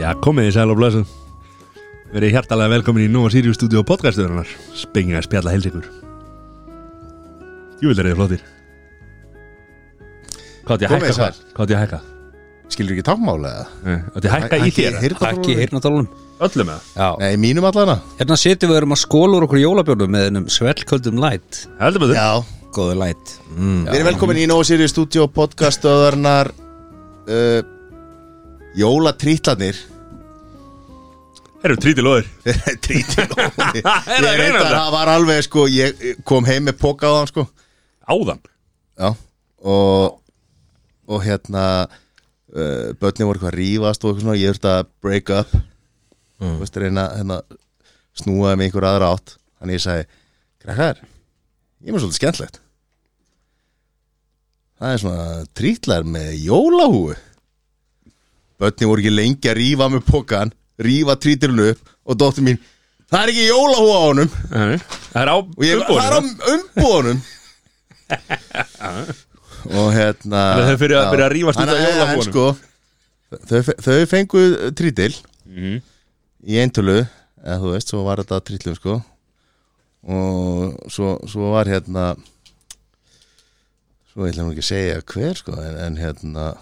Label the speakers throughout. Speaker 1: Já, komið í sæl og blöðsum Verið hjartalega velkomin í Nova Sirius Studio podcastuðurnar Spengið að spjalla heils ykkur Jú vil þeir eru flottir Hvað átti ég að
Speaker 2: Komið
Speaker 1: hækka
Speaker 2: sæl.
Speaker 1: hvað? Hvað átti ég að hækka?
Speaker 2: Skilur ekki tákmála eða?
Speaker 1: Nei, Eh, Átti ég að hækka í
Speaker 2: Hækki
Speaker 1: þér?
Speaker 2: heyrn-
Speaker 3: Ekki heyrnatálunum
Speaker 1: Öllum eða?
Speaker 3: Já
Speaker 2: Nei, mínum allana
Speaker 3: Hérna sitjum við erum að skóla úr okkur jólabjörnum með einum svellköldum light
Speaker 1: Heldum við þurr?
Speaker 2: Já,
Speaker 3: Góðu light mm.
Speaker 2: við erum velkomin í Nóa Sirius Studio podcastöðarnar uh, Jólatrítlanir
Speaker 1: Herru, tríti lóðir
Speaker 2: Trítil
Speaker 1: Er það
Speaker 2: Ég veit
Speaker 1: reyna
Speaker 2: að
Speaker 1: þetta?
Speaker 2: það var alveg sko Ég kom heim með póka á hann sko
Speaker 1: Áðan
Speaker 2: Já, og, og hérna uh, Bötni voru eitthvað að rífast og eitthvað svona Ég þurfti að break up Þú veist, reyna hérna Snúaði mig í einhver aðra átt Þannig ég sagði, krakkar Ég er mér svolítið skemmtlegt Það er svona trítlar með jólahúu Bötni voru ekki lengi að rífa með pokan Rífa trítilun upp Og dóttir mín, það er ekki jólahúa á honum
Speaker 1: Nei, Það er á
Speaker 2: Og ég
Speaker 1: umbúinu
Speaker 2: það er á umbúðunum Og hérna
Speaker 1: Þannig að þau fyrir að-
Speaker 2: já.
Speaker 1: fyrir að rífast út af
Speaker 2: Þannig að-
Speaker 1: jólabúðunum.
Speaker 2: en sko, þau, þau fengu eh, trítil
Speaker 1: Mhm.
Speaker 2: Í eintölu Eða þú veist, svo var þetta trítlum sko Og svo, svo var hérna Svo ætla hún ekki að segja hver sko En, en hérna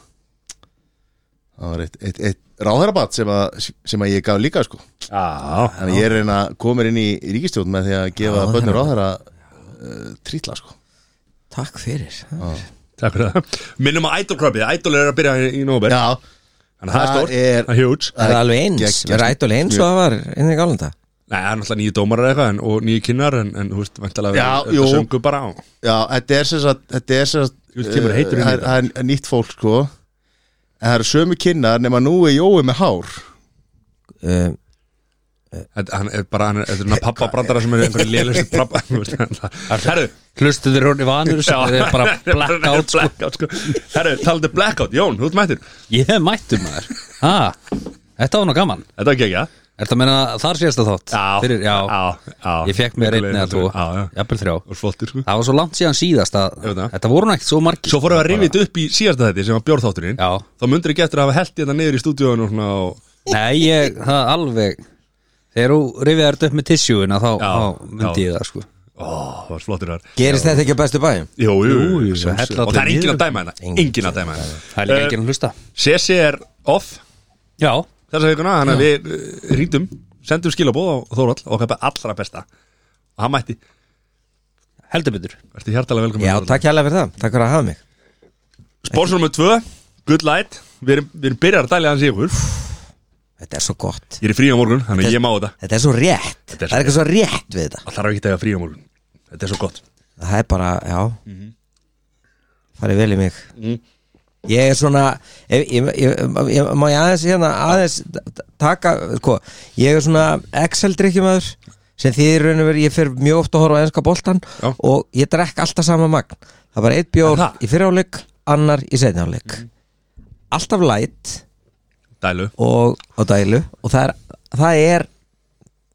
Speaker 2: Það var eitt, eitt, eitt ráðherabat sem, að- sem að ég gaf líka sko
Speaker 1: Já
Speaker 2: Þannig að ég er að reyna að koma mér inn í ríkistjórn með því að gefa
Speaker 3: Já,
Speaker 2: bönnur á
Speaker 3: það
Speaker 2: þeirra trítla sko
Speaker 3: Takk fyrir
Speaker 1: Takk fyrir það Minnum að Idol krabbið Idol er að byrja í nóber
Speaker 2: Já,
Speaker 1: Þannig að það er
Speaker 2: það
Speaker 1: stórt
Speaker 2: er-
Speaker 1: Það er huge
Speaker 2: Það er
Speaker 4: Það er alveg eins,
Speaker 2: geggjast.
Speaker 4: við erum ætlulega eins og það var inn í gálanda
Speaker 1: Nei, það er náttúrulega nýju dómarar eða eitthvað en, og nýju kynnar en, en þú veist, vantalega
Speaker 2: Já,
Speaker 1: þetta
Speaker 2: jú.
Speaker 1: söngu bara á
Speaker 2: já, þetta er sem sagt Þetta er sem sagt
Speaker 1: Jú, þetta kemur
Speaker 2: eh,
Speaker 1: heitur inn í
Speaker 2: það er-
Speaker 1: þetta.
Speaker 2: það er nýtt fólk sko En það eru sömu kynnar nema nú er Jói með hár
Speaker 3: Eh,
Speaker 4: um,
Speaker 1: Þetta hann er bara, hann er, þetta er svona pappabrandara sem er einhverju lélustu pappa þú veist, hann- Herru,
Speaker 3: Hlustu þér hún í vanur sem þeir eru bara blackout sko.
Speaker 1: blackout sko. Herru, talandi blackout, Jón, þú ert mættur
Speaker 3: Ég hef mættum maður ha, Þetta var nú gaman
Speaker 1: Þetta var ekki ekki, já?
Speaker 3: Er það að meina þar síðast að þátt? Fyrir, já.
Speaker 1: já, já
Speaker 3: Ég fekk mér einn eða tvo
Speaker 1: Já, já,
Speaker 3: Jafnvel þrjá
Speaker 1: og flottur sko
Speaker 3: Það var svo langt síðan síðast að
Speaker 1: Ég veit það.
Speaker 3: Þetta voru nú ekkert svo margir
Speaker 1: Svo fórum við að rifið upp í síðasta þetta sem var bjórþátturinn
Speaker 3: Já.
Speaker 1: Þá mundur ekki eftir að hafa held þetta niður í stúdíóinu og svona og
Speaker 3: Nei, ég, það er alveg Þegar þú rifið þetta upp með tissjúina þá,
Speaker 1: Já,
Speaker 3: þá myndi
Speaker 1: já.
Speaker 3: ég það sko
Speaker 1: Ó, það var flottur þar
Speaker 4: Gerist þetta ekki að bestu bæjum?
Speaker 1: Jú, jú,
Speaker 3: jú,
Speaker 1: sjálfsögðu.
Speaker 3: hella
Speaker 1: Og það er
Speaker 3: allir
Speaker 1: engin að
Speaker 3: niður.
Speaker 1: dæma hérna Engin að dæma
Speaker 3: Það er líka
Speaker 1: hérna
Speaker 3: enginn að hlusta
Speaker 1: Sessi er off
Speaker 3: Já,
Speaker 1: þessa vikuna Þannig að við uh, rítum, sendum skilabóð á Þórald og hvað allra besta og hann mætti,
Speaker 3: heldur betur
Speaker 1: ertu hjartalega velkomin
Speaker 4: Já, takk hérlega fyrir það, takk fyrir að hafa mig
Speaker 1: Sponsor nummer 2, Good Light Við erum, við erum byrjar að dæla hans í ykkur
Speaker 4: Þetta er svo gott,
Speaker 1: Ég er í frí á morgun, þannig að ég má þetta
Speaker 4: þetta er svo rétt
Speaker 1: er svo
Speaker 4: Það er eitthvað svo rétt við þetta
Speaker 1: Það þarf ekki að eiga frí á morgun Þetta er svo gott
Speaker 4: Það er bara, já
Speaker 1: Mhm.
Speaker 4: Farið vel í mig Ég er svona ef, ég, ég, ég, Má ég aðeins hérna aðeins taka, sko Ég er svona Excel-drykkjumöður sem því raun og verið, ég fer mjög oft að horfa á enska boltan
Speaker 1: Já.
Speaker 4: og ég drekk alltaf sama magn það var eitt bjór
Speaker 1: Er það? Mhm.
Speaker 4: í fyrirháleik annar í setjáleik alltaf light
Speaker 1: Dælu
Speaker 4: og, og dælu og það er, það er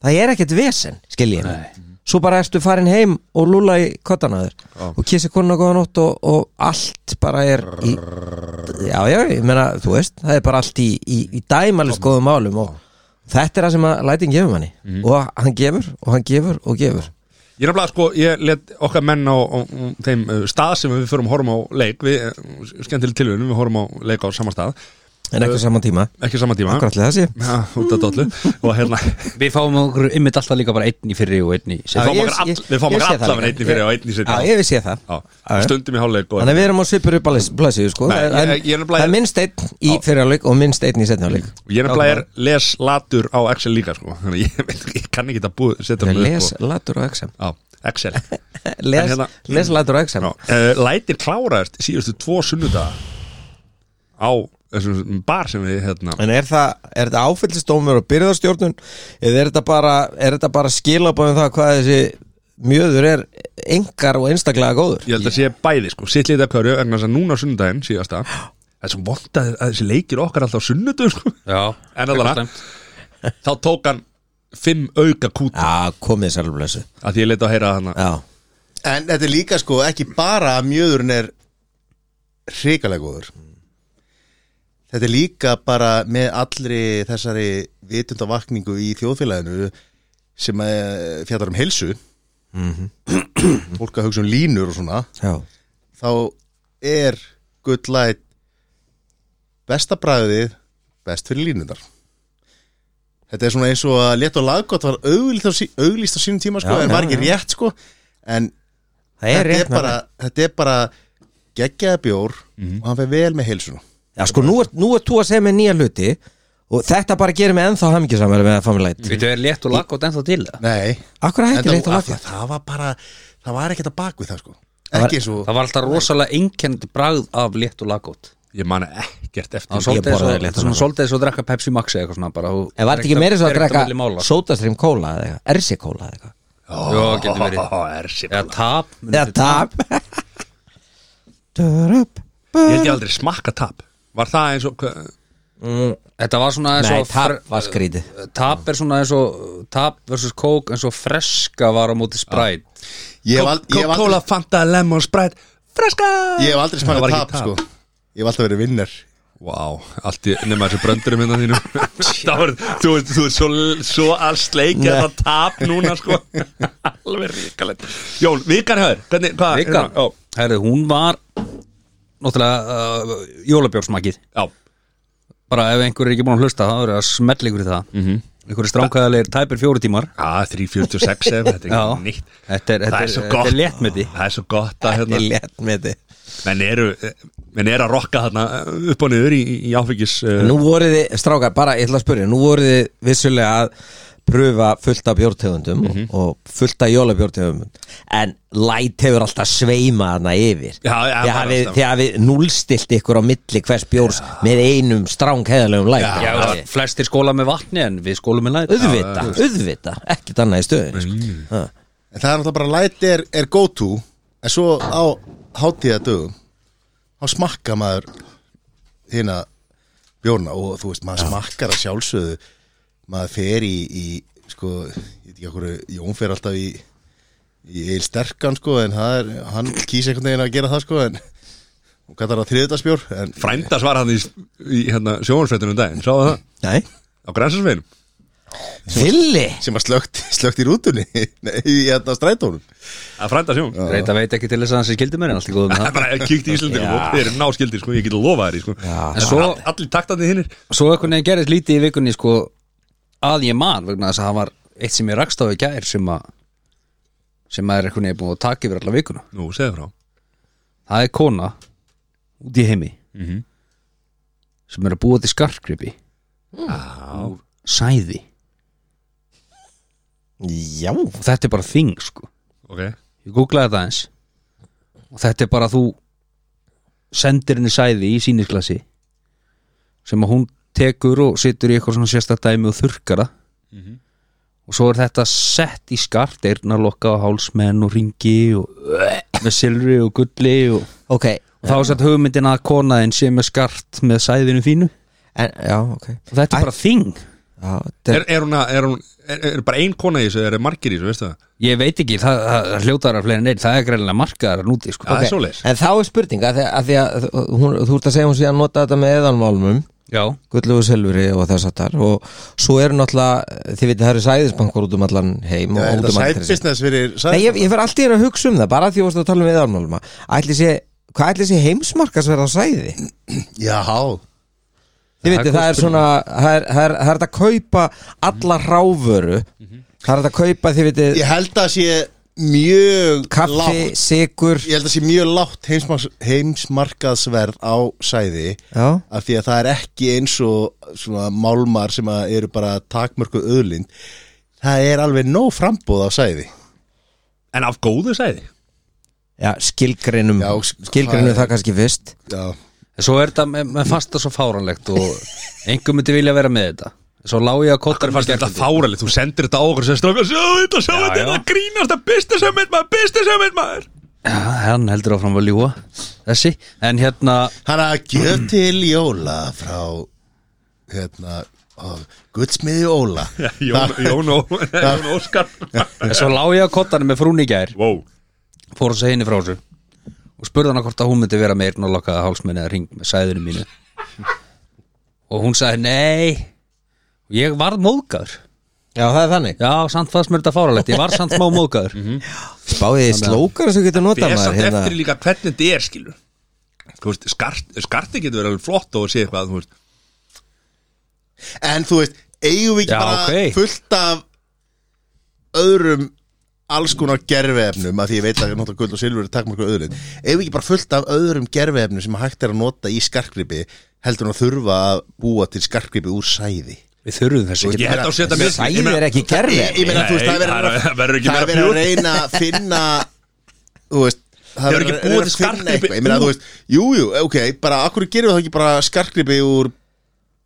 Speaker 4: það er ekkert vesen, skil ég svo bara ertu farin heim og lúla í kottanaður
Speaker 1: Já.
Speaker 4: og kissi konuna góða nótt og, og allt bara er í, já, já, ég meina, þú veist það er bara allt í, í, í dæmalist góðum málum og þetta er það sem að lætin gefur manni og hann gefur og hann gefur og gefur
Speaker 1: Ég er nefnilega sko, ég let okkar menn á, á, á þeim uh, stað sem við förum horfum á leik Við, uh, skemmtileg tilvíðunum, við horfum á leik á sama stað
Speaker 4: en ekki á saman tíma,
Speaker 1: Ekki sama tíma
Speaker 4: hvað ætli það sé
Speaker 1: Já, út af dollu Og hérna,
Speaker 3: Við fáum okkur ymmit alltaf líka bara einn í fyrri og einn í
Speaker 1: Við
Speaker 3: seinni.
Speaker 1: fáum
Speaker 4: ég-
Speaker 1: okkar all-
Speaker 4: ég-
Speaker 1: við fáum
Speaker 4: ég
Speaker 1: okkar
Speaker 4: sé það
Speaker 1: allan
Speaker 4: líka.
Speaker 1: einn í fyrri og einn í
Speaker 4: Ég-
Speaker 1: seinni.
Speaker 4: Já, ég vissi það
Speaker 1: já,
Speaker 4: Já, já.
Speaker 1: stundum í hálfleik og
Speaker 4: Þannig að við erum á svipur upp alveg blæsið sko.
Speaker 1: Nei, ég- ég er
Speaker 4: Það er-
Speaker 1: nefnilega-
Speaker 4: það er minnst einn í fyrirháleik og minnst einn í setjáleik
Speaker 1: Ég er nefnilega er les latur á Excel líka sko Þannig að ég, veit- ég kann ekki að búið setja hann upp
Speaker 4: Les
Speaker 1: og-
Speaker 4: latur og exam
Speaker 1: á Excel En
Speaker 4: Eh, Les,
Speaker 1: hérna-
Speaker 4: les latur og exam
Speaker 1: Ná, uh, Lætir kláraðist síðustu tvo sunnudaga á þessum bar sem við hérna
Speaker 4: En er það, er þetta áfyllistómur og byrðarstjórnun eða er þetta bara, er þetta bara skilabæðum það hvað þessi mjöður er engar og einstaklega góður?
Speaker 1: Ég held að sé bæði sko, sitt litið að hverju vegna þess að núna á sunnudaginn síðasta Það er svo vond að, að þessi leikir okkar alltaf á sunnudum sko
Speaker 3: Já,
Speaker 1: En allavega,
Speaker 3: slæmt.
Speaker 1: þá tók hann fimm auka kúta
Speaker 4: Já, komið þið sælblessu
Speaker 1: að því ég leita að heyra hana
Speaker 4: Já,
Speaker 2: En þetta er líka sko ekki bara að mjöðurinn er hrikalega góður Þetta er líka bara með allri þessari vitundavakningu í þjóðfélaginu sem eh, fjallar um heilsu
Speaker 4: Mhm.
Speaker 2: fólk að hugsa um línur og svona
Speaker 4: já,
Speaker 2: þá er good light besta bræðið best fyrir línundar þetta er svona eins og að leta og laggott var auglýst á, sí- auglýst á sínum tíma sko,
Speaker 4: Já,
Speaker 2: en
Speaker 4: já,
Speaker 2: var ekki rétt sko en
Speaker 4: það er
Speaker 2: þetta, er
Speaker 4: rétt
Speaker 2: bara, þetta er bara geggjaða bjór og hann fer vel með heilsuna
Speaker 4: Já, sko, nú er, nú er þú að segja mér nýja hluti og þetta bara gerir mig ennþá hamingjusamari með að familæt
Speaker 3: Við þau er létt og laggótt ennþá til það
Speaker 2: nei,
Speaker 4: Akkur að
Speaker 2: en
Speaker 4: hætti leitt að
Speaker 2: það,
Speaker 4: laka
Speaker 2: það, það var bara það var ekkert að bak við það sko
Speaker 4: var-
Speaker 2: ekki svo,
Speaker 3: Það var alltaf rosalega einkend bragð af létt og laggótt
Speaker 1: ég man ekkert eftir
Speaker 3: Það var
Speaker 1: þessu.
Speaker 3: svolítið
Speaker 4: borðaði
Speaker 3: svo-
Speaker 4: létt og
Speaker 3: svona svolítið svo að drekka Pepsi Max eða eitthvað svona bara þú-
Speaker 4: En var þetta ekki meira svo að
Speaker 3: fer ekkert á milli
Speaker 4: drekka
Speaker 3: mála. sko.
Speaker 4: sótastream kóla eða eitthvað, ersi kóla eða eitthvað
Speaker 3: Jó, getur verið
Speaker 1: Ó, er sér
Speaker 3: Eða tap
Speaker 4: Eða tap Dörrup
Speaker 1: Ég held ég aldrei smakka tap Var það eins og hva-
Speaker 3: Þetta var svona eins
Speaker 4: Nei,
Speaker 3: og
Speaker 4: tap var skrítið
Speaker 3: Tap er svona eins og Tap versus kók eins og freska var á móti spræt
Speaker 2: ég hef ald- ég hef
Speaker 1: Coca-Cola,
Speaker 2: aldrei,
Speaker 1: Fanta, Lemon, Sprite Freska
Speaker 2: ég hef aldrei
Speaker 1: Það var
Speaker 2: smakað
Speaker 1: ekki
Speaker 2: tap sko ég hef alltaf verið vinnar
Speaker 1: Vá, allt í, nema þessu bröndurum hérna þínu Það var, þú veist, þú ert svo, svo að sleikja það tap núna sko Alveg ríkalegt Jón, vikarhör, hvernig, hvað
Speaker 3: Vika,
Speaker 1: Já,
Speaker 3: herðu, hún var Náttúrulega uh, Jólabjórsmakið
Speaker 1: já,
Speaker 3: Bara ef einhver er ekki búin að hlusta Það verður að smetla ykkur í það mm -hmm. Ykkur er stránkæðalegir tæpir fjóru tímar
Speaker 1: já 346 ef þetta er
Speaker 3: Já.
Speaker 1: ekki nýtt
Speaker 3: Þetta er, þetta
Speaker 1: Það
Speaker 3: er,
Speaker 1: er svo
Speaker 3: þetta
Speaker 1: gott.
Speaker 3: er léttmeti
Speaker 1: Það er svo gott að
Speaker 4: Ég
Speaker 1: hérna
Speaker 4: létt með þetta
Speaker 1: Menn eru, menn eru að rokka þarna eh, upp og niður í, í áfengis uh,
Speaker 4: Nú voruð þið, strákar, bara ég ætla að spyrja Nú voruð þið vissulega að pröfa fullt af bjórtegundum
Speaker 1: Mhm.
Speaker 4: og fullt af jólabjórtegundum en læt hefur alltaf sveima hana yfir
Speaker 1: Já, já,
Speaker 4: Þið
Speaker 1: bara
Speaker 4: hafið-
Speaker 1: alltaf.
Speaker 4: þið hafið núlstilt ykkur á milli hvers bjórs með einum strángheðalegum læt
Speaker 3: Já, já, flestir skóla með vatni en við skólum með læt
Speaker 4: Uðvita, uðvita, ekkert annað í stöðin sko. Ha.
Speaker 2: En það er náttúrulega bara light er, er go to En svo á hátíða dögum Þá smakka maður Hérna bjórna Og þú veist, maður smakkar að sjálfsögðu Maður fer í, í Sko, ég veit ekki okkur Jón fer alltaf í Í eil sterkan sko En það er, hann kýs einhvern veginn að gera það sko En hún kallar það þriðutasbjór En
Speaker 1: Frændas var hann í, í hérna, sjónvarsveitunum daginn Sá það
Speaker 4: Nei,
Speaker 1: á grænsasveinum
Speaker 4: villi
Speaker 2: sem að slögt, slögt í rútunni Nei, í hérna strætónum
Speaker 1: að frænda sjón
Speaker 3: Reita veit ekki til þess að hans er skildi mér en allt í góðum með
Speaker 1: Það
Speaker 3: það
Speaker 1: er bara kíkt í Íslandingum og þeir eru náskildir sko, ég get að lofa þér sko. En
Speaker 3: En
Speaker 1: svo
Speaker 3: svo-
Speaker 1: allir taktandi hinnir
Speaker 3: Svo einhvern veginn gerðist lítið í vikunni sko að ég man vegna þess að það var eitt sem ég rakst á í gær sem að sem að er einhvern veginn búið að taka yfir alla vikuna
Speaker 1: Nú, segðu frá
Speaker 3: Það er kona út í heimi sem er að búa til skarkripi
Speaker 1: Já,
Speaker 3: sæði
Speaker 4: Já,
Speaker 3: og þetta er bara þing sko
Speaker 1: ok
Speaker 3: Ég googlaði þetta eins og þetta er bara að þú sendir henni sæði í sínisklasi sem að hún tekur og situr í eitthvað svona sérstakdæmi og þurrkar það
Speaker 1: Mhm.
Speaker 3: og svo er þetta sett í skarft eirnarlokka og hálsmenn og ringi og með silfri og gulli og,
Speaker 4: ok
Speaker 3: og þá er sett hugmyndin að konaðin sé með skarft með sæðinu þínu
Speaker 4: en, Já, ok
Speaker 3: og þetta er bara þing
Speaker 4: já, þetta er-
Speaker 1: Er, er, hún að, er, hún, er, er bara ein kona í þessu, er margir í þessu, veistu það?
Speaker 3: ég veit ekki, það, það, það hljótaðar fleiri en einn, það er greinlega markaðar að núti sko.
Speaker 1: Það
Speaker 4: ok.
Speaker 1: er svoleiðis.
Speaker 4: En þá er spurning að því að, því að hún, þú ert að segja hún sé að nota þetta með eðalmálmum
Speaker 3: Já,
Speaker 4: gullu og silfri og þess að þar og svo eru náttúrulega, þið veitir það eru sæðisbankur út um allan heim og
Speaker 2: Er
Speaker 4: út
Speaker 2: þetta
Speaker 4: um allan
Speaker 2: side
Speaker 4: trésið.
Speaker 2: business fyrir
Speaker 4: Nei,
Speaker 2: side
Speaker 4: ég, ég fer allt í einu að hugsa um það bara því að þú varst að tala um eðalmálma ætli sé, hvað ætli sé heimsmarkasverð á sæði?
Speaker 2: Já,
Speaker 4: Þið
Speaker 3: er
Speaker 4: veitir, það er svona það er, það er, það er hægt að kaupa alla ráföru það er hægt að kaupa, þið veitir
Speaker 2: ég held að sé mjög
Speaker 4: kaffi,
Speaker 2: lágt
Speaker 4: sigur
Speaker 2: ég held að sé mjög látt heimsmars, heimsmarkaðsverð á sæði
Speaker 4: já,
Speaker 2: af því að það er ekki eins og svona málmar sem að eru bara takmörku öðlind það er alveg nóg frambóð á sæði
Speaker 1: En af góðu sæði
Speaker 4: já skilgreinum
Speaker 2: Já, s-
Speaker 4: skilgreinum
Speaker 2: hvað er-
Speaker 4: það kannski fyrst
Speaker 2: Já.
Speaker 3: En Svo er þetta með, með fasta svo fáranlegt og einhver myndi vilja vera með þetta Svo lá ég að kottar
Speaker 1: Það fannst þetta fáralegt, þú sendir þetta á okkur sem strákar Sjá þetta, sjá þetta,
Speaker 3: já.
Speaker 1: þetta grínast að business hugmynd maður, business hugmynd maður
Speaker 3: Hann heldur áfram að ljúa Þessi, en hérna
Speaker 2: hann að gjöf til jóla frá hérna ó, Guðsmiði Óla
Speaker 1: Jón, Jón, Ó- Jón Óskar
Speaker 3: En svo lá ég á kottanum með frún í gær
Speaker 1: Wow
Speaker 3: Fór að segja henni frá þessu Og spurði hana hvort að hún myndi vera með eyrnalokkaða hálsmenni eða ring með sæðinu mínu Og hún sagði nei Og ég varð móðgæður
Speaker 4: Já, það er þannig
Speaker 3: Já, samt fannst mér þetta fáralegt Ég var samt smá móðgæður
Speaker 4: Spáðið í slókar sem þú getur notað
Speaker 1: Það er
Speaker 4: maður
Speaker 1: samt
Speaker 4: hérna.
Speaker 1: eftir líka hvernig þetta er skilur Þú veist, skart, skarti getur verið alveg flott og að segja eitthvað, þú veist
Speaker 2: En þú veist, eigum við ekki
Speaker 3: Já,
Speaker 2: bara
Speaker 3: ok.
Speaker 2: fullt af öðrum alls konar gerfiefnum að því ég veit að nota guld og silfur er takkmarkur öðru eigum við ekki bara fullt af öðrum gerfiefnum sem hægt er að nota í skarkgripi heldur en að þurfa að búa til skarkgripi úr sæði
Speaker 3: Við þurfum þessi
Speaker 1: Ég held að setja mér
Speaker 4: Sæðið er ekki
Speaker 2: Ég, ég
Speaker 4: gerðið
Speaker 2: meina, þú veist,
Speaker 1: Nei,
Speaker 2: það er
Speaker 1: það er-
Speaker 2: verið
Speaker 1: verður ekki
Speaker 2: það er
Speaker 1: meira
Speaker 2: verið að
Speaker 1: fljót.
Speaker 2: reyna að finna þú veist Það
Speaker 1: Þeir eru ekki
Speaker 2: er að reyna
Speaker 1: búið til
Speaker 2: að finna
Speaker 1: skartgripi
Speaker 2: eitthvað Ég meina,
Speaker 1: úr-
Speaker 2: þú veist, jú, jú, ok, bara akkur gerum við það ekki bara skarkgripi úr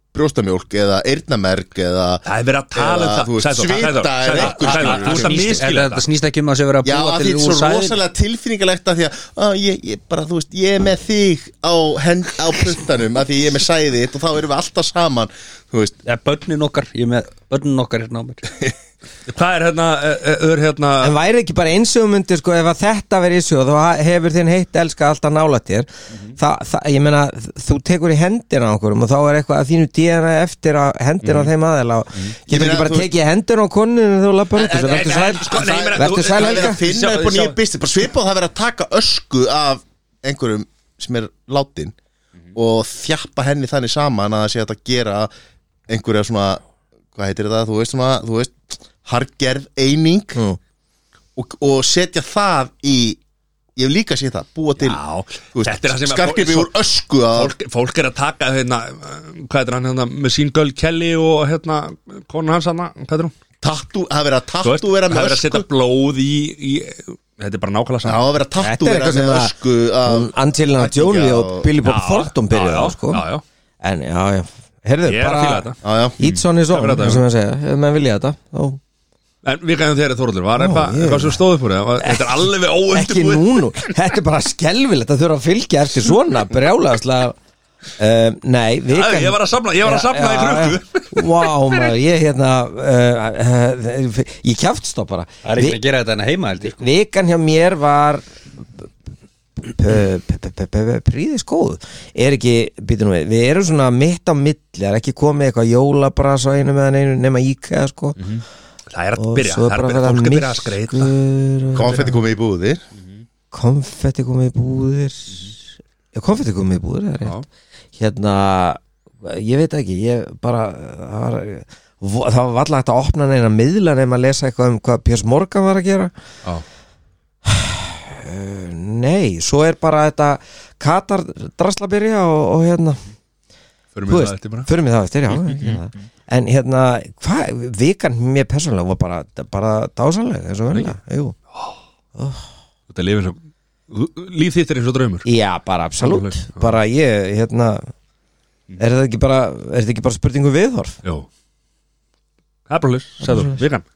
Speaker 2: brjóstamjólk eða eyrnamerk eða
Speaker 1: Það er verið að tala um
Speaker 2: Eða,
Speaker 1: það
Speaker 2: þú veist,
Speaker 1: Sæþór,
Speaker 2: svita
Speaker 1: Sæþór,
Speaker 2: er
Speaker 1: Sæþór,
Speaker 2: einhver
Speaker 1: Sæþór,
Speaker 2: skilur.
Speaker 1: Þú veist að miskila
Speaker 3: Þetta
Speaker 1: þetta
Speaker 3: snýst ekki um að sé verið að
Speaker 2: Já,
Speaker 3: búa
Speaker 2: að því
Speaker 3: til
Speaker 2: þetta er
Speaker 3: úr
Speaker 2: svo
Speaker 3: sæðinu
Speaker 2: rosalega tilfinningalegt að því að á, ég, ég, bara, þú veist, ég er með þig á, hend, á puttanum að því ég er með sæði þitt og þá erum við alltaf saman þú veist,
Speaker 3: Já, börnin okkar, ég er með börnin okkar hérna á mér
Speaker 1: Hvað er hérna, eh, eh, ör hérna
Speaker 4: En væri ekki bara einsögumundi sko ef að þetta verið einsögum þá hefur þinn heitt elska alltaf nála þér
Speaker 1: Mhm.
Speaker 4: Þa, það, ég meina þú tekur í hendina á okkurum og þá er eitthvað að þínu DNA eftir að hendina
Speaker 1: Mhm.
Speaker 4: á þeim aðeila og
Speaker 2: Ég
Speaker 4: getur
Speaker 2: meina,
Speaker 4: ekki bara
Speaker 2: þú-
Speaker 4: tekið hendina á konunum þegar þú lappar út
Speaker 1: En-
Speaker 4: þessu
Speaker 1: en-
Speaker 4: verður
Speaker 1: en-
Speaker 4: sæl
Speaker 1: sko, nei, ég meina,
Speaker 4: vertu
Speaker 1: þú-
Speaker 4: sæl
Speaker 2: það er verið
Speaker 4: helga
Speaker 2: að finna
Speaker 1: Sjá-
Speaker 2: upp á
Speaker 1: sjá-
Speaker 2: nýju bisti bara svipað og það er verið að taka ösku af einhverjum sem er látin og þjappa henni þannig saman að það sé hægt að gera einhverja svona, hvað heitir það þú veist svona, þú veist, hargerð eining
Speaker 4: Mm.
Speaker 2: og, og setja það í ég hef líka séð það, búa til
Speaker 1: Já,
Speaker 2: þú veist,
Speaker 1: þetta er það sem að-
Speaker 2: skarkgripi úr ösku að
Speaker 1: fólk, fólk er að taka hérna, eh, hvað er hann hérna, með sín göll Kelly og hérna, konu hans hana, hvað er hún?
Speaker 2: tattu, það er verið að
Speaker 1: Þú veist,
Speaker 2: tattu vera
Speaker 1: það
Speaker 2: með
Speaker 1: er að setja
Speaker 2: ösku
Speaker 1: blóð í, í þetta er bara nákvæmlega
Speaker 2: það
Speaker 1: saman
Speaker 2: er verið að
Speaker 4: Þetta
Speaker 2: tattu
Speaker 4: er
Speaker 2: vera
Speaker 4: eitthvað sem
Speaker 2: með
Speaker 4: að-
Speaker 2: ösku að
Speaker 4: Um, Angelina
Speaker 2: ættingja
Speaker 4: Jolie og Billy Bob
Speaker 1: Já,
Speaker 4: Thornton
Speaker 1: já, já,
Speaker 4: byrjuðu á, sko
Speaker 1: já, já.
Speaker 4: En já, já, heyrðu
Speaker 1: Ég er að fíla
Speaker 4: bara
Speaker 1: þetta
Speaker 2: Já, já.
Speaker 4: Ítsson er svo,
Speaker 1: Það verður þetta.
Speaker 4: sem ég segja, ef menn vilja þetta þá
Speaker 1: En við gæðum þér Þorallur, var eitthvað
Speaker 4: ég-
Speaker 1: eitthvað sem stóð upp úr þér? Var- Þetta er alveg
Speaker 4: ekki
Speaker 1: óundirbúið
Speaker 4: núna, þetta er bara skelvilegt að þurfa að fylgja eftir svona brjálaðslega um, nei,
Speaker 1: Æ,
Speaker 4: vikan
Speaker 1: Ég var að safna, ég var að safna í krukku
Speaker 4: krukku Vá maður, ég hérna uh, uh, uh, ég kjæftst þá bara
Speaker 3: Það er ekki að gera þetta hérna heima held ég
Speaker 4: Vi- Vikan hjá mér var príðis góð er ekki, býtu nú við, við erum svona mitt á milli, það er ekki komið eitthvað jólabras á einu meðan einu nema íkæða sko
Speaker 1: Mhm. Það er að
Speaker 4: og
Speaker 1: byrja,
Speaker 4: svo
Speaker 1: það
Speaker 4: er
Speaker 1: er að
Speaker 4: bara
Speaker 1: byrja,
Speaker 4: að
Speaker 1: fólk er að byrja
Speaker 4: vera
Speaker 1: að skreita
Speaker 4: myrkur og
Speaker 2: konfetti komið í búðir
Speaker 4: konfetti komið í búðir
Speaker 1: Mhm.
Speaker 4: já, konfetti komið í búðir það er rétt. hérna ég veit ekki, ég bara það var, vo- það var valla hægt að opna neina miðla nema að lesa eitthvað um hvað Pjörs Morgan var að gera
Speaker 1: Já.
Speaker 4: Eh, nei, svo er bara þetta Katar drasla byrja og, og hérna,
Speaker 1: Förum við
Speaker 4: þú veist,
Speaker 1: það eftir bara Mhm,
Speaker 4: förum við það eftir já, hérna. en hérna, hvað vikan mér persónlega var bara, bara dásalega, eins og verða, jú
Speaker 1: Þetta er lifin sem Líf þitt er eins og draumur
Speaker 4: Já, bara absolutt
Speaker 1: Alveg, já.
Speaker 4: Bara ég, hérna Er þetta ekki bara, er þetta ekki bara spurningu viðhorf?
Speaker 1: Jó Það er bara hlust, sagður, vikan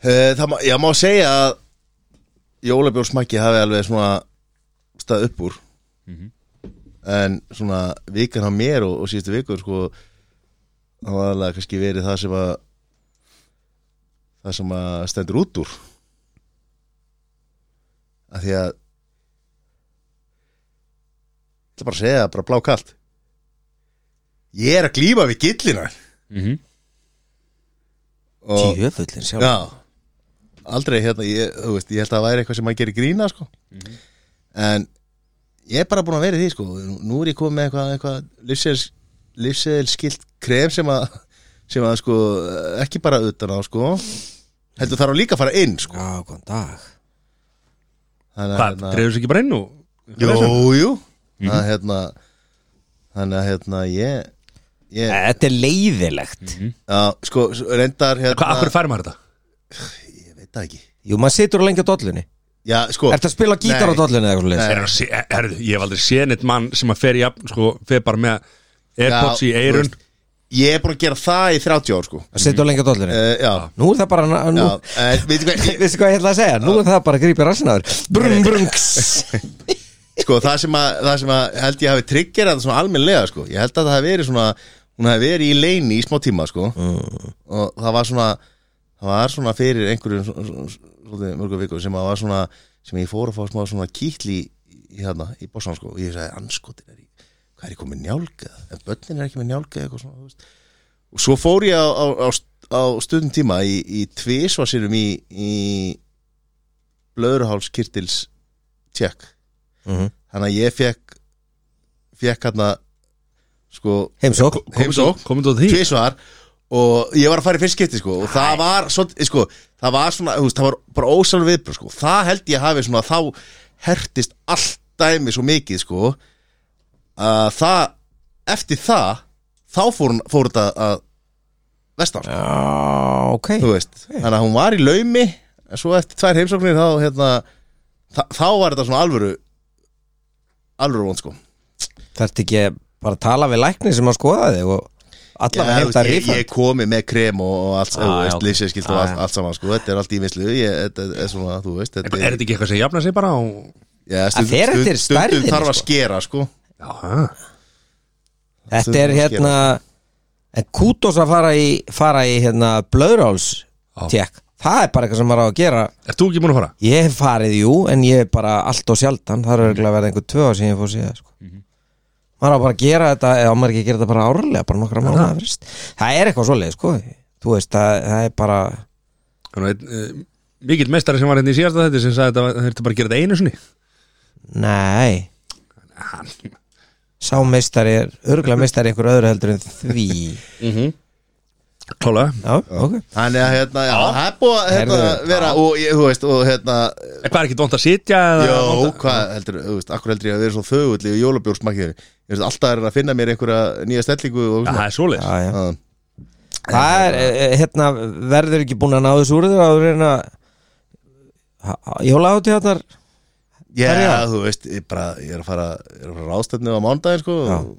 Speaker 2: Eh, það má, ég má segja að jólabjórsmakki hafi alveg svona stað upp úr en svona vikan á mér og, og síðustu vikur sko það var alveg kannski verið það sem að það sem að stendur út úr af því að ég ætla bara að segja það, bara blákalt ég er að glýma við gillina
Speaker 1: Mhm.
Speaker 2: og
Speaker 4: Djöfullin sjálf
Speaker 2: Já Aldrei hérna, ég, þú veist, ég held að það væri eitthvað sem maður gerir grína sko. En ég er bara búin að vera í því sko. Nú er ég komið með eitthvað, eitthvað Livseðilskilt krem sem að sem að sko, ekki bara utan á sko. heldur þarf að líka að fara inn sko.
Speaker 4: Já, góðan dag
Speaker 2: Þannig hérna,
Speaker 1: Hvað, dreifur ekki bara inn og
Speaker 2: Jú, jú Þannig að hérna Þannig að hérna ég, ég
Speaker 4: Þetta er leiðilegt
Speaker 2: að, sko, reyndar hérna
Speaker 1: Hvað, akkur fær maður þetta?
Speaker 2: Ég veit það ekki
Speaker 4: Jú, maður situr lengi á dollunni
Speaker 2: Já, sko
Speaker 4: Ertu að spila gítar á
Speaker 2: Nei.
Speaker 4: dollunni eða eitthvað leið?
Speaker 2: Nei.
Speaker 1: Er hann að sé- er- Herðu, ég hef aldrei séð neitt mann sem að fer í jafn Sko, fer bara með Airpods
Speaker 2: Já,
Speaker 1: í eirun
Speaker 2: þú veist, Ég er búin að gera það í 30 ár sko.
Speaker 4: Að situr lengi á dollunni
Speaker 2: uh, Já,
Speaker 4: Nú er það bara na- nú,
Speaker 2: Já, en veitu hvað, ég-
Speaker 4: Veistu hvað ég ætla að segja? Nú er það bara að grípa rassinaður Brum, brum, kss
Speaker 2: sko, það sem að, það sem að held ég hafi triggerað það svona almennlega, sko, ég held að það hafi verið svona hún hafði verið í leini í smá tíma sko og það var svona það var svona fyrir einhverjum svo- svo- svo- svolítið mörgum vikum sem að var svona sem ég fór að fá smá svona kýtli í hérna, í bossan sko og ég sagði, anskotin er í hvað er ég komið njálgað, en börnin er ekki með njálgað eitthvað svona, þú veist og svo fór ég á, á, á, á stundum tíma í, í tvisvarsinum í, í blöðruhálskirtils tjekk
Speaker 4: Mhm.
Speaker 2: þannig að ég fekk fekk hérna sko
Speaker 4: Heimsók
Speaker 2: heimsók
Speaker 1: Komum þú að því?
Speaker 2: tvisvar og ég var að fara í fyrst skipti sko, og það var, svolítið, sko, það var svona þú veist, það var bara ósal viðbröð sko. það held ég hafi svona þá hertist allt dæmi svo mikið sko, að það eftir það þá fór, hún- fór þetta að vestar sko,
Speaker 4: Já, ok
Speaker 2: þú veist þannig að hún var í laumi en svo eftir tvær heimsóknir þá, hérna, þá, þá var þetta svona alvöru alvöru vond sko
Speaker 4: Þarfti ekki bara að tala við lækni sem að skoða þig og allavega
Speaker 2: Já,
Speaker 4: hefða
Speaker 2: þú veist,
Speaker 4: rífand
Speaker 2: ég, ég komi með krem og, og allt,
Speaker 1: Ah,
Speaker 2: ah,
Speaker 1: já,
Speaker 2: veist,
Speaker 1: ok.
Speaker 2: lýsinskilt og
Speaker 4: Ah,
Speaker 2: allt,
Speaker 4: já.
Speaker 2: allt saman sko. þetta er allt í mislu ég, þetta er- er svona, þú veist
Speaker 1: Er þetta ekki eitthvað sem jafna sig bara á
Speaker 2: já, stund,
Speaker 4: fer eftir
Speaker 2: stund, stundum
Speaker 4: stærðinni,
Speaker 2: þarf að
Speaker 4: sko.
Speaker 2: skera sko.
Speaker 1: Já, ha.
Speaker 4: Þetta er
Speaker 2: Þurfum að
Speaker 4: hérna En kútos að fara í, fara í hérna, blöðráls tjekk Það er bara eitthvað sem maður á að gera
Speaker 1: Ert þú ekki múin að fara?
Speaker 4: Ég hef farið, jú, en ég er bara allt og sjaldan Það er örgulega að vera einhver tvö ár sem ég fór síðan sko. Maður á bara að gera þetta eða á maður ekki að gera þetta bara árlega bara nokkra mánuða frist Það er eitthvað svoleið, sko Þú veist, það, það er bara
Speaker 1: Þannig, ein, e, mikill mestari sem var hérna í síðasta þetta sem sagði þetta þurfti bara að gera þetta einu sinni
Speaker 4: Nei,
Speaker 1: Hann,
Speaker 4: sá meistari er örgulega meistari í einhver öðru heldur en því
Speaker 1: klálega
Speaker 4: Já, ok
Speaker 2: þannig að hérna, já, það er búið að hérna,
Speaker 4: Herðu,
Speaker 2: vera og ég, þú veist, og hérna
Speaker 1: En Hvað er ekki vont að sitja? eða
Speaker 2: Jó,
Speaker 1: vont að-
Speaker 2: hvað heldur, þú veist, akkur heldur ég að vera svo þögull í jólabjórsmakkiðinu, ég veist, alltaf er hann að finna mér einhverja nýja stellingu og
Speaker 1: Já, Það
Speaker 2: svona Ah.
Speaker 1: er svoleiðis
Speaker 4: Já, já
Speaker 2: Já.
Speaker 4: Það er, eh, hérna, verður ekki búin að ná þessu úr þér áður en að Jólahátíðarnar
Speaker 2: Já,
Speaker 4: Herja.
Speaker 2: þú veist, ég bara, ég er að fara ég er að fara ráðstefnu á mándaginn, sko
Speaker 4: Já.
Speaker 2: og-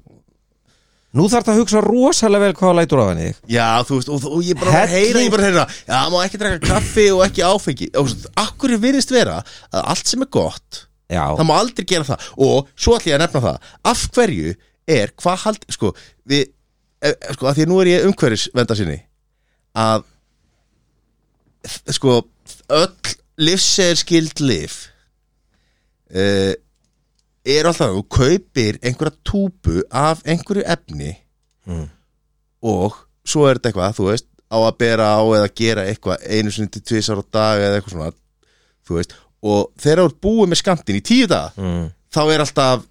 Speaker 4: Nú þarf það að hugsa rosalega vel hvað lætur á henni þig
Speaker 2: Já, þú veist, og, og ég bara var að heyra,
Speaker 4: Helling.
Speaker 2: ég bara heyra Já, má ekki draka kaffi og ekki áfengi og Akkur er virðist vera að allt sem er gott
Speaker 4: Já,
Speaker 2: Það má aldrei gera það Og svo ætlum ég að nefna það Af hverju er, hvað hald, sko Við, eh, sko, að því að nú er ég umhverfis venda sinni Að Sko, öll Livseðskild lif uh, Er alltaf Þú kaupir einhverja túpu Af einhverju efni og svo er þetta eitthvað, þú veist, á að bera á eða gera eitthvað einu sinni til tvisar á dag eða eitthvað svona, þú veist og þegar þú ert búið með skamtin í tíu dag
Speaker 4: Mm.
Speaker 2: þá er alltaf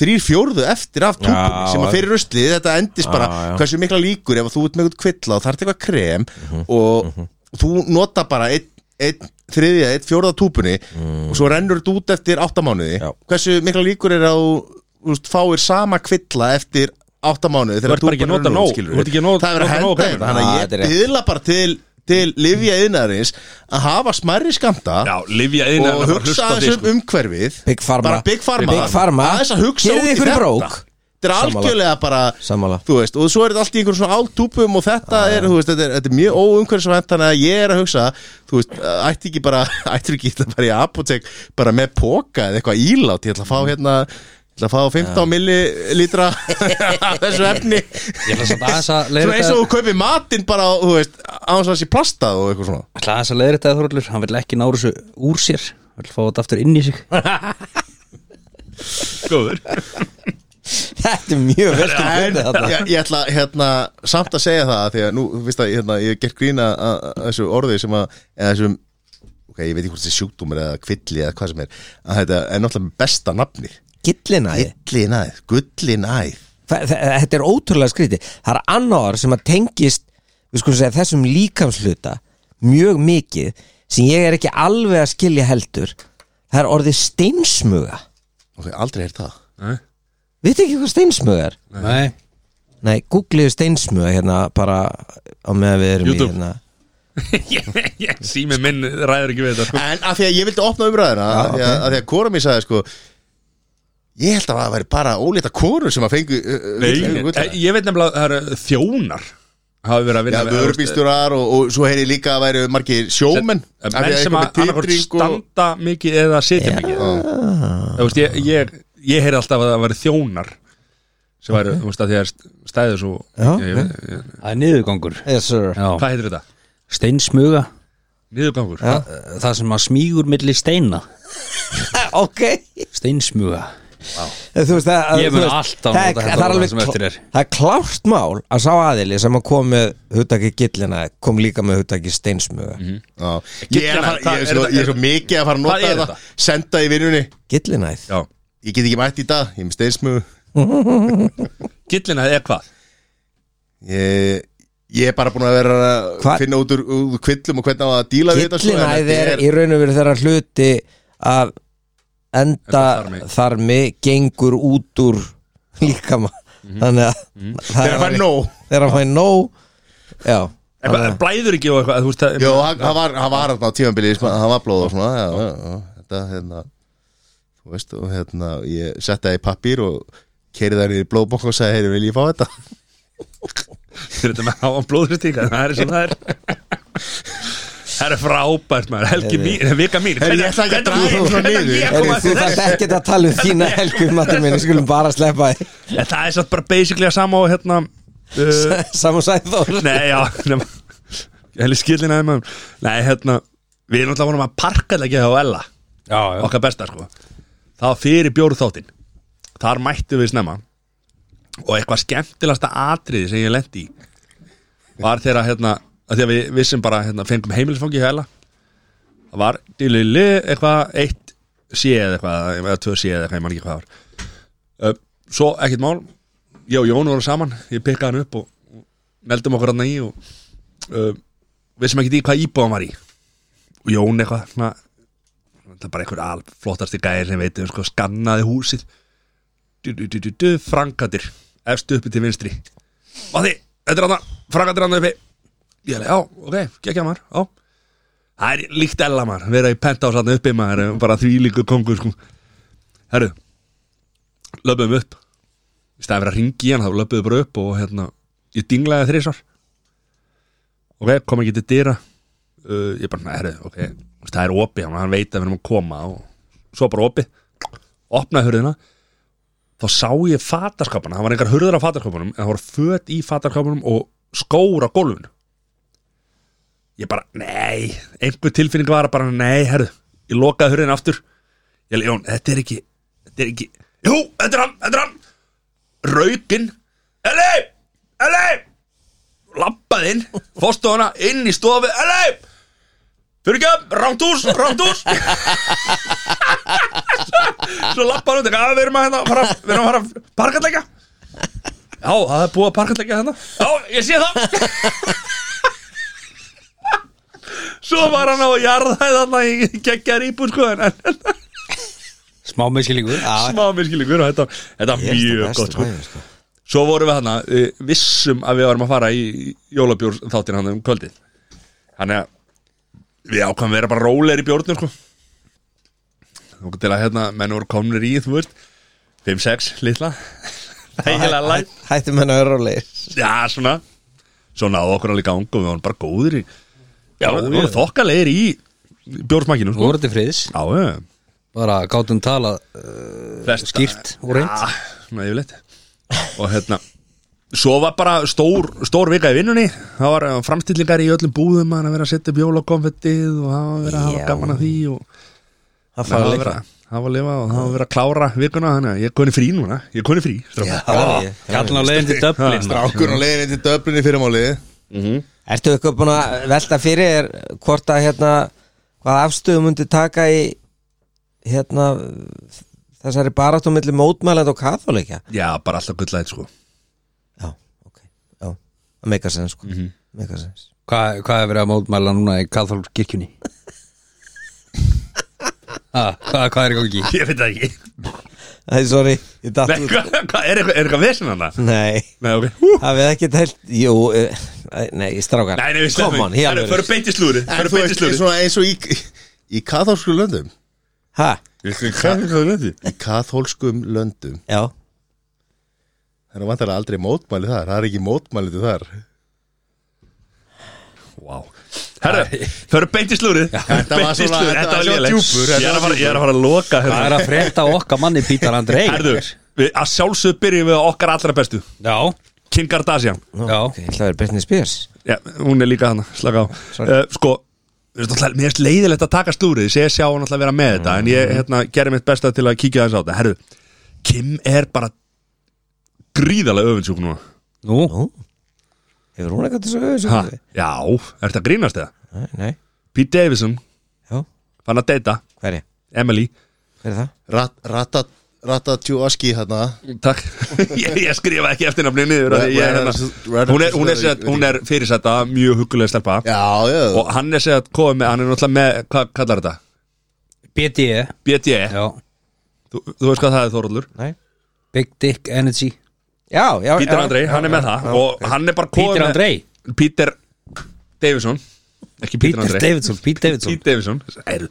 Speaker 2: þrýr fjórðu eftir af túpunni
Speaker 4: Já,
Speaker 2: sem að
Speaker 4: já.
Speaker 2: fyrir ruslið, þetta endist
Speaker 4: Já,
Speaker 2: bara
Speaker 4: já.
Speaker 2: hversu mikla líkur ef þú ert með eitthvað kvilla og þarf eitthvað krem
Speaker 1: Mhm,
Speaker 2: og þú nota bara einn ein, þriðja, einn fjórða túpunni
Speaker 1: Mhm.
Speaker 4: mm.
Speaker 2: og svo rennur þetta út eftir áttamánuði
Speaker 4: Já.
Speaker 2: hversu mikla líkur er að þú, þú veist, fáir sama kvilla eftir áttamánuði
Speaker 1: Þú ert bara ekki að nota nóg, þú ert ekki að nota-
Speaker 2: það er að
Speaker 1: nota nóg
Speaker 2: henda
Speaker 1: kremið.
Speaker 2: þetta þannig
Speaker 4: Ah,
Speaker 2: að
Speaker 4: þetta er
Speaker 2: ég
Speaker 4: rétt.
Speaker 2: byðla bara til til livja yðnarins að hafa smærri skamta
Speaker 1: Já, lifja einu
Speaker 2: og hugsa aðeins
Speaker 1: sko.
Speaker 2: um umhverfið
Speaker 4: Big Pharma.
Speaker 2: bara Big Pharma,
Speaker 4: Big Pharma.
Speaker 2: aðeins að hugsa út
Speaker 4: Gerið
Speaker 2: í
Speaker 4: ykkur í
Speaker 2: þetta
Speaker 4: brók.
Speaker 2: þetta er
Speaker 4: Sammála.
Speaker 2: algjörlega bara
Speaker 4: sammála
Speaker 2: þú veist, og svo er þetta allt í einhverjum svona áltúpum og þetta er, þú veist, þetta er, þetta er mjög óumhverfisvænt þannig að ég er að hugsa, þú veist ætti ekki bara, ætti ekki að bara í apotek bara með póka eða eitthvað ílátt ég ætla að fá
Speaker 4: Mm.
Speaker 2: hérna, ég ætla að fá 15 millilítra af þessu efni
Speaker 3: Ég ætla samt aðeins að
Speaker 2: svona
Speaker 3: leiðrétta-
Speaker 2: eins og þú kaupir matinn bara, þú veist án svo að sé plastað og eitthvað svona
Speaker 3: Ætla aðeins að leiðri þetta Þorlur, hann vil ekki nára þessu úr sér hann vil fá þetta aftur inn í sig
Speaker 1: Góður
Speaker 4: Þetta er mjög vel til
Speaker 2: En,
Speaker 4: fundið þarna.
Speaker 2: ég, ég ætla hérna, samt að segja það því að nú, þú veist að hérna, ég hef gert grína að, að þessu orði sem að eða þessum, ok, ég veit ekki hvort þessi sjúkdómur eða kvilli eða hvað sem er að þetta er náttúrulega með besta nafni
Speaker 4: Gillinæði
Speaker 2: Gillinæð, gullinæð
Speaker 4: Þa- þa- Þetta er ótrúlega skríti Það er annar sem að tengist við skulum segja, þessum líkamsluta mjög mikið sem ég er ekki alveg að skilja heldur Það er orðið steinsmuga
Speaker 2: ok, aldrei er það
Speaker 4: Vitið ekki hvað steinsmuga er?
Speaker 3: Nei,
Speaker 4: Nei, googliðu steinsmuga hérna bara á meðan við erum
Speaker 1: YouTube.
Speaker 4: í hérna
Speaker 1: Sími minn ræður ekki við þetta sko.
Speaker 2: en að því að ég vildi opna umræðina að, því að, að því að kora mér sagði sko ég held að það væri bara ólita konur sem að fengu uh, uh,
Speaker 1: Nei,
Speaker 2: gullinæð.
Speaker 1: eh, Ég veit nefnilega að það eru þjónar hafa verið að
Speaker 2: Já,
Speaker 1: vinna með-
Speaker 2: vörubílstjórar og, og svo heyri ég líka að væri margir sjómen
Speaker 1: Eh, menn sem að annarkvort standa mikið eða sitja mikið
Speaker 4: Uh,
Speaker 1: Þú veist, ég, ég, ég heyri alltaf að það væri þjónar sem væri, þú veist, að því að stæði svo
Speaker 4: Já,
Speaker 1: ég, ég, ég,
Speaker 3: Það er niðurgangur
Speaker 4: Yes sir
Speaker 3: Já.
Speaker 1: Hvað heitir þetta?
Speaker 3: Steinsmuga Eh,
Speaker 1: Niðurgangur?
Speaker 4: Já.
Speaker 3: Það sem að smýgur milli steina
Speaker 4: Ok
Speaker 3: Steinsmuga
Speaker 4: Þú veist það
Speaker 3: Ég
Speaker 4: þú
Speaker 3: mun
Speaker 4: veist,
Speaker 3: alltaf
Speaker 4: það er-
Speaker 3: nota
Speaker 4: Það er
Speaker 3: þetta orð
Speaker 4: alveg
Speaker 3: sem eftir
Speaker 4: klá-
Speaker 3: er.
Speaker 4: það er klárt mál að sá aðili sem að kom með hugtaki gillina kom líka með hugtaki steinsmuga
Speaker 3: Mhm.
Speaker 2: Já. Ég er
Speaker 1: Hvað-
Speaker 2: ég er
Speaker 1: er
Speaker 2: svo-
Speaker 1: þetta-
Speaker 2: ég er svo mikið að fara að
Speaker 1: Hvað
Speaker 2: nota
Speaker 1: er
Speaker 2: þetta Senda í vinnunni
Speaker 4: Gillinæð
Speaker 1: Já
Speaker 2: Ég get ekki mætt í dag, ég er með steinsmögu
Speaker 1: Gillina er hvað?
Speaker 2: ég, ég er bara búin að vera að
Speaker 4: Hva-
Speaker 2: finna út úr, úr kvillum og hvernig á að díla við þetta sko, en
Speaker 4: Gillinæð
Speaker 2: þetta
Speaker 4: er í raun og veru þeirra hluti af enda
Speaker 1: Endaþarmi.
Speaker 4: þarmi gengur út úr líkama
Speaker 3: Mhm.
Speaker 4: Þannig að það
Speaker 2: Þegar það
Speaker 4: er
Speaker 2: er
Speaker 4: alveg-
Speaker 2: nóg
Speaker 4: Þegar hann fær nóg Já
Speaker 1: Er, er, blæður ekki og eitthvað þú veist, það-
Speaker 2: Jó, hann hann var, hann var þarna á tímanbili sko, hann var blóð og svona já, já, já, þetta, hérna þú veist, og hérna, ég setti það í pappír og keiri það niður í blóðbokk og sagði, heyri, vil ég fá þetta?
Speaker 1: Fyrir þetta með háan blóðristíka Það er sem það er Það er frábært maður Helgi mín, vika mín
Speaker 2: Herri, ég ætla ekki að draga
Speaker 1: hvernig-
Speaker 2: það svona
Speaker 1: hvernig
Speaker 2: niður.
Speaker 1: ég
Speaker 2: Herri,
Speaker 1: kom
Speaker 4: Heru,
Speaker 1: að
Speaker 4: þú
Speaker 1: þessu?
Speaker 4: þarft ekkert að tala um þína helgum matur minn, ég skulum bara sleppa því
Speaker 1: En það er satt bara basically að sama og hérna uh,
Speaker 4: Saman sæður
Speaker 1: Nei, já nema, Helgi skillin aðeins maður Nei, hérna Við erum alltaf vonum að parka þetta ekki á Ella
Speaker 3: Já,
Speaker 1: Okkar besta, sko Það var fyrir bjóru þáttinn Þar mættum við snemma Og eitthvað skemmtilegasta atriði sem ég lendi í Var þegar að, hérna að Því að við vissum bara, hérna, fengum heimilisfangi hjá Ella Það var dýlili eitthvað Eitt sé eða eitthvað Eða tvö sé eða eitthvað, ég man ekki hvað það var uh, Svo ekkert mál Ég og Jón voru saman, ég pikkaði hann upp og meldum okkur hann í og uh, vissum ekki því hvað íbúðan var í og Jón eitthvað svona, það er bara einhver alflottasti gæðir sem veitum sko, skannaði húsið du, du, du, du, du, frangatir efstu uppi til vinstri og því, þetta er hann frangatir hann uppi ég er já, ok, gekkja maður já. það er líkt ella maður vera í pentás hann uppi maður eh, bara því líku kongur sko. herru löpum upp í staðið fyrir að ringi hann þá löpuðu bara upp og hérna ég dinglaði þrísvar ok, kom ekki til dyra uh, ég bara, herru, ok Þú veist, það er opið, hann- hann veit að við erum að koma og svo bara opið, opnaði hurðina þá sá ég fatarskapana, það var einhver hurður á fatarskapunum en það voru föt í fatarskapunum og skór á gólfinu ég bara, nei einhver tilfinning var að bara, nei, herru ég lokaði hurðin aftur ég leið, Jón, þetta er ekki, þetta er ekki jú, þetta er hann, þetta er hann raukinn Eli, Eli Lampað inn, fórstofuna inn í stofu Eli Fyrir ekki upp, rámt hús, rámt hús Svo, svo lampað út eitthvað, "Að, Við erum að hérna fara, Við erum að fara að parkatleika Já, það er búið að parkatleika hérna Já, ég sé það Svo var hann á að jarða þarna í geggjar íbúð sko en, en
Speaker 3: Smá meðskilingur
Speaker 1: smá miskilingur og þetta, þetta var mjög gott sko. Svo vorum við hana uh, vissum að við varum að fara í jólabjór þáttir hann um kvöldið Þannig að við ákvæmum vera bara rólegir í bjórnum sko Og til að hérna menn voru komnir í þú veist 5-6 litla Þægilega læt
Speaker 4: Hættum henni að vera rólegir
Speaker 1: Já svona Svo náðu okkur alveg í gang og við vorum bara góðir í Já, við vorum þokkalegir í bjórsmakinu
Speaker 3: Þú
Speaker 1: sko
Speaker 3: voru til friðs
Speaker 1: Já, já,
Speaker 3: Bara gátum tala
Speaker 1: flest
Speaker 3: skýrt og reynd.
Speaker 1: Já, svona Ah, yfirleitt Og hérna Svo var bara stór, stór vika í vinnunni Það var eh, framstillingar í öllum búðum að vera að setja bjól á konfettið og það var verið að hafa
Speaker 4: Já.
Speaker 1: gaman að því og
Speaker 4: Það
Speaker 1: það
Speaker 4: fara
Speaker 1: var verið
Speaker 4: leikra
Speaker 1: að hafa að lifa og það var verið að klára vikuna þannig að ég er koni frí núna ég er koni frí strákar.
Speaker 3: Kallan á leiðin til Dublin
Speaker 2: Strákur á leiðin til döflinni fyrramáliði
Speaker 4: Ertu eitthvað búin að velta fyrir þér hvort að hérna hvað afstöðu myndi taka í hérna þessari baráttum milli mótmælend og katholikja
Speaker 1: Já, bara alltaf gullæð sko
Speaker 4: Já, ok Já, það meika sens sko
Speaker 1: Mhm.
Speaker 4: Meika sens
Speaker 3: Hvað hvað er verið að mótmæla núna í katholsk kirkjunni? Ha, Ah, Hvað hvað er í gangi?
Speaker 1: Ég veit það ekki
Speaker 4: Æ, sorry, ég datt
Speaker 1: Nei,
Speaker 4: út
Speaker 1: hvað, hvað, Er eitthvað, er eitthvað vesen hann það?
Speaker 4: Nei,
Speaker 1: Nei, ok Hú.
Speaker 4: hafið þið ekkert heilt Jú, eh, nei, strákar
Speaker 1: Nei, nei, við
Speaker 4: Come on,
Speaker 1: stefnum
Speaker 4: í
Speaker 1: Það
Speaker 4: alvöru.
Speaker 1: eru beint í slúri Það
Speaker 2: En
Speaker 1: eru
Speaker 2: þú
Speaker 1: beint í
Speaker 2: veist,
Speaker 1: slúri
Speaker 2: svona eins og í, í kathólskum löndum
Speaker 4: Ha,
Speaker 2: Í kathólskum löndum
Speaker 4: já
Speaker 2: Það er vantar aldrei mótmæli þar, það er ekki mótmæli til þar
Speaker 1: Wow. Herra, þau eru beint í slúrið
Speaker 2: þetta var
Speaker 1: Beint í
Speaker 2: svona-
Speaker 1: slúrið,
Speaker 2: þetta
Speaker 1: þetta
Speaker 2: var
Speaker 1: var
Speaker 2: svona
Speaker 1: lélegt.
Speaker 2: djúpur, þetta
Speaker 1: Ég er að
Speaker 2: var
Speaker 1: fara- ég er að fara að loka
Speaker 3: Það er
Speaker 1: hérna.
Speaker 3: að frétta okkar manni Pítar Andrei
Speaker 1: Herðu, við- að sjálfsögðu byrjum við á okkar allra bestu
Speaker 3: Já
Speaker 1: Kim Kardashian
Speaker 3: Já.
Speaker 4: ok, Það er Britney Spears
Speaker 1: Já, hún er líka hana, slaka á uh, Sko, þú veist náttúrulega, mér finnst leiðilegt að taka slúrið Ég sé sjá hann alltaf vera með þetta En ég hérna, gerir mitt besta til að kíkja þess á þetta Herru, Kim er bara gríðarlega öfundsjúk núna
Speaker 3: Nú,
Speaker 4: Nú Hefur hún eitthvað þessu öðru
Speaker 1: ha,
Speaker 4: sem við?
Speaker 1: Já, ertu að grínast eða?
Speaker 4: Nei, Nei,
Speaker 1: Pete Davidson,
Speaker 4: já,
Speaker 1: fann að deyta
Speaker 4: hver er,
Speaker 1: Emily,
Speaker 4: hver er það?
Speaker 2: Rat, rata, rata tjúaski hérna
Speaker 1: takk ég, ég skrifa ekki eftir nafnið niður af því ég, hérna, Hún er, hún er, er, hún er fyrirsætta Mjög hugulega stelpa
Speaker 2: Já, já,
Speaker 1: Og hann er segja að koma með, hann er náttúrulega með Hvað kallar þetta?
Speaker 3: BDE
Speaker 1: BDE,
Speaker 3: E. Já.
Speaker 1: þú, þú veist hvað það er Þorallur
Speaker 4: Nei
Speaker 3: Big Dick Energy
Speaker 4: Já, já
Speaker 1: Pítur
Speaker 4: já,
Speaker 1: Andrei,
Speaker 4: já,
Speaker 1: hann er
Speaker 4: já,
Speaker 1: með það
Speaker 4: já,
Speaker 1: og hann er bara kominn
Speaker 3: Peter
Speaker 1: með-
Speaker 3: Andrei
Speaker 1: Peter Davison ekki Peter
Speaker 3: Peter
Speaker 1: Andrei
Speaker 3: Davidson, Pete Davidson
Speaker 1: Pete Davison Eru.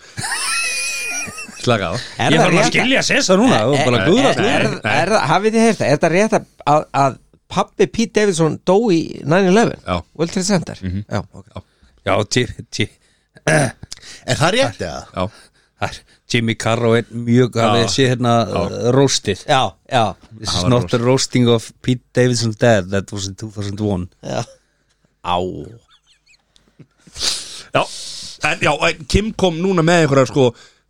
Speaker 1: slaka á
Speaker 4: Er
Speaker 3: Ég
Speaker 4: það
Speaker 3: þarf að
Speaker 4: rétt-
Speaker 3: skilja Sessa núna Þú er bara
Speaker 4: Er-
Speaker 3: að guðra
Speaker 4: er-
Speaker 3: það
Speaker 4: er- er það- Hafið þið heyrt það, er það rétt að, að, að pappi Pete Davidson dó í 9-11
Speaker 1: Já.
Speaker 4: World Trade Center Já, ok
Speaker 3: Já, tí, tí,
Speaker 2: er það rétt eða?
Speaker 1: já,
Speaker 3: þar, Jimmy Carroll er mjög að við sé hérna uh, roasted
Speaker 4: Já, já,
Speaker 3: This
Speaker 1: Það
Speaker 3: is
Speaker 1: var
Speaker 3: not the roasting of Pete Davidson's dad that was in 2001
Speaker 4: já. Á
Speaker 1: já. En, já, en Kim kom núna með einhverjar sko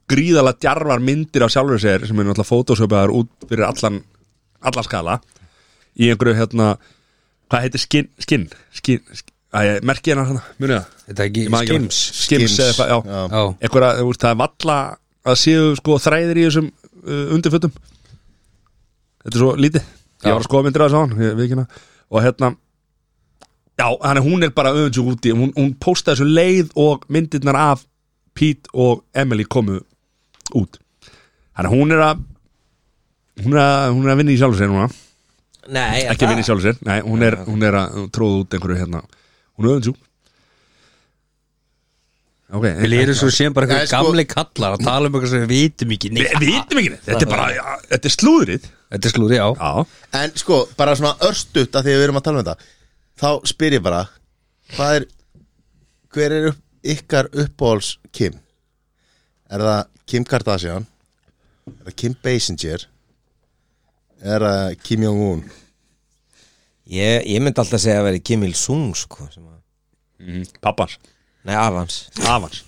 Speaker 1: gríðala djarfar myndir af sjálfur sér sem er náttúrulega fótósöpaðar út fyrir allan allan skala í einhverju hérna hvað heitir skin skin, skin, skin Æ, merkið hennar hérna, munið það
Speaker 3: Þetta er ekki
Speaker 1: Ég man ekki
Speaker 3: skims
Speaker 1: nafn. Skims,
Speaker 2: Skims,
Speaker 1: eða eitthvað, já,
Speaker 2: já.
Speaker 1: já. Einhverja, þú veist, það er valla að séu sko þræðir í þessum uh, undirfötum Þetta er svo lítið Ég var að skoða myndir að þessu á hann ég, við ekki hana. og hérna Já, hann er hún er bara öfundsjúk úti hún, hún postaði þessu leið og myndirnar af Pete og Emily komu út Þannig að hún er að hún er að, hún er að vinna í sjálfur sér núna
Speaker 4: Nei, er
Speaker 1: ekki
Speaker 4: það-
Speaker 1: vinna í sjálfur sér, nei, hún er, hún er að tróða út einhverju hérna, hún er öðvinsjú ok,
Speaker 3: Við lýðum svo sem bara
Speaker 2: Nei,
Speaker 3: eitthvað
Speaker 2: sko-
Speaker 3: gamli kallar að tala um eitthvað sem við vitum ekki
Speaker 1: við
Speaker 3: neitt
Speaker 1: við vitum ekki neitt, þetta er bara ja, þetta er slúðrið
Speaker 3: Þetta er slúri, já
Speaker 1: já,
Speaker 2: En sko, bara svona örstutt að því að við erum að tala um þetta Þá spyr ég bara Hvað er Hver er upp, ykkar uppáhalds Kim? Er það Kim Kardashian? Er það Kim Basinger? Er það Kim Jong-un?
Speaker 4: Ég, ég myndi alltaf segja að vera Kim Il-sung sko, sem að-
Speaker 1: Mhm. pappans,
Speaker 4: Nei, afans
Speaker 1: afans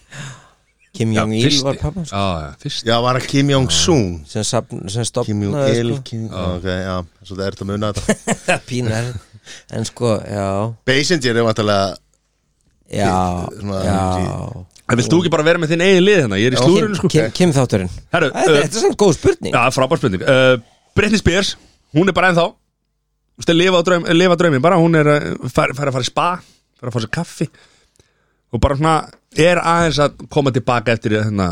Speaker 4: Kim Jong-il var pappa sko,
Speaker 1: já, já, fyrst
Speaker 2: Já, var það Kim Jong-sun?
Speaker 4: sem, safn- sem
Speaker 2: Kim Jong-il
Speaker 4: stopnaði
Speaker 2: Kim... Ok, já, svo það er þetta muna þetta
Speaker 4: sko, pínar En sko, já
Speaker 2: Basinger er vantarlega
Speaker 4: Já,
Speaker 2: Svona-
Speaker 4: já
Speaker 1: en vilt þú ekki bara vera með þinn eigin lið hérna, ég er í slúðrinu sko
Speaker 4: Kim, Kim þátturinn
Speaker 1: Herru,
Speaker 4: Þetta
Speaker 1: uh,
Speaker 4: þetta er samt góð spurning
Speaker 1: já, frábær spurning uh, Britney Spears, hún er bara ennþá þú veist, að lifa, á draum, lifa draumin bara, hún er að fara, fara að fara í spa fara að fá sér kaffi og bara svona, er aðeins að koma tilbaka eftir hérna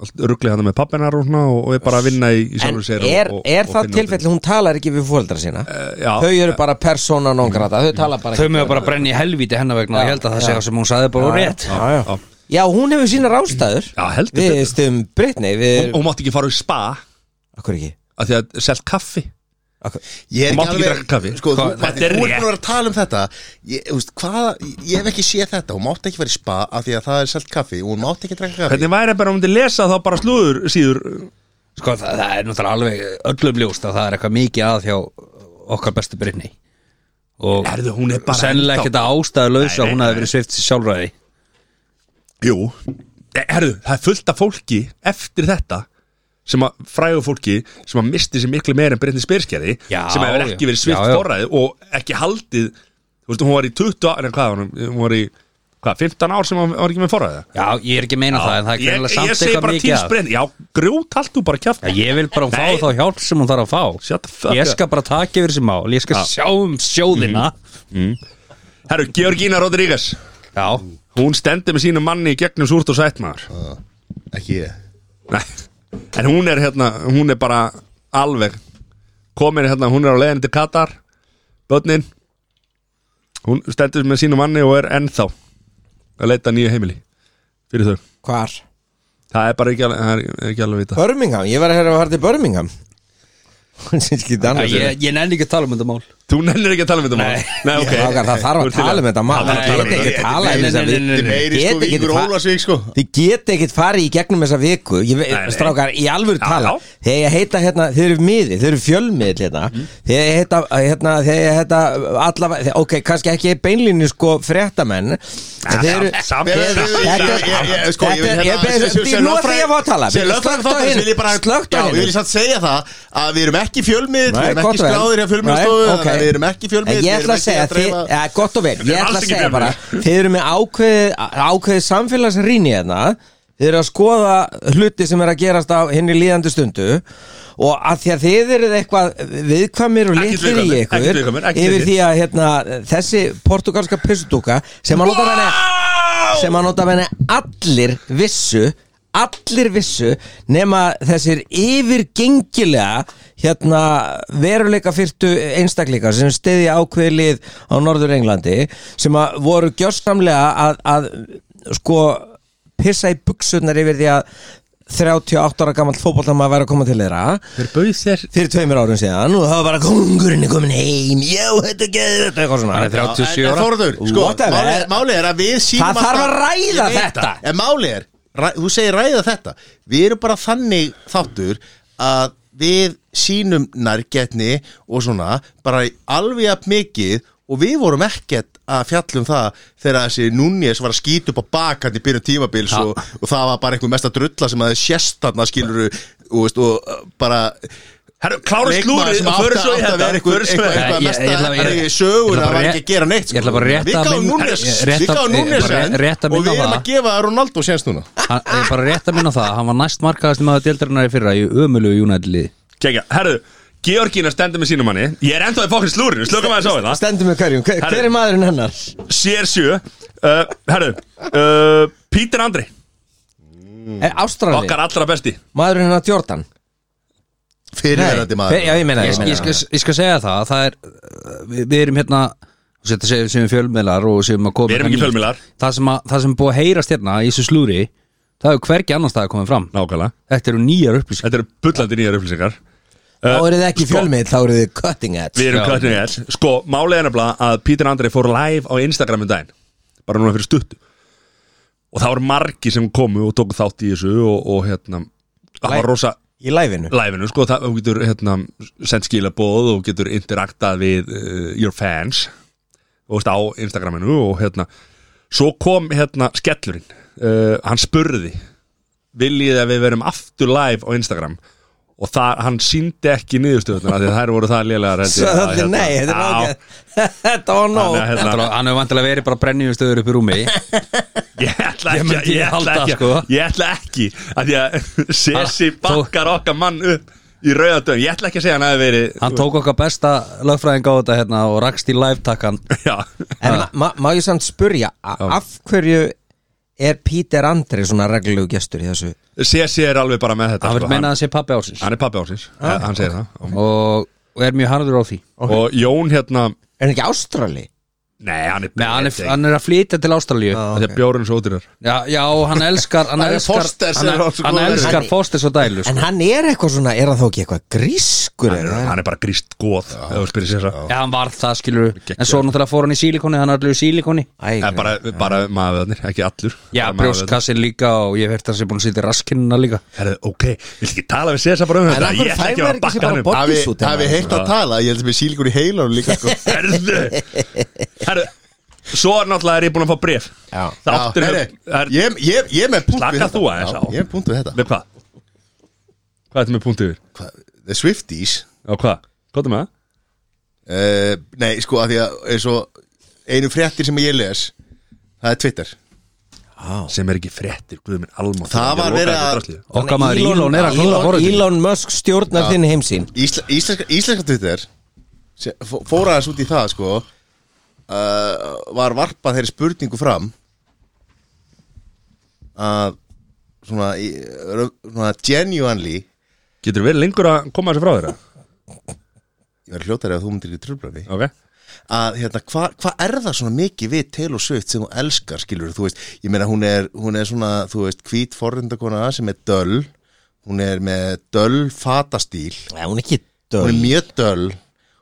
Speaker 1: ruggli hann með pappinar og svona og og er bara að vinna í, í
Speaker 4: En
Speaker 1: sjálfur sér
Speaker 4: er,
Speaker 1: og, og,
Speaker 4: er
Speaker 1: og
Speaker 4: það
Speaker 1: finna út
Speaker 4: tilfelli, hún talar ekki við fóreldra sína
Speaker 1: úr- já,
Speaker 4: Þau eru bara persóna non grata Þau tala bara
Speaker 3: Þau
Speaker 4: ekki
Speaker 3: með bara brenna í helvíti hennar vegna Ég held að það segja sem hún sagði bara rétt
Speaker 4: já, já.
Speaker 1: já,
Speaker 4: já, hún hefur sína rástæður
Speaker 1: já, heldur
Speaker 4: Við
Speaker 1: betur.
Speaker 4: stum um Britney
Speaker 1: hún,
Speaker 4: við...
Speaker 1: hún mátti ekki fara í spa
Speaker 4: Akkur ekki
Speaker 1: af því að selt kaffi
Speaker 4: Akkur...
Speaker 2: Ég
Speaker 1: Þú
Speaker 2: er
Speaker 1: mátt ekki
Speaker 2: ekki alveg
Speaker 1: drekka kaffi.
Speaker 2: Sko, þú,
Speaker 1: Hvað-
Speaker 2: þú,
Speaker 1: þetta
Speaker 2: þú
Speaker 1: er
Speaker 2: er búin
Speaker 1: rétt.
Speaker 2: að vera að tala um þetta Ég, þú veist, hvað, ég hef ekki séð þetta Hún mátt ekki vera í spa af því að það er selt kaffi Hún mátt ekki drekka kaffi
Speaker 1: hvernig væri bara að myndi lesa þá bara slúður síður
Speaker 3: Sko, það, það er náttúrulega alveg öllum ljóst að það er eitthvað mikið að hjá okkar bestu Brynni og
Speaker 1: Herðu, hún er bara
Speaker 3: sennilega
Speaker 1: ennþá-
Speaker 3: ekkert að ástæðu laus
Speaker 1: Nei,
Speaker 3: að
Speaker 1: nei,
Speaker 3: hún hafi
Speaker 1: nei.
Speaker 3: verið svift sjálfræði
Speaker 1: jú, Eh, herðu, það er fullt af fólki eftir þetta sem að fræðu fólki sem að misti sér miklu meira en Bryndi Spyrskerði
Speaker 3: Já,
Speaker 1: sem hefur ekki
Speaker 3: já.
Speaker 1: verið svift
Speaker 3: Já, já.
Speaker 1: forræði og ekki haldið þú veist, hún var í 20 ára, hvað, var hún, hún var í hvað, 15 ár sem hún var ekki með forræði
Speaker 3: Já, ég er ekki að meina það en það er
Speaker 1: ég,
Speaker 3: greinlega samt
Speaker 1: ég segi
Speaker 3: eitthvað
Speaker 1: bara
Speaker 3: mikið
Speaker 1: til
Speaker 3: að
Speaker 1: Bryndi, já, grjót allt þú bara kjátt
Speaker 3: Já, ég vil bara hún
Speaker 1: Nei.
Speaker 3: fá þá hjálp sem hún þarf að
Speaker 1: Shut the
Speaker 3: fá
Speaker 1: fuck
Speaker 3: Ég
Speaker 1: up. Mhm.
Speaker 3: skal bara taka yfir þessi mál Ég skal sjá um sjóðina
Speaker 1: herru, Georgina Rodríguez
Speaker 3: Já,
Speaker 1: Hún stendur með sínum manni í gegnum súrt og sætt maður
Speaker 2: Ekki ég
Speaker 1: Nei, en hún er hérna Hún er bara alveg Komin hérna, hún er á leiðin til Katar Bötnin Hún stendur með sínum manni og er ennþá Að leita nýju heimili Fyrir þau
Speaker 4: Hvar?
Speaker 1: Það er bara ekki alveg, það er ekki alveg vita
Speaker 4: Birmingham, ég var að höra að fara til Birmingham Hún syns ekki
Speaker 3: Já,
Speaker 4: annars
Speaker 3: ég, ég nenni ekki að tala um þetta mál
Speaker 1: Þú nennir ekki að tala um þetta mál Nei, ok
Speaker 4: Strákar, það
Speaker 1: Þú
Speaker 4: þarf að
Speaker 1: ert til
Speaker 4: tala um þetta mál
Speaker 1: Það þarf að tala
Speaker 4: Það
Speaker 1: um
Speaker 4: get ekki
Speaker 1: þetta.
Speaker 4: tala um þessa
Speaker 2: Þetta er meiri sko
Speaker 4: Get ekki
Speaker 2: vikur
Speaker 4: fa-
Speaker 2: Ólasvík sko
Speaker 4: Þið get ekkit farið í gegnum þessa viku ég,
Speaker 1: Nei, nei.
Speaker 4: Strákar, í
Speaker 1: Já,
Speaker 4: alvöru tala
Speaker 1: já.
Speaker 4: Þegar ég heita hérna, þið eru miði Þið eru fjölmiðl hérna Þegar ég heita, hérna, þegar ég heita allavega, þegar- Ok, kannski ekki beinlínu sko fréttamenn en Þeir eru
Speaker 1: Samt
Speaker 2: Ég-
Speaker 1: er
Speaker 2: ég-
Speaker 4: Þetta
Speaker 2: ég- ég- ég- sko, ég vil
Speaker 4: þetta-
Speaker 2: hérna-
Speaker 4: ég- ég-
Speaker 2: sem- sem-
Speaker 4: ég-
Speaker 2: sem
Speaker 4: nú ætla
Speaker 2: lögfræðing-
Speaker 4: ég að fá að tala.
Speaker 2: sem lögfræðing
Speaker 4: Slökktu á
Speaker 2: þáttarins
Speaker 4: hinu.
Speaker 2: vil ég bara-
Speaker 4: Slökktu á
Speaker 2: Já,
Speaker 4: hinu.
Speaker 2: ég vil samt segja það að við erum ekki fjölmiðl
Speaker 4: Nei,
Speaker 2: við erum
Speaker 4: gott
Speaker 2: ekki
Speaker 4: og vel.
Speaker 2: skráðir hjá
Speaker 4: Nei,
Speaker 2: fjölmiðlstofu
Speaker 4: ok.
Speaker 2: þannig að við erum ekki fjölmiðl við
Speaker 4: En Ég
Speaker 2: erum
Speaker 4: ætla að
Speaker 2: ekki
Speaker 4: segja,
Speaker 2: að dreifa-
Speaker 4: þið- ja, gott og vel
Speaker 1: Við
Speaker 4: Ég
Speaker 1: erum
Speaker 4: ætla
Speaker 1: alls
Speaker 4: að
Speaker 1: ekki
Speaker 4: segja bara,
Speaker 1: fjölmiðlar.
Speaker 4: þið eru með ákveðið ákveðið samfélagsrýni hérna Þið eru að skoða hluti sem er að gerast á henni líðandi stundu og að því að þið eruð eitthvað viðkvæmir og
Speaker 1: Ekkert
Speaker 4: litlir í
Speaker 1: viðkvæmir,
Speaker 4: ykkur
Speaker 1: ekkert viðkvæmir, ekkert
Speaker 4: yfir
Speaker 1: litlir.
Speaker 4: því að hérna, þessi portugalska pissutúka sem að nota henni sem að nota menni allir vissu allir vissu nema þessir yfirgengilega hérna veruleika fyrtu einstaklingar sem stiði ákveðlið á Norður Englandi sem að voru gjörsamlega að, að sko pissa í buksunar yfir því að 38 ára gamall fótbollamað væri að koma til þeirra
Speaker 1: Þeir bauð sér
Speaker 4: fyrir tveimur árum síðan og það var bara kongurinn er komin heim, já þetta geður þetta eitthvað svona
Speaker 3: Hann er 30.
Speaker 2: En- en
Speaker 3: 37 ára.
Speaker 2: Þórður, sko,
Speaker 4: Whatever.
Speaker 2: málið er- málið er að við sínum
Speaker 4: Það
Speaker 2: alltaf-
Speaker 4: þarf að ræða
Speaker 2: Ég veit
Speaker 4: þetta.
Speaker 2: það. En málið er, ræ, þú segir ræða þetta Við erum bara þannig þáttur að við sínum nærgetni og svona bara alveg jafn mikið og við vorum ekkert að fjalla um það þegar þessi Núnes var að skýta upp á bakant í byrjun tímabils og, og það var bara einhver mesta drulla sem að þið sést þarna skilur og, veist, og uh, bara
Speaker 1: Herru, klára
Speaker 2: leikmaður
Speaker 1: slúrið
Speaker 2: sem
Speaker 1: og förum
Speaker 2: átti
Speaker 1: svo í
Speaker 2: átti að
Speaker 1: þetta
Speaker 2: vera eitthvað
Speaker 1: Förum svo í þetta.
Speaker 2: eitthvað
Speaker 3: Nei, ég- ég ætla- ég-
Speaker 2: mesta
Speaker 3: ég-
Speaker 2: í sögur
Speaker 3: ég ætla
Speaker 2: að
Speaker 3: bara
Speaker 2: var
Speaker 3: ré-
Speaker 2: ekki að gera neitt
Speaker 3: ég ætla bara rétta
Speaker 2: Við gáum
Speaker 3: minn-
Speaker 2: Núnes
Speaker 3: ég- rétta-
Speaker 2: Við gáum
Speaker 3: ég-
Speaker 2: Núnes
Speaker 3: bara ré- rétta
Speaker 2: eh? Og
Speaker 3: minn á
Speaker 2: við erum
Speaker 3: það.
Speaker 2: að gefa Ronaldo séns núna
Speaker 3: Hann- ég er bara rétt að minna á það hann var næst markaðast maður deildarinnar í fyrra í ömulu júnætlið
Speaker 1: Kekja, herru, Georgína stendur með sínum manni Ég er enda í fókn slúrinu, slökum aðeins á hérna. þetta
Speaker 4: Stendum við hverjum, hver, hver er maðurinn hennar?
Speaker 1: CR7 uh, Herru, uh, Pítur Andri
Speaker 3: Mm.
Speaker 4: Er Ástralin?
Speaker 1: Okkar allra besti
Speaker 4: Maðurinn hennar Jordan?
Speaker 2: Fyrirverandi
Speaker 4: Fe- Já,
Speaker 2: maður
Speaker 4: ég meina
Speaker 3: ég,
Speaker 4: það
Speaker 3: ég, skal, ég skal segja það, það er, við, við erum hérna sem við séum fjölmiðlar og séum að koma
Speaker 1: Við erum ekki
Speaker 3: hérna nýtt.
Speaker 1: fjölmiðlar.
Speaker 3: það sem, að, það sem er búið að heyrast hérna í þessu slúri það hefur hvergi annars það komið fram
Speaker 1: Nákvæmlega
Speaker 3: þetta eru nýjar upplýsingar
Speaker 1: Þetta eru bullandi nýjar upplýsingar
Speaker 4: Þá eru þið ekki fjölmiðl, þá eru þið cutting edge
Speaker 1: Sko- Við erum
Speaker 3: Já.
Speaker 1: kvartinu er Sko, málið er nefnilega að Pítur Andri fór live á Instagram um daginn Bara núna fyrir stuttu Og það voru margi sem komu og tóku þátt í þessu Og, og hérna Það var rosa
Speaker 4: Í læfinu
Speaker 1: live-inu Sko, það þú getur hérna Send skilabóð og getur interaktað við uh, Your fans Og veist á Instagraminu Og hérna Svo kom hérna skellurinn uh, Hann spurði Viljið að við verum aftur live á Instagram Og það, hann síndi ekki niðurstöðunar Því að þær voru það lélegar held ég,
Speaker 4: Svo
Speaker 1: að,
Speaker 4: það er
Speaker 1: hérna,
Speaker 4: nei, þetta
Speaker 1: á,
Speaker 4: er ágæð Þetta var nóg
Speaker 1: Þannig að,
Speaker 3: Þetta er
Speaker 1: hérna,
Speaker 3: bara- hann hefur vantilega verið bara brennið stöður upp í rúmi hann
Speaker 1: ég ætla
Speaker 3: Ég
Speaker 1: ekki
Speaker 3: myndi
Speaker 1: ég ætla
Speaker 3: halda,
Speaker 1: ekki,
Speaker 3: sko.
Speaker 1: ég ætla ekki að því að Sessi
Speaker 3: Þó-
Speaker 1: bakkar okkar mann upp í rauðardöðum, ég ætla ekki að segja hann að það verið
Speaker 3: tók okkar besta lögfræðing á þetta hérna og rakst í live-takkan
Speaker 1: já,
Speaker 4: En ma- ma- má ég samt spurja a- Af hverju er Peter Andri svona reglulegu gestur í þessu?
Speaker 1: Sessi er alveg bara með þetta
Speaker 3: hann vil
Speaker 1: sko,
Speaker 3: meina að það sé pappi ársins
Speaker 1: hann er pappi ásins, hann segir
Speaker 3: og, og er mjög harður á því
Speaker 1: það og Jón hérna,
Speaker 4: Er hann ekki Ástrali?
Speaker 1: nei hann er
Speaker 3: Nei, hann, er,
Speaker 1: Breti.
Speaker 3: hann er að flytja til Ástralíu
Speaker 1: Af því að bjórinn er svo ódýrar
Speaker 3: já, já, hann elskar hann
Speaker 2: Það er
Speaker 3: elskar,
Speaker 2: Fosters
Speaker 3: hann,
Speaker 2: er
Speaker 3: hann,
Speaker 2: alls góður.
Speaker 3: elskar fóstis og dælu sko.
Speaker 4: En hann er eitthvað svona, er hann þá ekki eitthvað grískur?
Speaker 1: hann, er-
Speaker 4: eða?
Speaker 1: hann er bara gríst góð ef þú spyrir Sessa
Speaker 3: Já, hann var það, skilur
Speaker 1: Gekkjaður.
Speaker 3: En svo náttúrulega fór hann í sílikoni, hann er allir í sílikoni
Speaker 4: Æ,
Speaker 1: Eh, bara, bara maðurðarnir, ekki allur
Speaker 3: Já,
Speaker 1: Bara maðurvöðvarnir.
Speaker 3: brjóstkassin líka og ég verði það sem búin að sitja raskinnina líka
Speaker 1: Herðu, ok, vil ekki tala við Sessa bara um þetta
Speaker 4: af hverju
Speaker 1: ég ætla
Speaker 4: fær
Speaker 1: ekki að fara að
Speaker 4: maður ekki
Speaker 1: bakka
Speaker 4: bara
Speaker 1: hann upp
Speaker 4: borð-
Speaker 2: Hafi
Speaker 4: Bodies út
Speaker 3: hérna?
Speaker 4: af
Speaker 2: hafi
Speaker 4: maður,
Speaker 2: heilt að tala Ég held að við sílgur í heilarum líka sko.
Speaker 1: Herðu Herðu Svo er náttúrulega er ég búin að fá bref
Speaker 4: Já.
Speaker 1: Þáttur
Speaker 2: Já,
Speaker 1: er,
Speaker 2: heyrðu,
Speaker 1: er,
Speaker 2: Ég ég- ég er með punkt við
Speaker 1: Slaka
Speaker 2: þetta
Speaker 1: þú aðeins
Speaker 2: Já,
Speaker 1: á.
Speaker 2: Ég er með punkt við þetta
Speaker 1: Með hvað? Hvað er þetta með punkt yfir?
Speaker 2: Hva- The Swifties
Speaker 1: Já, hvað? Hvað er með það?
Speaker 2: eh, Nei, sko, að því að eins og einu fréttir sem ég les Það er Twitter
Speaker 1: Sem er ekki fréttir, guð minn almátt
Speaker 2: Það var verið að-
Speaker 3: Okkar maður Ílón er að klóra
Speaker 4: Elon,
Speaker 3: fóröldin
Speaker 4: Elon Musk stjórnar þinn heimsýn
Speaker 2: Ísla, íslenska, íslenska Twitter sem fó- fór aðeins út í það sko uh, var varpað þeirri spurningu fram að svona, í- rau- svona genuinely
Speaker 1: Getur verið lengur að koma þessu frá þér? eða?
Speaker 2: ég var hljótari að þú myndir ekki tröfbrafi
Speaker 1: Ok
Speaker 2: að hérna, hvað hva er það svona mikið við Taylor Swift sem þú elskar, skilur þú veist, ég meina hún er, hún er svona þú veist, hvít forrindakona sem er döll hún er með döll fatastíl
Speaker 4: Nei, hún er ekki
Speaker 2: hún er
Speaker 4: döl
Speaker 2: mjög döll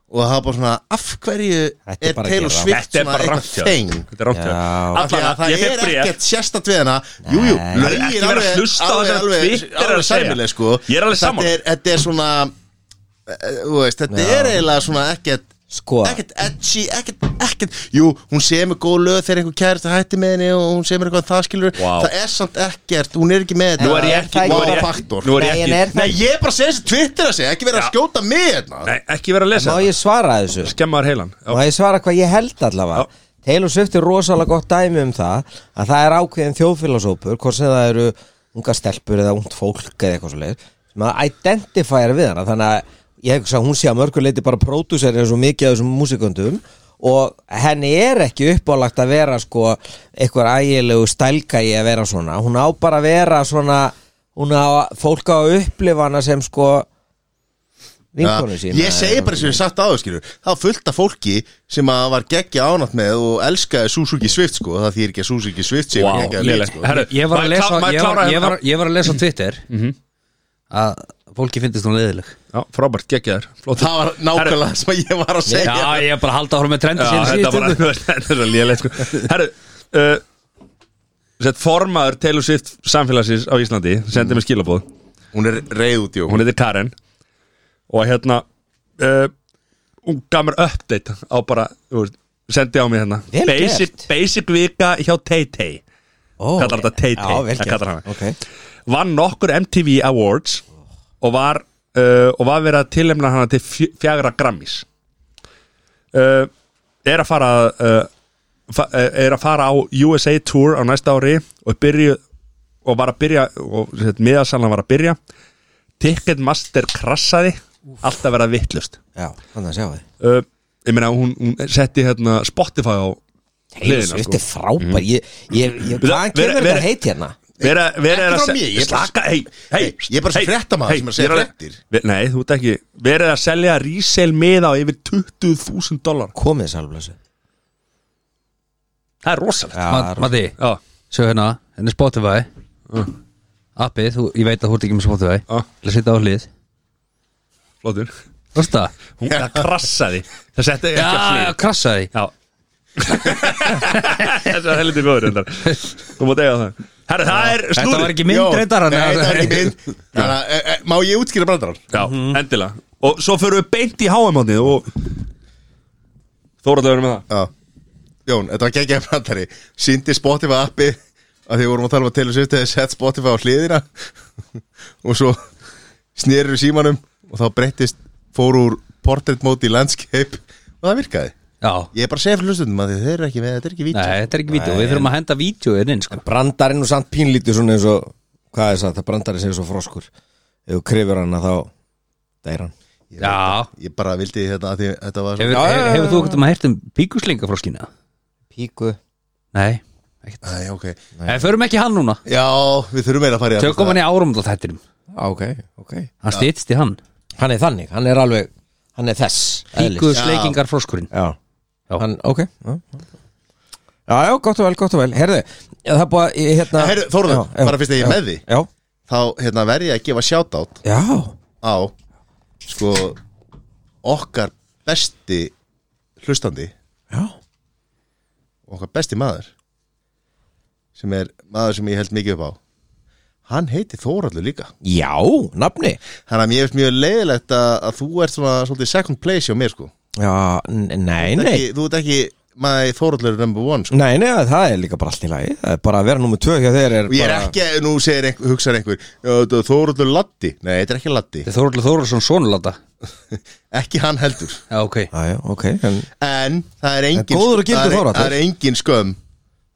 Speaker 2: og það er bara svona af hverju
Speaker 4: Þetta er
Speaker 2: er
Speaker 4: bara að
Speaker 2: Taylor
Speaker 4: gera
Speaker 2: Swift
Speaker 1: Þetta er
Speaker 2: svona
Speaker 1: bara
Speaker 2: eitthvað
Speaker 1: rangt hjá þér.
Speaker 2: þeng
Speaker 1: Þetta er rangt hjá
Speaker 4: Já.
Speaker 1: þér
Speaker 2: Af því að
Speaker 1: Allavega,
Speaker 2: það
Speaker 1: ég
Speaker 2: er
Speaker 1: fekk bréf
Speaker 2: ekkert sérstakt við hana Jújú, jú,
Speaker 1: Það er ekki verið
Speaker 2: lögin
Speaker 1: að
Speaker 2: alveg,
Speaker 1: hlusta á
Speaker 2: alveg,
Speaker 1: þetta
Speaker 2: alveg,
Speaker 1: Twitter er að
Speaker 2: alveg
Speaker 1: segja.
Speaker 2: sæmileg sko
Speaker 1: Ég er alveg
Speaker 2: Þetta
Speaker 1: sammála.
Speaker 2: Þetta er svona eh, þú veist, Þetta
Speaker 4: Já.
Speaker 2: er eiginlega svona ekkert
Speaker 4: Sko,
Speaker 2: ekkert edgy, ekkert, ekkert Jú, hún semur góð lög þegar einhver kærist hætti með henni og hún semur eitthvað það skilur
Speaker 1: Vá.
Speaker 2: Það er samt ekkert, hún er ekki með
Speaker 1: Nú er ég ekki
Speaker 4: Það er
Speaker 1: Nú er
Speaker 2: ekki-
Speaker 1: ég
Speaker 2: faktor.
Speaker 1: ekki Nú er
Speaker 4: Nei,
Speaker 1: ég
Speaker 4: en er
Speaker 1: ekki
Speaker 4: það-
Speaker 2: Nei, ég er bara að segja þessi Twitter að segja, ekki verið að
Speaker 1: Já.
Speaker 2: skjóta mig hérna
Speaker 1: Nei, ekki verið að lesa
Speaker 4: má
Speaker 1: þetta.
Speaker 4: ég svara þessu?
Speaker 1: Skemmaður heilan Já.
Speaker 4: Má ég svara hvað ég held allavega?
Speaker 1: Já.
Speaker 4: Taylor Swift er rosalega gott dæmi um það að það er ákveðin þjóðfélagsópur hvort sem það eru unga stelpur eða ungt fólk eða eitthvað svo sem að identifæra við hana þannig að ég hugsa að hún sé að mörguleiti bara pródúserið svo mikið af þessum músikundum og henni er ekki uppálagt að vera sko eitthvað ægilegu stælgægi að vera svona hún á bara að vera svona hún á fólk á að upplifa hana sem sko vinkonu sína
Speaker 2: Ég segi bara sem ég satt á þau skilur Það var fullt af fólki sem að var geggja ánátt með og elskaði Suzuki Swift sko Það þýr ekki að Suzuki Swift sé sko.
Speaker 1: Vá,
Speaker 2: geggja
Speaker 1: lélegt. Herru,
Speaker 3: Ég var að
Speaker 1: maður
Speaker 3: lesa,
Speaker 1: klá- maður
Speaker 3: ég var,
Speaker 1: kláraði
Speaker 3: ég var,
Speaker 1: þetta.
Speaker 3: ég var að lesa á Twitter að fólki finnist hún leiðileg
Speaker 1: Já, frábært, geggjaður Flott.
Speaker 2: Það var nákvæmlega það sem ég var að
Speaker 3: Já,
Speaker 2: segja
Speaker 3: ég er bara að halda áfram með trendi
Speaker 1: Já, þetta var þetta er svo lélegt sko. Herru uh, sett Formaður Taylor Swift samfélagsins á Íslandi Sendið mér skilabóð
Speaker 2: Hún er reið út jú
Speaker 1: Hún heitir Karen Og hérna uh, Hún gaf mér update á bara þú veist, Sendi á mig hérna
Speaker 4: Vel gert.
Speaker 1: basic, basic vika hjá Tay-Tay
Speaker 4: oh,
Speaker 1: kallar þetta Tay-Tay,
Speaker 4: Já, vel
Speaker 1: það kallar
Speaker 4: gert
Speaker 1: hana.
Speaker 4: okay.
Speaker 1: Vann nokkur MTV Awards Og var uh, Og var verið að tilhemna hana til fjö- fjagra Grammys uh, Er að fara uh, fa- uh, Er að fara á USA Tour Á næsta ári Og byrju Og var að byrja Og miðasalan var að byrja Ticketmaster krassaði Allt að vera vittlust
Speaker 4: Já, þannig að sjá þið
Speaker 1: uh, Ég meina hún, hún setti hérna Spotify á
Speaker 4: Taylor
Speaker 1: hliðina
Speaker 4: Swift
Speaker 1: sko.
Speaker 4: er Mm. frábær ég, ég, ég, Hvaðan
Speaker 1: vera-
Speaker 4: kemur
Speaker 1: vera-
Speaker 4: þetta heit hérna?
Speaker 1: vera, vera
Speaker 2: Ekki
Speaker 1: er að
Speaker 2: frá mér, ég er bara-
Speaker 1: slaka, hei, hei,
Speaker 2: Hey, ég er bara sem fréttamaður sem er að segja fréttir.
Speaker 1: nei, þú ert ekki, verið að selja resell miða á yfir 20.000 dólar
Speaker 4: Komið sálflössu
Speaker 1: það er rosalegt
Speaker 3: Matti,
Speaker 1: já,
Speaker 3: sjá hérna Henni er Spotify Appið, þú, ég veit að þú ert ekki með Spotify
Speaker 1: Mm. Já.
Speaker 3: Það setja á hlið
Speaker 1: flottur
Speaker 3: Rosta
Speaker 1: hún það krassaði, það setti ekki að
Speaker 3: Já,
Speaker 1: flýð
Speaker 3: krassaði
Speaker 1: já þessi var heldur góður reyndar. þú mátt eiga það herru, það er
Speaker 3: Þetta var
Speaker 1: snúrið
Speaker 3: ekki mynd reyndar
Speaker 2: Nei,
Speaker 3: hann
Speaker 2: það er ekki mynd Þannig að, eh, eh, Má ég útskýra brandarann?
Speaker 1: já, endilega, og svo förum við beint í HM átnið og Þóraðlega verður með það
Speaker 2: Já Jón, þetta var geggja brandari Sýndi Spotify appi að því við vorum að tala um að Taylor Swift hefði sett Spotify á hliðina og svo snýrur símanum og þá breyttist fór úr portrait mode í landscape og það virkaði
Speaker 3: Já,
Speaker 2: Ég er bara að segja fyrir hlustundum að því þeir eru ekki með, þetta er ekki
Speaker 3: nei,
Speaker 2: vítjó
Speaker 3: þetta er ekki vídeo Við þurfum að henda vídeoinn inn, sko
Speaker 4: Brandarinn og samt pínlítið svona eins og Hvað er það? Það brandarinn segir svo froskur Ef þú krefur hana þá Dæir hann
Speaker 3: Já,
Speaker 2: Ég bara vildi þetta að því þetta var
Speaker 3: hefur,
Speaker 2: svo
Speaker 3: hefur, hefur þú ekkert um að heyrt um píkuslinga frá skýna?
Speaker 4: Píku
Speaker 3: Nei, ekkert
Speaker 2: Æ, ok
Speaker 3: Nei, förum ekki hann núna
Speaker 2: Já, við þurfum meira að fara í
Speaker 3: Tökum hann í árumdóttættinum
Speaker 4: Ok, ok
Speaker 3: Hann stýttist í hann
Speaker 4: Hann er þannig, hann er alveg Hann er þess
Speaker 3: Píku
Speaker 4: eðlis.
Speaker 3: sleikingar froskurinn
Speaker 4: Já,
Speaker 3: Já.
Speaker 4: Hann, ok Já, já, já, gott og vel, gott og vel Herðu, það er búið að ég, hérna
Speaker 2: Herðu, Þórður,
Speaker 4: Já, já,
Speaker 2: bara fyrst að ég er
Speaker 4: já,
Speaker 2: með því.
Speaker 4: Já,
Speaker 2: Þá hérna, verð ég að gefa shoutout
Speaker 4: já
Speaker 2: á sko okkar besti hlustandi
Speaker 4: Já
Speaker 2: okkar besti maður sem er maður sem ég held mikið upp á hann heiti Þóraldur líka
Speaker 4: Já, nafni
Speaker 2: þannig að mér finnst mjög leiðilegt að, að þú ert svona svolítið second place hjá mér sko
Speaker 4: Já, n- nei,
Speaker 2: Þú ert
Speaker 4: nei
Speaker 2: ekki, þú ert ekki maður Þóraldur number one sko
Speaker 4: Nei, nei, það er líka bara allt í lagi Það er bara að vera nummið tvö hjá þeir er
Speaker 2: og ég er
Speaker 4: bara...
Speaker 2: ekki, nú segir einhver, hugsaður einhver Þóraldur Latti, nei þetta er ekki Latti
Speaker 3: Þetta er Þóruldur Þóruldsson sonulata
Speaker 2: ekki hann heldur
Speaker 3: Já, ok
Speaker 4: Já, já, ok en...
Speaker 2: en það er engin,
Speaker 4: góður og gildur
Speaker 2: það er,
Speaker 4: Þóroddur.
Speaker 2: það er engin skömm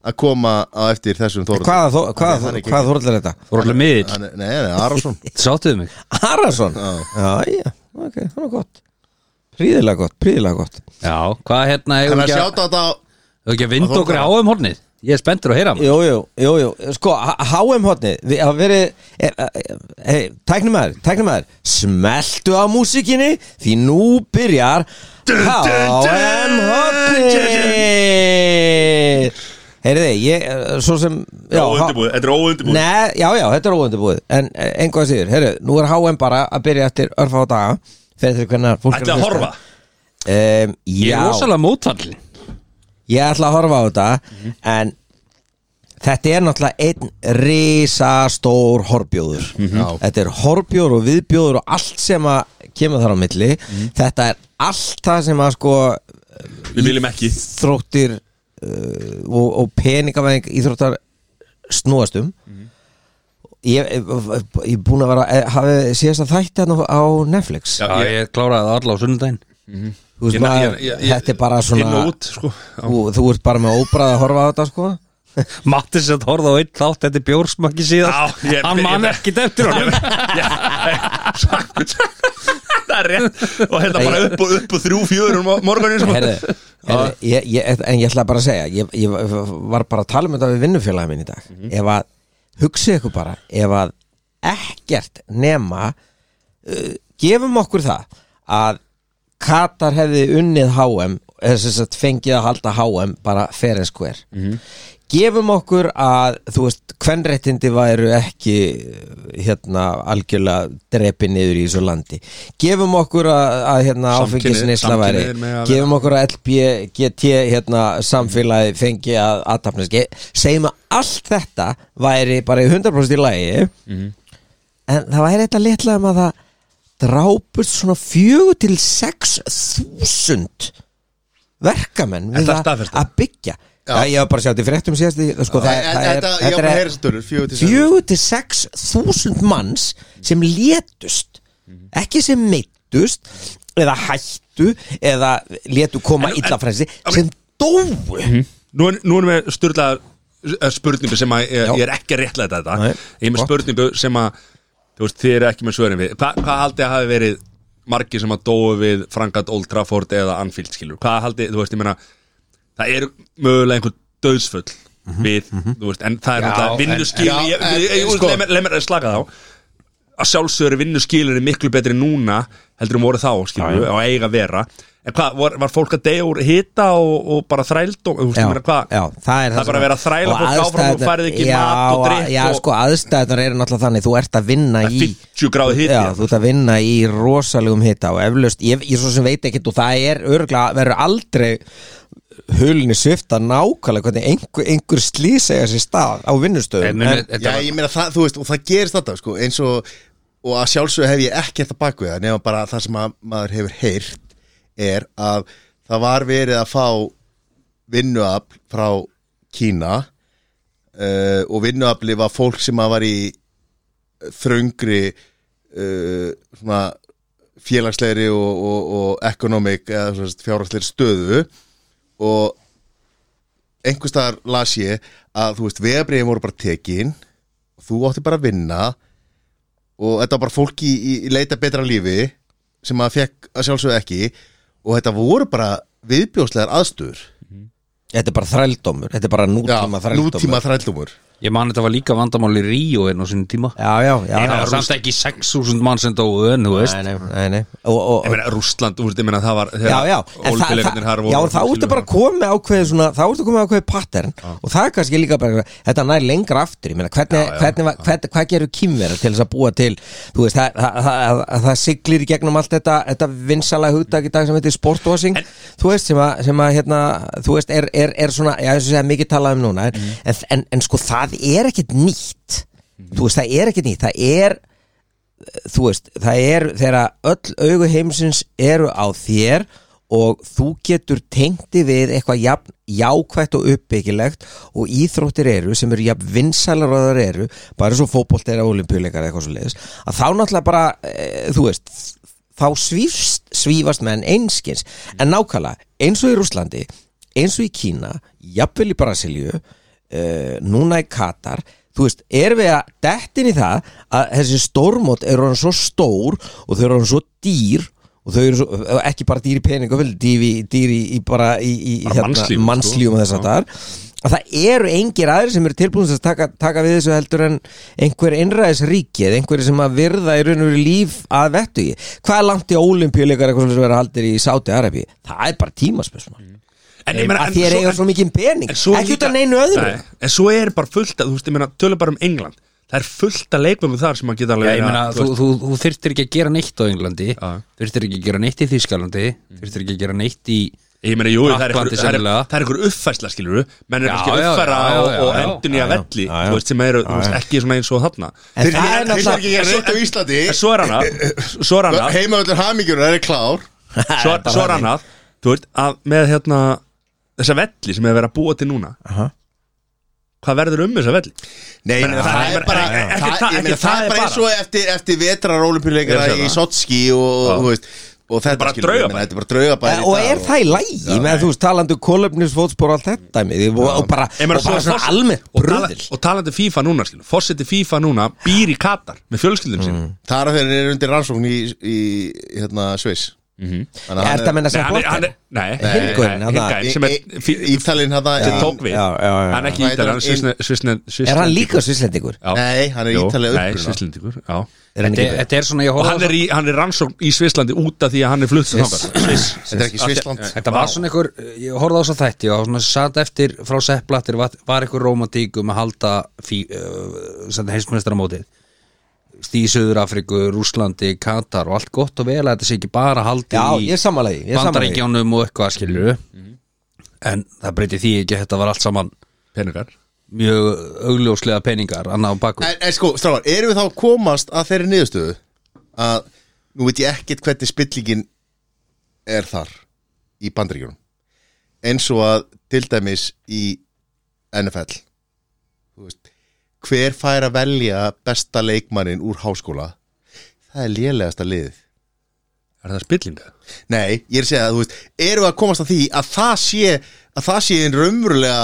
Speaker 2: að koma á eftir þessum Þóraldur
Speaker 4: Hvaða, þó, hvaða,
Speaker 2: hann er
Speaker 4: þó,
Speaker 2: ekki-
Speaker 4: hvaða þorðlega er þetta?
Speaker 3: Þóruldur miðill
Speaker 2: Hann er- nei, nei, Arason
Speaker 3: Sáttuðu mig
Speaker 4: Arason Já, já, ok, það er gott Príðilega gott, príðilega gott
Speaker 3: Já, hvað hérna hefur
Speaker 2: þannig að
Speaker 3: ekki að
Speaker 2: sjáta þetta á
Speaker 3: Hefur ekki að vinda
Speaker 2: Þórður-
Speaker 3: okkur á um hornið Ég er spenntur að heyra hann
Speaker 4: Jú, jú, jú, jú, sko, HM hotni Við hafa verið er- er- Hei, tæknum maður, tæknum maður Smeltu á músikinni Því nú byrjar HM hotni Heyriði, ég, eh, svo sem já,
Speaker 1: Óundirbúið, þetta er óundirbúið
Speaker 4: Nei, já, já, þetta er óundibúið En eh, einhvað síður, herru, nú er HM bara að byrja eftir örfá daga Fyrir því hvernig fólk er
Speaker 1: Ætlaði að
Speaker 4: hlusta.
Speaker 1: horfa
Speaker 4: um,
Speaker 3: Ég er
Speaker 4: Já,
Speaker 3: rosalega mótfallin
Speaker 4: ég ætla að horfa á þetta En þetta er náttúrulega einn risastór horbjóður
Speaker 1: Mhm.
Speaker 4: Þetta er horbjóður og viðbjóður og allt sem að kemur þar á milli
Speaker 1: Mhm.
Speaker 4: Þetta er allt það sem að sko
Speaker 1: Við viljum ekki
Speaker 4: þróttir uh, og, og peningavæðing íþróttar snúast um
Speaker 1: Mhm.
Speaker 4: ég, ég, ég er búin að vera eh, hafið síðast að þætti hann á, á Netflix
Speaker 1: Já,
Speaker 3: Já, ég kláraði það alla á sunnudaginn
Speaker 4: Þú veist
Speaker 1: Ég-
Speaker 4: maður,
Speaker 1: ég- ég-
Speaker 4: þetta er bara
Speaker 1: Inn
Speaker 4: svona
Speaker 1: og út, sko Já.
Speaker 4: þú, þú ert bara með óbræð að horfa á þetta sko
Speaker 3: Mattis að horfa á einn þátt Þetta er bjórsmakki síðast
Speaker 1: Já, ég-
Speaker 3: Hann man
Speaker 1: ég-
Speaker 3: ekkert eftir honum
Speaker 1: Það er rétt Og hérna bara upp og upp og þrjú fjörur morgunin sko.
Speaker 4: Herðu, herðu, ég, ég, en ég ætla bara að segja ég, ég var bara að tala um þetta við vinnufélagi minn í dag ef að, hugsið ykkur bara ef að ekkert nema uh, gefum okkur það að Katar hefði unnið HM eða sem sagt fengið að halda HM bara fair and square
Speaker 1: Mhm.
Speaker 4: gefum okkur að þú veist kvenréttindi væru ekki hérna algjörlega drepi niður í þessu landi gefum okkur að, að hérna
Speaker 1: Samkynhneigð-
Speaker 4: áfengisneisla væri
Speaker 1: samkynhneigðir mega vera-
Speaker 4: gefum okkur að LBGT hérna samfélagi fengi að aðtapneski segjum að allt þetta væri bara í 100% í lagi en það væri eitthvað litla um að það drápust svona fjögur til sex þúsund verkamenn
Speaker 1: Er
Speaker 4: við
Speaker 1: það
Speaker 4: að,
Speaker 1: staðfest?
Speaker 4: að byggja Já. ég var bara að sjá þetta í fréttum síðast í- sko, það,
Speaker 2: En-
Speaker 4: það
Speaker 2: en
Speaker 4: er,
Speaker 2: þetta- ég var bara að heyra þessar
Speaker 4: þetta
Speaker 2: tölur,
Speaker 4: er
Speaker 2: fjögur til sex þúsund.
Speaker 4: fjögur til sex þúsund manns sem létust
Speaker 2: Mhm.
Speaker 4: ekki sem meittust eða hættu eða létu koma illa fræsi sem dóu
Speaker 2: Mhm.
Speaker 1: Nú er- nú erum við styrlaðar spurningu sem að ég, ég er ekki að réttlega þetta
Speaker 4: Nei,
Speaker 1: Ég er með
Speaker 4: gott.
Speaker 1: spurningu sem að þú veist, þið eru ekki með svörin við Hva, Hvað haldið að hafi verið margir sem að dóu við Frankat Old Trafford eða Anfield skilur Hvað haldið, þú veist, ég meina það eru mögulega einhver döðsfull við, þú veist, en það er náttúrulega vinnuskil,
Speaker 2: en-
Speaker 1: ég, ég,
Speaker 2: já,
Speaker 1: ég,
Speaker 2: en-
Speaker 1: ég,
Speaker 2: sko-
Speaker 1: sko, leið mér- leið mér að slaka þá að sjálfsögur vinnuskilurinn miklu betri núna heldur um voru þá, skilur, og eiga að vera En hvað, var, var fólk að deyja úr hita og, og bara þrældum, þú veist, ég meina hvað
Speaker 4: já, það
Speaker 1: Það er
Speaker 4: er
Speaker 1: bara
Speaker 4: sem-
Speaker 1: að vera að þræla
Speaker 4: og
Speaker 1: fólk áfram og
Speaker 4: aðstæðurnar-
Speaker 1: færið ekki
Speaker 4: já,
Speaker 1: mat og drykk
Speaker 4: já,
Speaker 1: og-
Speaker 4: sko, aðstæðunar eru náttúrulega þannig þú ert að vinna
Speaker 1: Það er
Speaker 4: í
Speaker 1: 50 gráðu hiti, hérna.
Speaker 4: já,
Speaker 1: já.
Speaker 4: þú ert að vinna í rosalegum hita og eflaust, ég, ég svo sem veit ekki og það er örgulega, verður aldrei hulni svifta nákvæmlega hvernig einhver, einhver slýsega sér stað á vinnustöðum
Speaker 2: Já, ég meina það, þú veist, og það gerist þetta sko, eins og, og að sjálfsög hef ég ekkert að baka við það, nema bara það sem að maður hefur heyrt er að það var verið að fá vinnuafl frá Kína uh, og vinnuafli var fólk sem að var í eh, þröngri uh, svona félagslegri og, og, og ekonomik eða fjárhagslegri stöðu og einhvers staðar las ég að þú veist vegabriðin voru bara tekin og þú átti bara að vinna og þetta var bara fólk í, í, í leita betra lífi sem að fekk að sjálfsögðu ekki og þetta voru bara viðbjóðslegar aðstöður
Speaker 4: þetta er bara þrældómur, þetta er bara nútíma þrældómur
Speaker 2: nútíma þrældumur
Speaker 3: Ég man þetta var líka vandamál í Ríó enn á sinni tíma
Speaker 4: já, já, já,
Speaker 3: Það
Speaker 4: já
Speaker 3: var samt ekki 6.000 mann sem dóu en þú veist
Speaker 4: nei, nei, nei, nei. Og, og,
Speaker 1: Ég meina, Rússland, þú veist, ég meina, það var
Speaker 4: já, já, en það,
Speaker 1: ólpilegarnir
Speaker 4: það,
Speaker 1: þar
Speaker 4: já,
Speaker 1: voru
Speaker 4: þá ertu bara komið ákveðið svona, þá ertu komið ákveðið pattern og það er kannski líka bara, þetta nær lengra aftur, ég meina, hvernig, hvernig, var- hvernig hvað gerur kýmverðar til þess að búa til þú veist, það, það, það, það, það siglir í gegnum allt þetta, þetta vinsalega hugtak í dag sem heitir sportwashing, þú veist sem að, sem að, hérna, þú veist, er, er, er svona, já, þess að segja mikið talað um núna en, en, en, en sko, það er ekkit nýtt þú veist, það er ekkit nýtt, það er þú veist, það er þegar öll augu heimsins eru á þér og þú getur tengti við eitthvað jafn, jákvætt og uppbyggilegt og íþróttir eru sem eru jafn vinsælar og þar eru bara svo fótbolt er að olimpíuleikar eða eitthvað svo leiðis að þá náttúrulega bara, e, þú veist þá svífst, svífast menn einskins en nákvæmlega, eins og í Rúslandi eins og í Kína, jafnvel í Brasilíu uh, núna í Katar þú veist, erum við að dettin í það að þessi stórmót eru hann svo stór og þau eru hann svo dýr og þau eru svo, eh, ekki bara dýr í peningu vel, dýr í, dýr í, í bara í, í hérna
Speaker 1: Bara mannslífum, sko.
Speaker 4: mannslífum og þess að það að það eru engir aðrir sem eru tilbúin að taka, taka við þessu heldur en einhver innræðis ríki eða einhver sem að virða í raun og veru líf að vettu í hvað er langt í ólimpíuleikar eitthvað sem vera haldir í Sáti Arabi það er bara tímaspesma
Speaker 1: En Mm. ég meina,
Speaker 4: að þér
Speaker 1: svo-
Speaker 4: eiga svo mikinn pening
Speaker 1: en svo
Speaker 4: ekki
Speaker 1: líka-
Speaker 4: utan einu öðru
Speaker 1: Nei, En svo er bara fullt að, þú veist, ég meina, tölum bara um England það er fullt að leikmum þar sem að geta
Speaker 3: Já,
Speaker 1: alveg
Speaker 3: ég meina,
Speaker 1: að-
Speaker 3: þú, þú, þú þyrftir ekki að gera neitt á Englandi
Speaker 1: Já.
Speaker 3: þyrftir ekki að gera neitt í Þískalandi þyrftir ekki að gera neitt í
Speaker 1: Ég meina, jú, það er
Speaker 3: Frakklandi
Speaker 1: einhver- það er-
Speaker 3: sennilega.
Speaker 1: það er einhver uppfærsla, skilur við Menn er
Speaker 3: Já,
Speaker 1: kannski að
Speaker 3: já, já,
Speaker 1: uppfæra
Speaker 3: já,
Speaker 1: og-
Speaker 3: já,
Speaker 1: og
Speaker 3: já,
Speaker 1: endun í
Speaker 4: já,
Speaker 1: að
Speaker 4: já,
Speaker 1: velli
Speaker 4: já, já.
Speaker 1: Þú veist, sem eru, þú veist, ekki svona eins og þarna
Speaker 4: En það er náttúrulega
Speaker 2: ekki ég er svolítið á Íslandi
Speaker 1: En svo er hana Svo er hana
Speaker 2: Heimavöldur hamingjur er klár
Speaker 1: Svo, svo er annað Þú veist að með hérna Þessa velli sem hefur verið að búa til núna
Speaker 4: Aha.
Speaker 1: Hvað verður um þessa velli?
Speaker 2: Nei,
Speaker 1: Menn, það
Speaker 2: það, það
Speaker 1: er
Speaker 2: er bara
Speaker 1: bara-
Speaker 2: það-
Speaker 1: ekki-
Speaker 2: ég meina,
Speaker 1: ekki-
Speaker 2: Það er bara eins og eftir, eftir
Speaker 1: Ég
Speaker 2: vetrarólumpíuleikara
Speaker 1: sé
Speaker 2: í
Speaker 1: það.
Speaker 2: Sotski og,
Speaker 1: Já.
Speaker 2: og, veist, og þetta
Speaker 1: bara
Speaker 2: skilur við, ég meina,
Speaker 1: draugabær.
Speaker 2: Þetta er bara draugabæri
Speaker 4: Eh, og er það í lægi með þú veist talandi kólöfnisfótspor og allt þetta dæmi, og, og bara,
Speaker 1: Ég
Speaker 4: og
Speaker 1: meina, svo
Speaker 4: bara
Speaker 1: er
Speaker 4: svona
Speaker 1: forseti-
Speaker 4: almennt
Speaker 1: og, tala,
Speaker 4: bröðil
Speaker 1: og talandi FIFA núna skilu Fossetti FIFA núna býr í Katar Með fjölskyldum sín
Speaker 2: Það er að þeir eru undir rannsókn í, í hérna, Sviss Þannig
Speaker 4: er það
Speaker 2: að
Speaker 4: að
Speaker 1: Nei,
Speaker 4: menna sem
Speaker 1: hann Mhm. er, hann
Speaker 4: flottir
Speaker 1: er, nei,
Speaker 4: Hinn gaurinn, hann
Speaker 1: Hinn gaurinn sem er
Speaker 2: hann Ítalinn hann
Speaker 1: sem tók við
Speaker 4: já, já, já.
Speaker 1: Hann er ekki
Speaker 2: Hvað
Speaker 1: ítalið,
Speaker 2: heitir hann?
Speaker 1: hann er svissnend
Speaker 4: er hann líka svislendingur
Speaker 2: Nei, hann er ítalið
Speaker 1: Nei,
Speaker 2: uppruna
Speaker 1: svisslendingur, já Og
Speaker 4: er hann
Speaker 3: þetta
Speaker 4: ekki
Speaker 3: þetta er svona, ég horfði á
Speaker 1: hann er, í, hann er rannsókn í Svisslandi út af því að hann er flutt Sviss
Speaker 2: Þetta er ekki Svissland
Speaker 3: Þetta var svona einhver, ég horfði á þess að þætti og svona satt eftir frá sepplattir var, var einhver romantík um að halda fí, uh, heimsmyndaramótið í Suður Afriku, Rúslandi, Katar og allt gott og vel að þetta sé ekki bara haldið
Speaker 4: já,
Speaker 3: í
Speaker 4: ég er samanlegi ég er samanlegi
Speaker 3: bandaríkjánum og eitthvað skilur en það breyti því ekki að þetta var allt saman
Speaker 1: Peningar
Speaker 3: mjög augljóslega peningar annað á baku
Speaker 2: En, en sko, stráðan, erum við þá að komast að þeirri niðurstöðu að nú veit ég ekkert hvernig spillingin er þar í bandaríkjunum eins og að til dæmis í NFL Þú veist, hver fær að velja besta leikmannin úr háskóla það er lélegasta liðið
Speaker 1: Er það spillinga?
Speaker 2: Nei, ég er að segja að þú veist erum við að komast að því að það sé að það sé einn raunverulega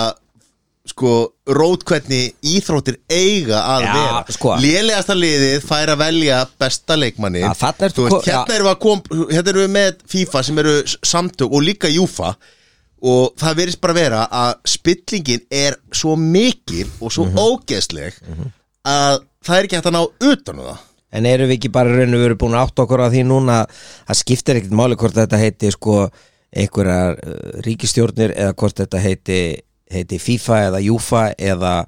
Speaker 2: sko, rót hvernig íþróttir eiga að
Speaker 4: Já,
Speaker 2: vera
Speaker 4: sko.
Speaker 2: lélegasta liðið fær að velja besta leikmanni
Speaker 4: Já, þarna ertu
Speaker 2: Þú veist,
Speaker 4: ko-
Speaker 2: hérna
Speaker 4: já.
Speaker 2: erum við að kom, hérna erum við með FIFA sem eru s- samtök og líka Júfa og það verðist bara vera að spillingin er svo mikil og svo
Speaker 4: Mhm.
Speaker 2: ógeðsleg að það er ekki hægt að ná utan á það
Speaker 4: en erum við ekki bara í raun og veru búin að átta okkur á því núna að skiptir ekkert máli hvort þetta heiti sko einhverjar uh, ríkistjórnir eða hvort þetta heiti, heiti FIFA eða Júfa eða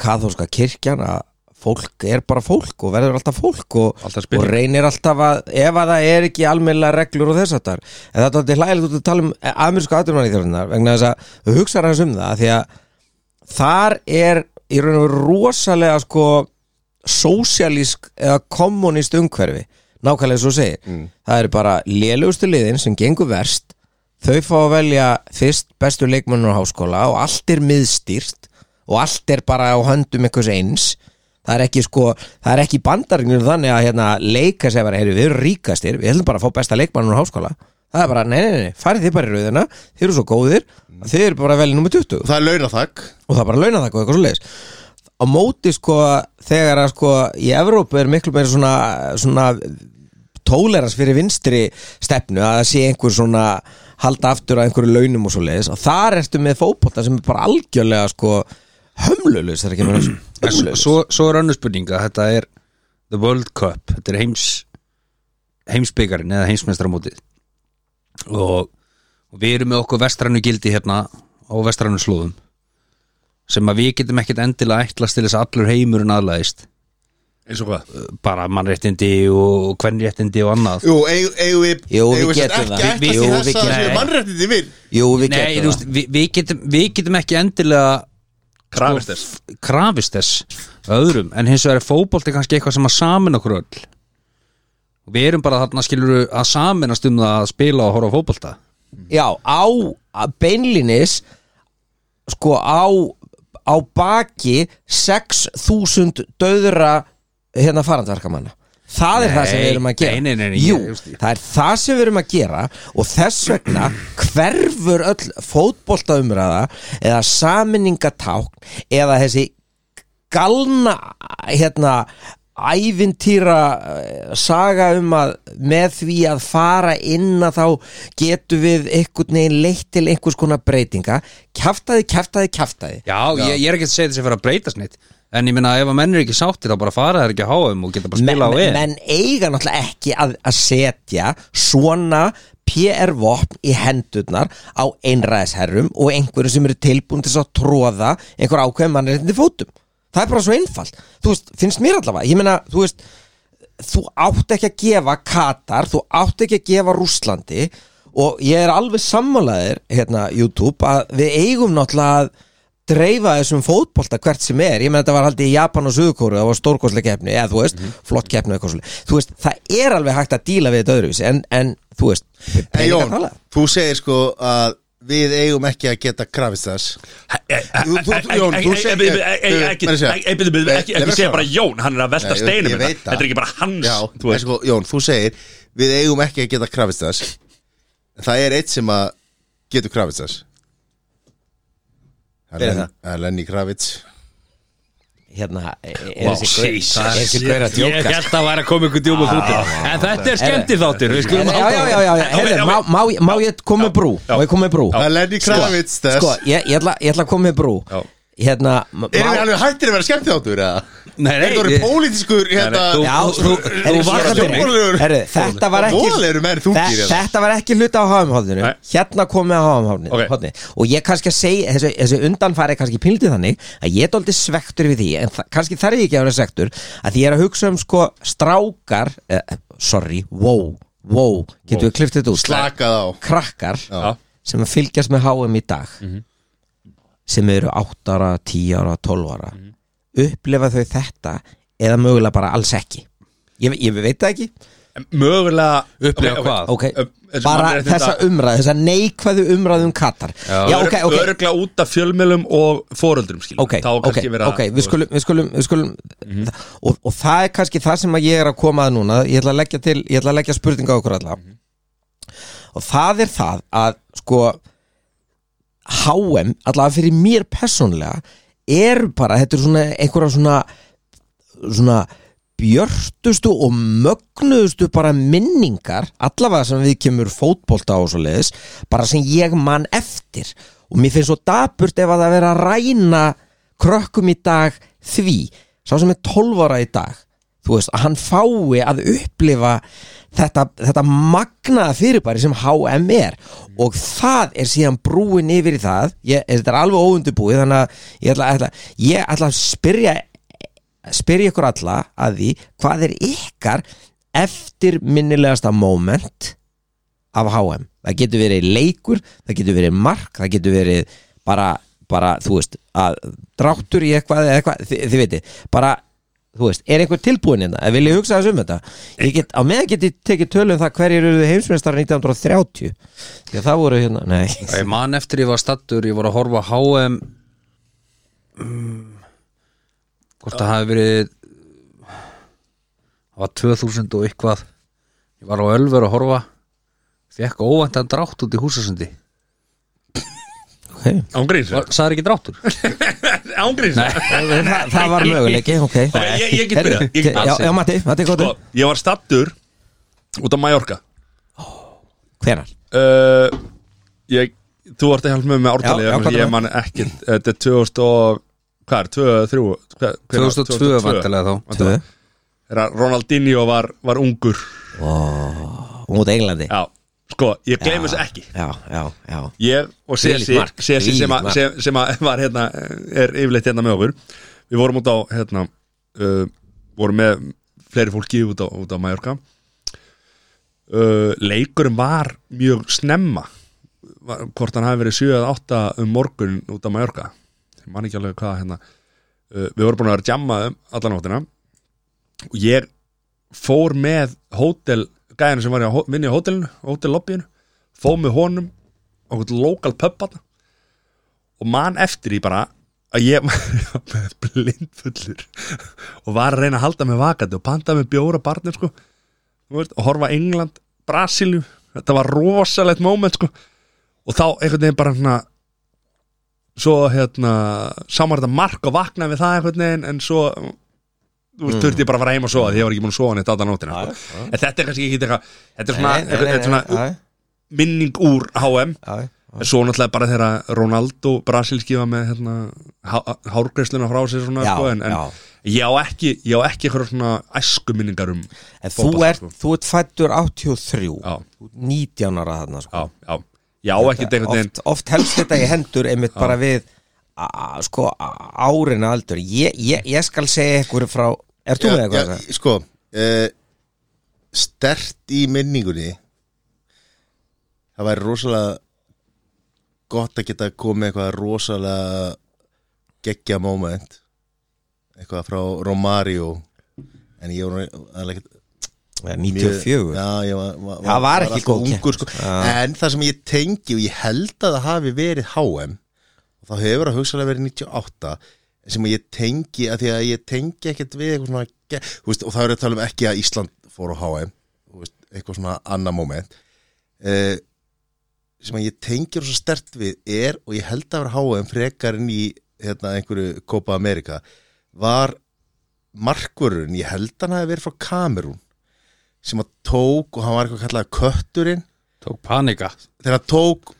Speaker 4: kathóska kirkjan að fólk er bara fólk og verður alltaf fólk og,
Speaker 1: Alltaf
Speaker 4: og
Speaker 1: spilling.
Speaker 4: reynir alltaf að ef að það er ekki almennilega reglur og þess að þar en það er alltaf hlægilegt út að tala um amerísku aðdurmanni þjóðunar vegna þess að þú hugsar hans um það því að þar er í raun og veru rosalega sko sósialísk eða kommunist umhverfi nákvæmlega svo segir það eru bara lélugustu liðin sem gengur verst þau fá að velja fyrst bestu leikmönnur á háskóla og allt er miðstýrt og allt er bara á höndum einhvers eins það er ekki sko, það er ekki bandaringur þannig að hérna, leika sem bara, heyri, við erum ríkastir við ætlum bara að fá besta leikmannur á háskóla það er bara, nei, nei, nei, farið þið bara í rauðina þið eru svo góðir, að þið eru bara velið nummer 20
Speaker 2: og það er launathak
Speaker 4: og það er bara launa það eitthvað svo leiðis á móti sko þegar að sko í Evrópu er miklu meira svona, svona tóleras fyrir vinstri stefnu að það sé einhver svona halda aftur að einhverju launum og svo leiðis og þar ertu með fótbolta sem er bara algjörlega sko hömlulis þegar kemur að þessu.
Speaker 3: En s- svo, svo er önnur spurning að þetta er The World Cup, þetta er heims heimsbyggarinn eða heimsmeistramótið og, og við erum með okkur vestrannu gildi hérna á vestrannu slóðum sem að við getum ekkert endilega ætlast til þess að allur heimurinn aðlæðist
Speaker 1: Eins og hvað?
Speaker 3: bara mannréttindi og kvennréttindi og annað
Speaker 2: Jú, eigum eigum við
Speaker 4: Jú, við
Speaker 2: eigum sem
Speaker 4: getum það.
Speaker 2: ekki ætlast
Speaker 4: Við-
Speaker 2: til þess
Speaker 4: jú, við
Speaker 2: að það
Speaker 4: getum-
Speaker 2: séu
Speaker 4: Nei.
Speaker 2: mannréttindi vinn
Speaker 4: Jú, við
Speaker 3: Nei, þú
Speaker 4: getum
Speaker 3: veist, við, við, getum, við getum ekki endilega sko,
Speaker 1: Krafist þess
Speaker 3: krafist þess öðrum en hins vegar er fótbolti kannski eitthvað sem að samin okkur öll við erum bara þarna skilur að saminast um það að spila og horfa á fótbolta
Speaker 4: það Já, á á beinlinis sko á á baki 6000 döðra hérna farandverkamanna það er það sem við erum að gera
Speaker 3: nei, nei, nei, nei,
Speaker 4: Jú,
Speaker 3: ég- ég-
Speaker 4: það er það sem við erum að gera og þess vegna hverfur öll fótboltaumræða eða saminningatákn eða þessi galna hérna ævintýra eh, saga um að með því að fara inn að þá getum við einhvern veginn leitt til einhvers konar breytinga kjaftaði, kjaftaði, kjaftaði
Speaker 3: já, Ég, ég er ekki að segja þessi fyrir að breytast neitt en ég minna ef að menn er ekki sáttir þá bara fara þær ekki að háa um og geta bara að spila á
Speaker 4: menn,
Speaker 3: EM
Speaker 4: menn eiga náttúrulega ekki að, að setja svona PR-vopn í hendurnar á einræðisherrum og einhverjum sem eru tilbúin til þess að tróða einhver ákveðum mannréttindi fótum það er bara svo einfalt þú veist, finnst mér allavega, ég meina þú veist, þú átt ekki að gefa Katar, þú átt ekki að gefa Rússlandi og ég er alveg sammálaðir, hérna, YouTube að við eigum náttúrulega að dreifa þessum fótbolta hvert sem er ég meina þetta var haldið í Japan og Suðkóru það var stórkoslega keppni, eða þú veist, flott keppni eða eitthvað svoleiðis. þú veist, það er alveg hægt að díla við þetta öðruvísi en, en þú veist,
Speaker 2: Hey,
Speaker 4: peningar
Speaker 2: Jón,
Speaker 4: tala.
Speaker 2: þú segir sko að við eigum ekki að geta krafist þess
Speaker 3: eh,
Speaker 2: Þú- þú- þú- Jón, þú segir- Þú- meira að segja. Nei,
Speaker 1: Ekki
Speaker 2: leyfðu
Speaker 1: ekki
Speaker 2: mér
Speaker 1: segja
Speaker 2: að
Speaker 1: bara
Speaker 2: svara.
Speaker 1: Jón, hann er að velta
Speaker 2: Nei, ég-
Speaker 1: steinum
Speaker 2: ég
Speaker 1: hérna.
Speaker 2: veit það.
Speaker 1: Þetta er ekki bara
Speaker 3: eh,
Speaker 1: hans
Speaker 2: Já,
Speaker 1: þú
Speaker 2: en
Speaker 1: veist.
Speaker 2: sko, Jón, þú segir við eigum ekki að geta krafist þess En það er eitt sem að getur krafist þess Það
Speaker 4: Hver er
Speaker 2: er Len-
Speaker 4: það?
Speaker 2: það er Lenny Kravitz
Speaker 4: hérna, er, er
Speaker 1: Wow,
Speaker 4: þessi gaur-
Speaker 1: Jesus.
Speaker 4: er þessi gaur að
Speaker 3: Ég
Speaker 2: sko.
Speaker 4: djóka
Speaker 3: held að væri að koma ykkur djúpa fútið En þetta er skemmti þáttir Við skulum
Speaker 4: Já, já, já, já, já.
Speaker 1: En,
Speaker 4: Heyrðu,
Speaker 1: já,
Speaker 4: má, má, ég- má ég koma með brú? Má ég koma með brú?
Speaker 2: Það er Lenny Kravitz þess
Speaker 4: Sko, ég, ég, ætla, ég ætla að koma með brú
Speaker 1: Já.
Speaker 4: Hérna má,
Speaker 2: Erum við alveg hættir að vera skemmt þáttur eða?
Speaker 3: Nei, nei,
Speaker 2: Þetta voru
Speaker 3: ég-
Speaker 2: pólitískur hérna
Speaker 3: nei, þú-
Speaker 4: Já, þú,
Speaker 3: þú vaktir
Speaker 2: mig.
Speaker 4: Herru, þetta var ekki
Speaker 2: Voðalegur menn þú
Speaker 4: Þe-
Speaker 2: gerir
Speaker 4: Þetta var ekki hluti á HM-hóðinu
Speaker 1: Nei.
Speaker 4: Hérna komið á HM-hóðinu
Speaker 1: Ok.
Speaker 4: okay. Og ég kannski að segja Þessu, þessu undanfari er kannski pildið þannig Að ég er dóldi svektur við því En þa- kannski þarf ég ekki að vera svektur Að því ég er að hugsa um sko strákar eh, Sorry, wow, wow Getum við klift þetta út
Speaker 2: Slakað á
Speaker 4: Krakkar
Speaker 1: Já. Mhm.
Speaker 4: sem að fylgjast með HM í dag sem eru 8 ára, 10 ára, 12 ára
Speaker 1: Mhm.
Speaker 4: upplifa þau þetta eða mögulega bara alls ekki ég, ég veit það ekki
Speaker 1: En Mögulega Ok,
Speaker 3: Upplifa
Speaker 1: ok.
Speaker 3: hvað?
Speaker 4: okay.
Speaker 1: Ö- þessi
Speaker 4: bara
Speaker 1: mannréttinda-
Speaker 4: þessa umræð, þessa neikvæðu umræð um Katar já, ok, ok,
Speaker 1: Örgla út af fjölmjölum og fóreldrum skil
Speaker 4: ok,
Speaker 1: Þá
Speaker 4: ok,
Speaker 1: kannski vera Mhm.
Speaker 4: ok, við skulum, við skulum, við skulum og, og það er kannski það sem að ég er að koma að núna, ég ætla að leggja til ég ætla að leggja spurninga á okkur alla
Speaker 1: Mhm.
Speaker 4: og það er það að sko HM, allavega fyrir mér persónlega er bara, þetta er svona einhverja svona svona björtustu og mögnuðustu bara minningar allavega sem við kemur fótbolta á og svo leiðis bara sem ég man eftir og mér finnst svo dapurt ef að það vera að ræna krökkum í dag því sá sem er 12 ára í dag þú veist, að hann fái að upplifa þetta, þetta magnaða fyrirbæri sem HM er og það er síðan brúin yfir í það ég, þetta er alveg óundubúið þannig að ég ætla, ætla, ég ætla að spyrja spyrja ykkur alla að því hvað er ykkar eftirminnilegasta moment af HM það getur verið leikur, það getur verið mark það getur verið bara, bara þú veist, að dráttur í eitthvað eða eitthvað, þi, þið veitir, bara þú veist, er einhver tilbúin hérna, vil ég hugsa þessu um þetta ég get, á meðan get ég tekið tölu um það hverjir eru heimsmeistar 1930 því að það voru hérna, nei
Speaker 3: Ég man eftir ég var stattur, ég var að horfa á HM mm, Hvort það hafi verið Það var 2000 og eitthvað Ég var á Ölver að horfa Fekk óvæntan drátt út í húsasundi
Speaker 4: okay.
Speaker 1: Ángríns
Speaker 3: Var- Það er ekki dráttur
Speaker 1: Ángríns
Speaker 4: það, það var möguleiki, ok
Speaker 1: Nei, ég- ég get byrjað, ég get
Speaker 4: já, já, Matti, Matti, hvað
Speaker 1: Sko,
Speaker 4: er
Speaker 1: ég var stattur út af Mallorca Sko,
Speaker 4: hvenar?
Speaker 1: uh, ég, Þú vart að hjálpa með með
Speaker 4: Já, já,
Speaker 1: ártalið
Speaker 4: hvað
Speaker 1: Ég
Speaker 4: er
Speaker 1: man ekki, þetta er 2000 og Hvað er, 2003 hvað- hvenær?
Speaker 3: 2002 vantilega þá
Speaker 1: Væntanlega. Þegar Ronaldinho var, var ungur
Speaker 4: Mútið Englandi
Speaker 1: Já, sko, ég gleym þessu ekki
Speaker 4: Já, já, já
Speaker 1: Ég og
Speaker 4: Þvílíkt
Speaker 1: Sesi
Speaker 4: mark,
Speaker 1: Sesi
Speaker 4: þvílíkt
Speaker 1: sem, að-
Speaker 4: mark.
Speaker 1: sem, sem að var hérna er yfirleitt hérna með okkur Við vorum út á hérna uh, vorum með fleiri fólki út á, út á Mallorca uh, Leikurinn var mjög snemma var, hvort hann hafi verið 7 eða 8 um morgun út á Mallorca ég man ekki alveg hvað hérna uh, Við vorum búin að vera að jamma um alla nóttina og ég fór með hótel gæðinu sem var í að hó- vinna í hótelinu hótellobbyinu, fór með honum á einhvern lokal pub pöppan og man eftir í bara að ég var blindfullur og var að reyna að halda mig vakandi og panta með bjóra barnir sko Þú veist, og horfa á England, Brasilju þetta var rosalegt moment sko og þá einhvern veginn bara hérna svo hérna samar þetta mark og vaknaði við það einhvern veginn en svo þú veist, þurfti ég bara að fara heim og sofa því ég var ekki búin að sofa neitt aðan nótina sko. en þetta er kannski ekki eitthvað þetta er svona, þetta er svona minning úr HM En svo náttúrulega bara þegar Ronaldo brasilski var með hérna, há- hárgreisluna frá sér svona,
Speaker 4: Já,
Speaker 1: sko, en, en
Speaker 4: já.
Speaker 1: ég á ekki ég á ekki eitthvað svona æsku minningar um
Speaker 4: En þú
Speaker 1: fótbolta,
Speaker 4: ert,
Speaker 1: sko.
Speaker 4: þú ert fættur 83
Speaker 1: Já.
Speaker 4: Þú ert 19 ára þarna sko.
Speaker 1: já, já, ég á ekki einhvern veginn
Speaker 4: oft, oft helst þetta í hendur einmitt bara við a- sko árin aldur ég, ég, ég skal segja ykkur frá er þú með eitthvað?
Speaker 2: Já, sko uh, Stert í minningunni Það væri rosalega gott að geta komið með eitthvað rosalega geggja moment eitthvað frá Romario en ég var nú aðlega ekkert-
Speaker 4: Já,
Speaker 2: Mjög-
Speaker 4: 94
Speaker 2: Já, ég var, var,
Speaker 4: Það var ekki
Speaker 2: alltaf
Speaker 4: góð
Speaker 2: ungur, sko. En það sem ég tengi og ég held að það hafi verið HM og þá hefur það hugsalega verið 98 sem ég tengi, að því að ég tengi ekkert við eitthvað svona, ge- þú veist, og það er að tala um ekki að Ísland fór á HM þú veist, eitthvað svona annað moment eh, sem að ég tengi rosa stert við er og ég held að vera HM frekar en í hérna, einhverju Copa America var markvörun, ég held að hann hafi verið frá Kamerún sem að tók og hann var eitthvað kallað kötturinn
Speaker 3: Tók panika
Speaker 2: þegar hann tók,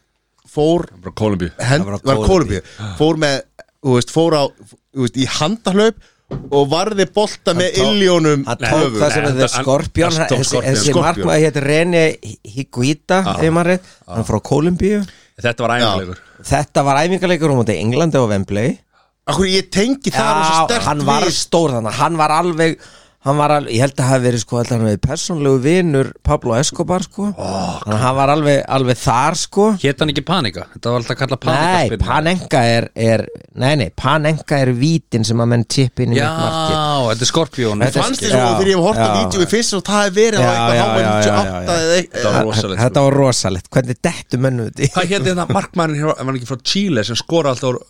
Speaker 2: fór
Speaker 1: Bara Kolumbíu
Speaker 2: hend,
Speaker 4: var á
Speaker 2: var
Speaker 4: Kólumbíu.
Speaker 2: Kólumbíu fór með, þú veist, fór á þú veist, í handahlaup og varði bolta með
Speaker 4: tók-
Speaker 2: illjónum
Speaker 4: hann tók það sem
Speaker 1: Nei,
Speaker 4: hefði
Speaker 1: hann-
Speaker 4: Skorpjón
Speaker 1: hann tók
Speaker 4: þessi,
Speaker 1: Scorpion.
Speaker 4: þessi
Speaker 2: Scorpion.
Speaker 4: markmaði hétt René Higuita þegar maður reynd, hann er frá Kolumbíu
Speaker 1: Þetta var æfingarleikur
Speaker 4: þetta var æfingarleikur um þetta Englandi og Wembley
Speaker 2: Akkur ég tengi það er svo
Speaker 4: Já,
Speaker 2: stert
Speaker 4: hann var
Speaker 2: við
Speaker 4: stór þannig hann var alveg hann var alveg, ég held að hafa verið sko held að hann verið persónlegu vinur Pablo Escobar sko oh, þannig að hann var alveg, alveg þar sko
Speaker 3: Hét hann ekki panika? Þetta var alltaf kallað
Speaker 4: nei,
Speaker 3: panikaspinna
Speaker 4: Panenka er, er nei, nei, Panenka er vítin sem að menn tippi inn í
Speaker 3: Já,
Speaker 4: mitt markið
Speaker 3: þetta er Skorpjón
Speaker 4: Þetta er-
Speaker 2: fannst þér svo
Speaker 4: Já,
Speaker 2: þegar ég hef hort á
Speaker 4: já.
Speaker 2: vídeo við finnst svo það hef verið á
Speaker 4: Já,
Speaker 2: eitthvað
Speaker 4: já,
Speaker 2: háa
Speaker 4: já, já, já,
Speaker 2: 98
Speaker 1: Þetta var rosalegt sko.
Speaker 2: eða eitthvað
Speaker 4: þetta var rosalegt, hvernig dettu mennu þetta
Speaker 1: Hvað hétt þetta markmann hér var hann ekki frá Chile sem skora alltaf úr
Speaker 4: í?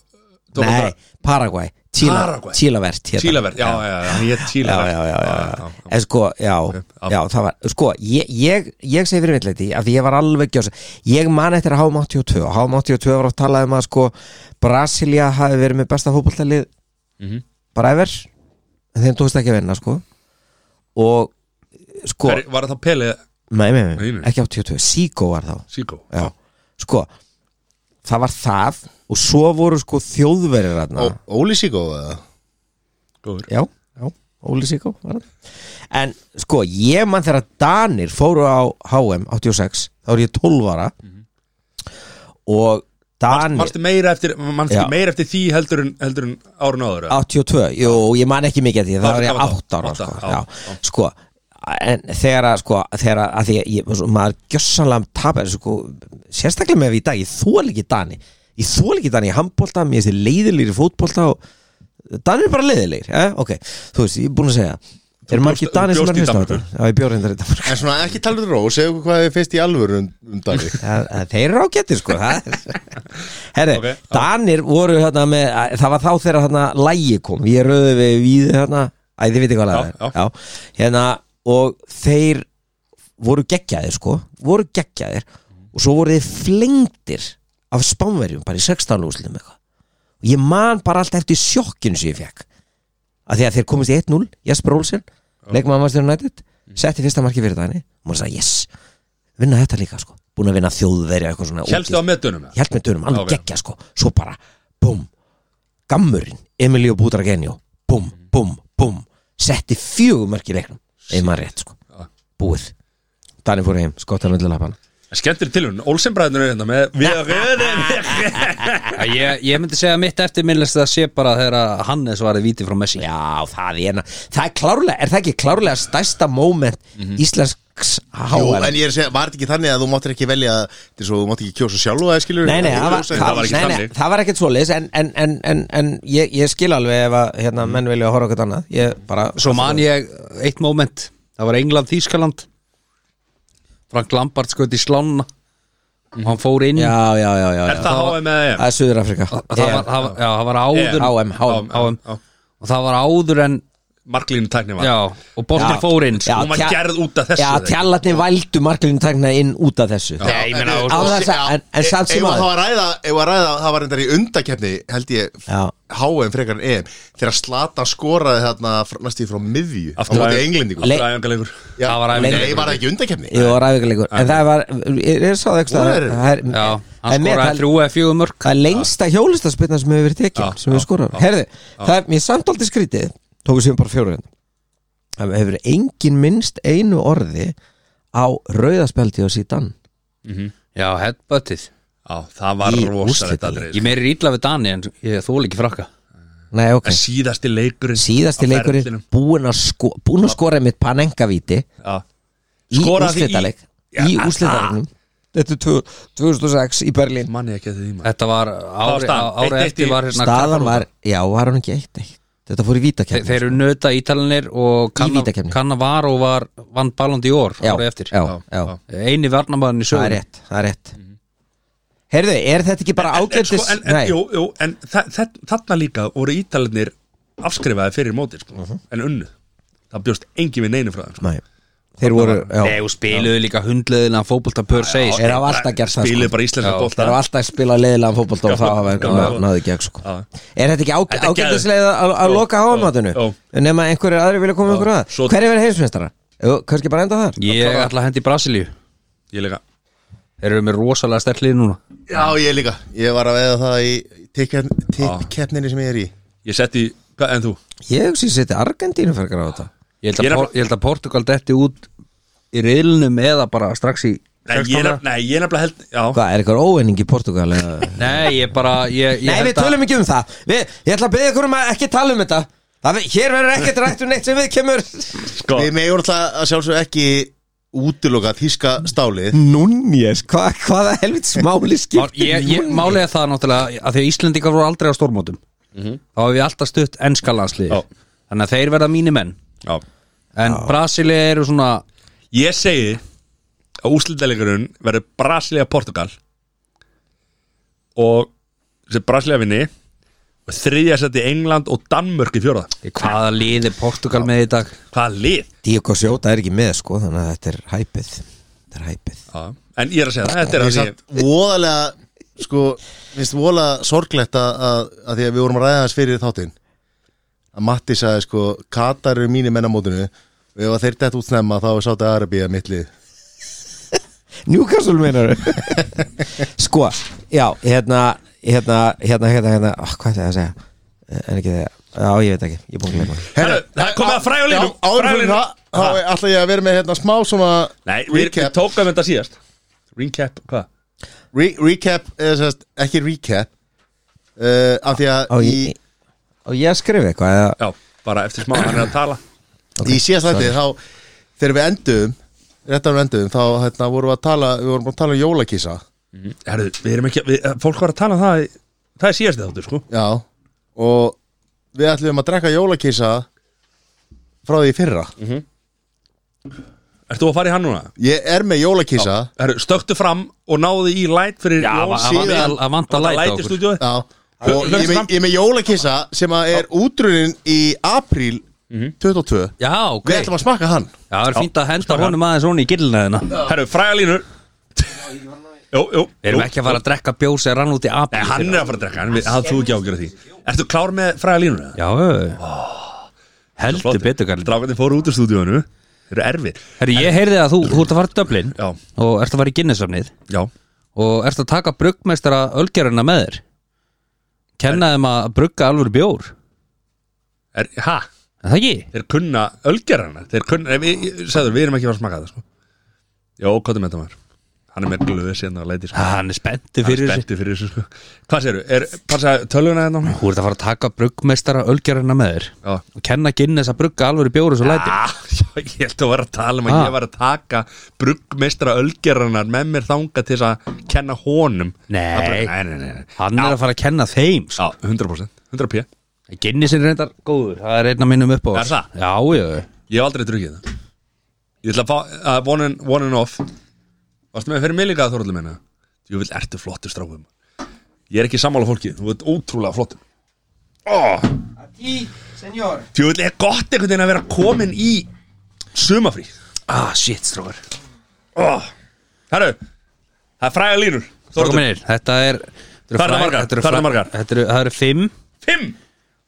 Speaker 4: nei, Paraguay
Speaker 1: Paraguay.
Speaker 4: Tílavert
Speaker 1: Chilevert, já, já, já, hann hétt
Speaker 4: já,
Speaker 1: Chilevert
Speaker 4: já, já, já. En sko, já, já, það var Sko, ég, ég, ég segi fyrir veitleiti af því ég var alveg gjósa Ég man eftir að HM 82 HM 82 var að tala um að sko Brasilia hafi verið með besta fótbollalið
Speaker 1: Mhm.
Speaker 4: bara efer en þeim tókst ekki að vinna sko og sko
Speaker 1: Hver, Var það Pele
Speaker 4: nei, nei,
Speaker 1: Nei,
Speaker 4: nei,
Speaker 1: nei.
Speaker 4: ekki 82, Sigo var þá
Speaker 1: Sigo?
Speaker 4: já, sko það var það og svo voru sko þjóðverið þarna
Speaker 2: Ó- Óli Sigó eða?
Speaker 1: Góður
Speaker 4: já, já, Óli Sigó var hann. en sko, ég mann þegar Danir fóru á HM 86, þá er ég 12 ára og Danir
Speaker 1: Manstu meira eftir, manstu
Speaker 4: Já.
Speaker 1: meira eftir því heldur en, heldur en árun áður eða?
Speaker 4: 82, jú, ég man ekki mikið að því
Speaker 1: Það
Speaker 4: það var ég
Speaker 1: var þá,
Speaker 4: 8 ára
Speaker 1: átta,
Speaker 4: sko,
Speaker 1: já,
Speaker 4: já, sko en þegar að sko, þegar að að því að ég, svo, maður gjössanlega tapar þessu, sko, sérstaklega með því í dag, ég þól ekki Dani ég þól ekki Dani í handbólta mér þessi leiðilegir í fótbólta og Dani er bara leiðilegir, eh? ok þú veist, ég er búin að segja
Speaker 1: Þú
Speaker 4: Er margir
Speaker 1: bjóst-
Speaker 4: Dani sem
Speaker 1: bjóst
Speaker 4: er
Speaker 1: í
Speaker 4: hlust á
Speaker 1: Danmörku?
Speaker 4: þetta? Já, ég bjór reyndar í Danmark
Speaker 2: En svona ekki tala um ró, segja okkur hvað þið finnst í alvöru um, um Davík
Speaker 4: Það- það- Þeir eru ágættir sko það er- Herri,
Speaker 1: Ok, já.
Speaker 4: Danir voru hérna með að- Það var þá þegar hérna lægi kom Við röðu við við hérna Æ, þið veitir hvað
Speaker 1: Já,
Speaker 4: það
Speaker 1: já.
Speaker 4: er já. Hérna, og þeir voru geggjaðir sko Voru geggjaðir Og svo voru þið flengdir Af spánverjum, bara í 16 úrslitum eitthvað Og ég man bara allt eftir sjokkinu sem ég fekk að því að þeir komist í 1-0 Jesper Olsen, leikmann Master United
Speaker 1: Mhm.
Speaker 4: setti fyrsta marki fyrir dæni og maður sagði yes, vinna þetta líka sko búin að vinna þjóðverja eitthvað svona
Speaker 1: Hélstu á metunum?
Speaker 4: held með dönum, alveg
Speaker 1: Ok.
Speaker 4: geggja sko svo bara, búm, gammurinn Emilio Butragenio, búm,
Speaker 1: Mhm.
Speaker 4: búm, búm setti fjögur mörk í leiknum ef maður rétt sko,
Speaker 1: Já.
Speaker 4: búið Dani fór heim, skottan öllu lapana
Speaker 1: Skemmtir tilhörun, Olsenbræðinu er hérna með Við röðum
Speaker 3: ég, ég myndi segja að mitt eftirminnlist það sé bara þegar að Hannes varði víti frá Messi
Speaker 4: Já, það er, það er klárlega, er það ekki klárlega stærsta moment
Speaker 1: Mhm.
Speaker 4: íslensks
Speaker 2: Jú,
Speaker 4: háar
Speaker 2: en ég er að segja, var þetta ekki þannig að þú máttir ekki velja þess að þú mátt ekki kjósa sjálf og það skilur
Speaker 4: Nei, nei, það var,
Speaker 1: það var ekki
Speaker 4: nei, nei,
Speaker 1: þannig.
Speaker 4: það var ekkert svoleiðis en, en, en, en, en ég, ég skil alveg ef að hérna, menn vilja horfa okkur annað ég bara,
Speaker 3: Svo man ég eitt moment Það var England Þýskaland Frank Lampard skoði í slána og hann fór inn
Speaker 4: já, já, já, já,
Speaker 1: Er
Speaker 4: já.
Speaker 1: það HM eða EM?
Speaker 4: það er Suður-Afrika
Speaker 3: Og það, var, það, var, já, það var áður
Speaker 4: HM, HM.
Speaker 3: HM. og það var áður en
Speaker 1: Marklínu tækni var
Speaker 3: já, og
Speaker 4: Já.
Speaker 3: boltinn fór inn sko.
Speaker 4: Já,
Speaker 1: Hún var
Speaker 4: tja-
Speaker 1: gerð út af þessu
Speaker 4: já,
Speaker 1: þegar.
Speaker 4: tjallarni vældu marklinu tækna inn út af þessu já,
Speaker 3: Nei, ég meina,
Speaker 4: á þess að, en, en samt sem
Speaker 2: að
Speaker 4: að
Speaker 2: það var ræða, ef að ræða, það var reyndar í undakefni held ég,
Speaker 4: Já.
Speaker 2: HM frekar en EM þegar Slata skoraði þarna fr- næstu því frá miðju, á
Speaker 1: Aftur
Speaker 2: móti
Speaker 1: að-
Speaker 2: englendingu
Speaker 1: Aftur æfingarleikur
Speaker 2: Já,
Speaker 3: það var æfingarleikur.
Speaker 2: Nei, var það ekki undakefni?
Speaker 4: Jú, ræðvíkuleikur, en það var ég, ég sá það ekki
Speaker 2: Voru
Speaker 4: það
Speaker 2: þeir?
Speaker 4: það er-
Speaker 3: já,
Speaker 4: en
Speaker 3: hann
Speaker 4: mér- það-
Speaker 3: skoraði þrjú eða fjögur mörk
Speaker 4: Það er lengsta hjólistaspinna sem hefur verið tekin
Speaker 1: Já,
Speaker 4: sem við
Speaker 1: já,
Speaker 4: skorar
Speaker 1: já,
Speaker 4: Herði, það er mér samt aldrei skrítið tóku sem bara fjóru hérna Það hefur engin minnst einu orði á rauðaspjaldi og síðan
Speaker 3: já, headbuttið
Speaker 1: á, það var
Speaker 4: Í
Speaker 1: rosalegt sko.
Speaker 4: úrslitaleik.
Speaker 1: atrið
Speaker 3: Ég meiri ítla við Dani en ég þól ekki frakka
Speaker 4: Nei, ok
Speaker 1: En síðasti leikurinn á
Speaker 4: Síðasti leikurinn
Speaker 1: ferlinum.
Speaker 4: búin að sko, búin að skora mitt panengavíti
Speaker 1: Já.
Speaker 4: í
Speaker 1: Skoraði í-
Speaker 4: úrslitaleik
Speaker 1: Já,
Speaker 4: í
Speaker 1: það-
Speaker 4: úrslitaleiknum Þetta er tvö- 2006 í Berlín
Speaker 1: Man ég ekki eftir því maður
Speaker 3: Þetta var ári,
Speaker 1: staðan.
Speaker 3: á- ári
Speaker 1: Eitt- eitt í-
Speaker 3: eftir var hérna
Speaker 4: Staðan
Speaker 3: Kakarúta.
Speaker 4: var, já, var hún ekki eitt eitt Þetta fór í
Speaker 3: Þe-
Speaker 4: vítakefni
Speaker 3: Þeir eru nöta ítalinir og
Speaker 4: vítakeppni.
Speaker 3: kanna var og var vann Ballon d'Or
Speaker 4: Já,
Speaker 3: ári eftir
Speaker 4: já,
Speaker 1: Já,
Speaker 4: já,
Speaker 1: já.
Speaker 3: Eini
Speaker 4: það
Speaker 3: varnamæðin í
Speaker 4: er
Speaker 3: sögur
Speaker 4: rétt, það er rétt Heyrðu, er þetta ekki bara
Speaker 1: En- en-
Speaker 4: ágætis
Speaker 1: sko, en, en,
Speaker 4: Nei,
Speaker 1: jú, jú, en þa þa þarna líka voru ítalinir afskrifaði fyrir móti sko,
Speaker 4: Mhm.
Speaker 1: en unnu það bjóst engin við neinu frá þeim sko.
Speaker 4: nei Þeir voru,
Speaker 3: Nei,
Speaker 4: já,
Speaker 3: og spiluðu líka hundleðina fótbolta pör seis
Speaker 4: er á alltaf gert það
Speaker 1: spiluðu
Speaker 4: sko.
Speaker 1: bara íslenska
Speaker 4: Þeir
Speaker 3: Já,
Speaker 4: eru
Speaker 1: bólta
Speaker 4: alltaf að spila leiðilega fótbolt og
Speaker 1: Já,
Speaker 4: það
Speaker 1: já,
Speaker 4: hafa- ná-
Speaker 1: já.
Speaker 4: náðu ekki ekki, sko
Speaker 1: Já.
Speaker 4: Er þetta ekki ág-
Speaker 1: Þetta er
Speaker 4: ágætislega að, að
Speaker 1: Jú,
Speaker 4: loka hámatinu?
Speaker 1: jú,
Speaker 4: Nefna einhverjir aðri vilja koma ykkur að
Speaker 1: svo-
Speaker 4: Hver er verið heimsmeistara? Kanski bara enda þar?
Speaker 3: Ég ætla að hendi í Brasilíu
Speaker 1: ég líka
Speaker 3: Þeir eru með rosalega stertlið núna
Speaker 2: Já, ég líka Ég var að veða það í
Speaker 1: Ah.
Speaker 2: tippkeppninni sem ég er í
Speaker 1: ég setti, hva- en þú?
Speaker 4: Ég hugsi að setja Argentínu fyrir á þetta
Speaker 3: Ég held
Speaker 1: Ég er að-
Speaker 3: að, por, ég held að Portugal detti út í riðlunum eða bara strax í
Speaker 1: Nei, ég, nef, nei, ég nefnilega held já,
Speaker 4: Hvað, er eitthvað óenning í Portugal? eða?
Speaker 3: Nei, ég bara ég, ég
Speaker 4: Nei, við tölum ekki um það við, Ég ætla að byrja ykkur um að ekki tala um þetta það, við- Hér verður ekkert rætt um neitt sem við kemur
Speaker 1: sko,
Speaker 2: Við megum alltaf að sjálfsög ekki útiloka tíska stálið
Speaker 4: Núnjes, hva, hvaða helvit smáli
Speaker 3: Má-
Speaker 4: skipt
Speaker 3: ég, ég málega það náttúrulega að því að Íslendingar voru aldrei á stórmótum þá hefur við alltaf stutt ennska landslið
Speaker 1: Já.
Speaker 3: þannig að þeir verða mínu menn
Speaker 1: já.
Speaker 3: en Brasilia eru svona
Speaker 1: ég segi að úslitaleikurinn verður Brasilia Portugal og þessi Brasilia vinni og þriðja setti England og Danmörk í fjóraða
Speaker 3: hvaða liði Portugal með í dag
Speaker 1: hvaða lið?
Speaker 4: Díoko Sjóta er ekki með sko Þannig að þetta er hæpið Þetta er hæpið
Speaker 1: Já. en ég er að segja það, þetta er
Speaker 2: Það
Speaker 1: að
Speaker 2: er
Speaker 1: því
Speaker 2: satt voðalega sko, minnst voðalega sorglegt að, að, að því að við vorum að ræða hans fyrir þáttinn að Matti sagði sko Katar eru mínir menn á mótinu og ef að þeir dett út snemma þá er sátti Arabía mittlið
Speaker 4: Newcastle meinar Sko, já, hérna Hérna, hérna, hérna, hérna oh, Hvað ætla ég að segja? En ekki þegar Já, ég veit ekki, ég er búin að gleyma því.
Speaker 1: Herru, það er komið að fræga línum
Speaker 2: Já, áður
Speaker 1: Fræga
Speaker 2: fyrir
Speaker 1: línum.
Speaker 2: það, þá
Speaker 1: Ha?
Speaker 2: er alltaf ég að vera með hérna smá svona
Speaker 1: Nei, við, við
Speaker 2: recap,
Speaker 1: tókum þetta síðast Recap, hvað?
Speaker 2: re recap eða sérst, ekki recap uh, af því að
Speaker 4: Á,
Speaker 2: í,
Speaker 4: ég, á ég að skrifa eitthvað eða-
Speaker 1: Já, bara eftir smá hann er að tala
Speaker 2: í síðast þætti þá þegar við endum, réttar við endum þá hérna, vorum við að tala, við vorum að tala um jólakísa
Speaker 1: Herru, við erum ekki, við, fólk var að tala um það í- Það er síðast þáttur, sko
Speaker 2: Já Og við ætlum að drekka jólakísa Frá því í fyrra
Speaker 1: Ertu að fara í hann núna?
Speaker 2: Ég er með jólakísa
Speaker 1: Herru, stöktu fram og náðu í light fyrir
Speaker 3: Já,
Speaker 1: Jón
Speaker 3: að- að-
Speaker 1: síðan.
Speaker 3: að- að vanta light á
Speaker 1: light í
Speaker 3: okkur.
Speaker 1: stúdíói
Speaker 2: Já Og
Speaker 1: Lögst
Speaker 2: ég er
Speaker 1: fram.
Speaker 2: með- ég er með jólakísa Sem að er útrunin í apríl Mhm. 22
Speaker 3: já, ok,
Speaker 2: Við ætlum að smakka hann
Speaker 3: já, það er fínt að henda
Speaker 1: smaka.
Speaker 3: honum aðeins honi í gillinaðina
Speaker 1: Herru, fræga línur Jú, jú
Speaker 3: við erum ekki að fara að drekka bjósi að rann út í apri
Speaker 1: Nei, hann er að fara að drekka, hann hafði þú ekki ágjörð því Ertu klár með fræga línur?
Speaker 3: já, heldur betur Karl
Speaker 1: Drákandi fóru út úr stúdíónu Þeir eru erfir
Speaker 3: Herri, ég heyrði að þú, þú ert að fara til Dublin
Speaker 1: Já.
Speaker 3: og ert að fara í Guinnessafnið
Speaker 1: Já,
Speaker 3: og ert að taka bruggmeistara ölgerina með þér kenna þeim að brugga alvöru bjór
Speaker 1: er, ha?
Speaker 3: er það ekki?
Speaker 1: þeir kunna ölgerana þeir kunna, við, sagður, við erum ekki að fara að smaka það sko. já, hvað er með þetta maður hann er með glöðu síðan og leiti sko.
Speaker 3: Ah, hann er
Speaker 1: hann
Speaker 3: spenntið
Speaker 1: er
Speaker 3: fyrir þessu
Speaker 1: spenntið fyrir þessu sko. hvað séru, er, passa tölvuna þetta
Speaker 3: Þú ert að fara að taka bruggmeistara ölgerina með þér
Speaker 1: Já.
Speaker 3: og kenna Guinness að brugga alvöru bjór og svo læti
Speaker 1: Ah, já, ég held að vera að tala um að
Speaker 3: Ah.
Speaker 1: ég var að taka bruggmeistra ölgeranar með mér þanga til þess að kenna honum
Speaker 3: Nei.
Speaker 1: að brugga. nei, nei, nei, nei.
Speaker 3: hann er að fara að kenna þeim sko.
Speaker 1: Já, 100%, 100p Ég
Speaker 3: Guinness er reyndar góður, það er einna mínum upp á
Speaker 1: Er það?
Speaker 3: Já, já,
Speaker 1: hef aldrei drukkið það Ég ætla að fá uh, one, and, one and off Varstu með fyrir mig líka að Þorlum minna? Jú, vil ertu flottur strákum Ég er ekki sammála fólki, þú veit ótrúlega flottur oh, Jú, vil er gott einhvern veginn að vera komin í sumafrí
Speaker 3: ah, shit strókar
Speaker 1: oh. Herru, það er fræga línur
Speaker 3: Strókar minnir, þetta er þetta eru
Speaker 1: Þarna
Speaker 3: fræ-
Speaker 1: margar,
Speaker 3: þetta eru
Speaker 1: þarna
Speaker 3: fræ-
Speaker 1: margar.
Speaker 3: Þetta eru- það eru fimm
Speaker 1: Fimm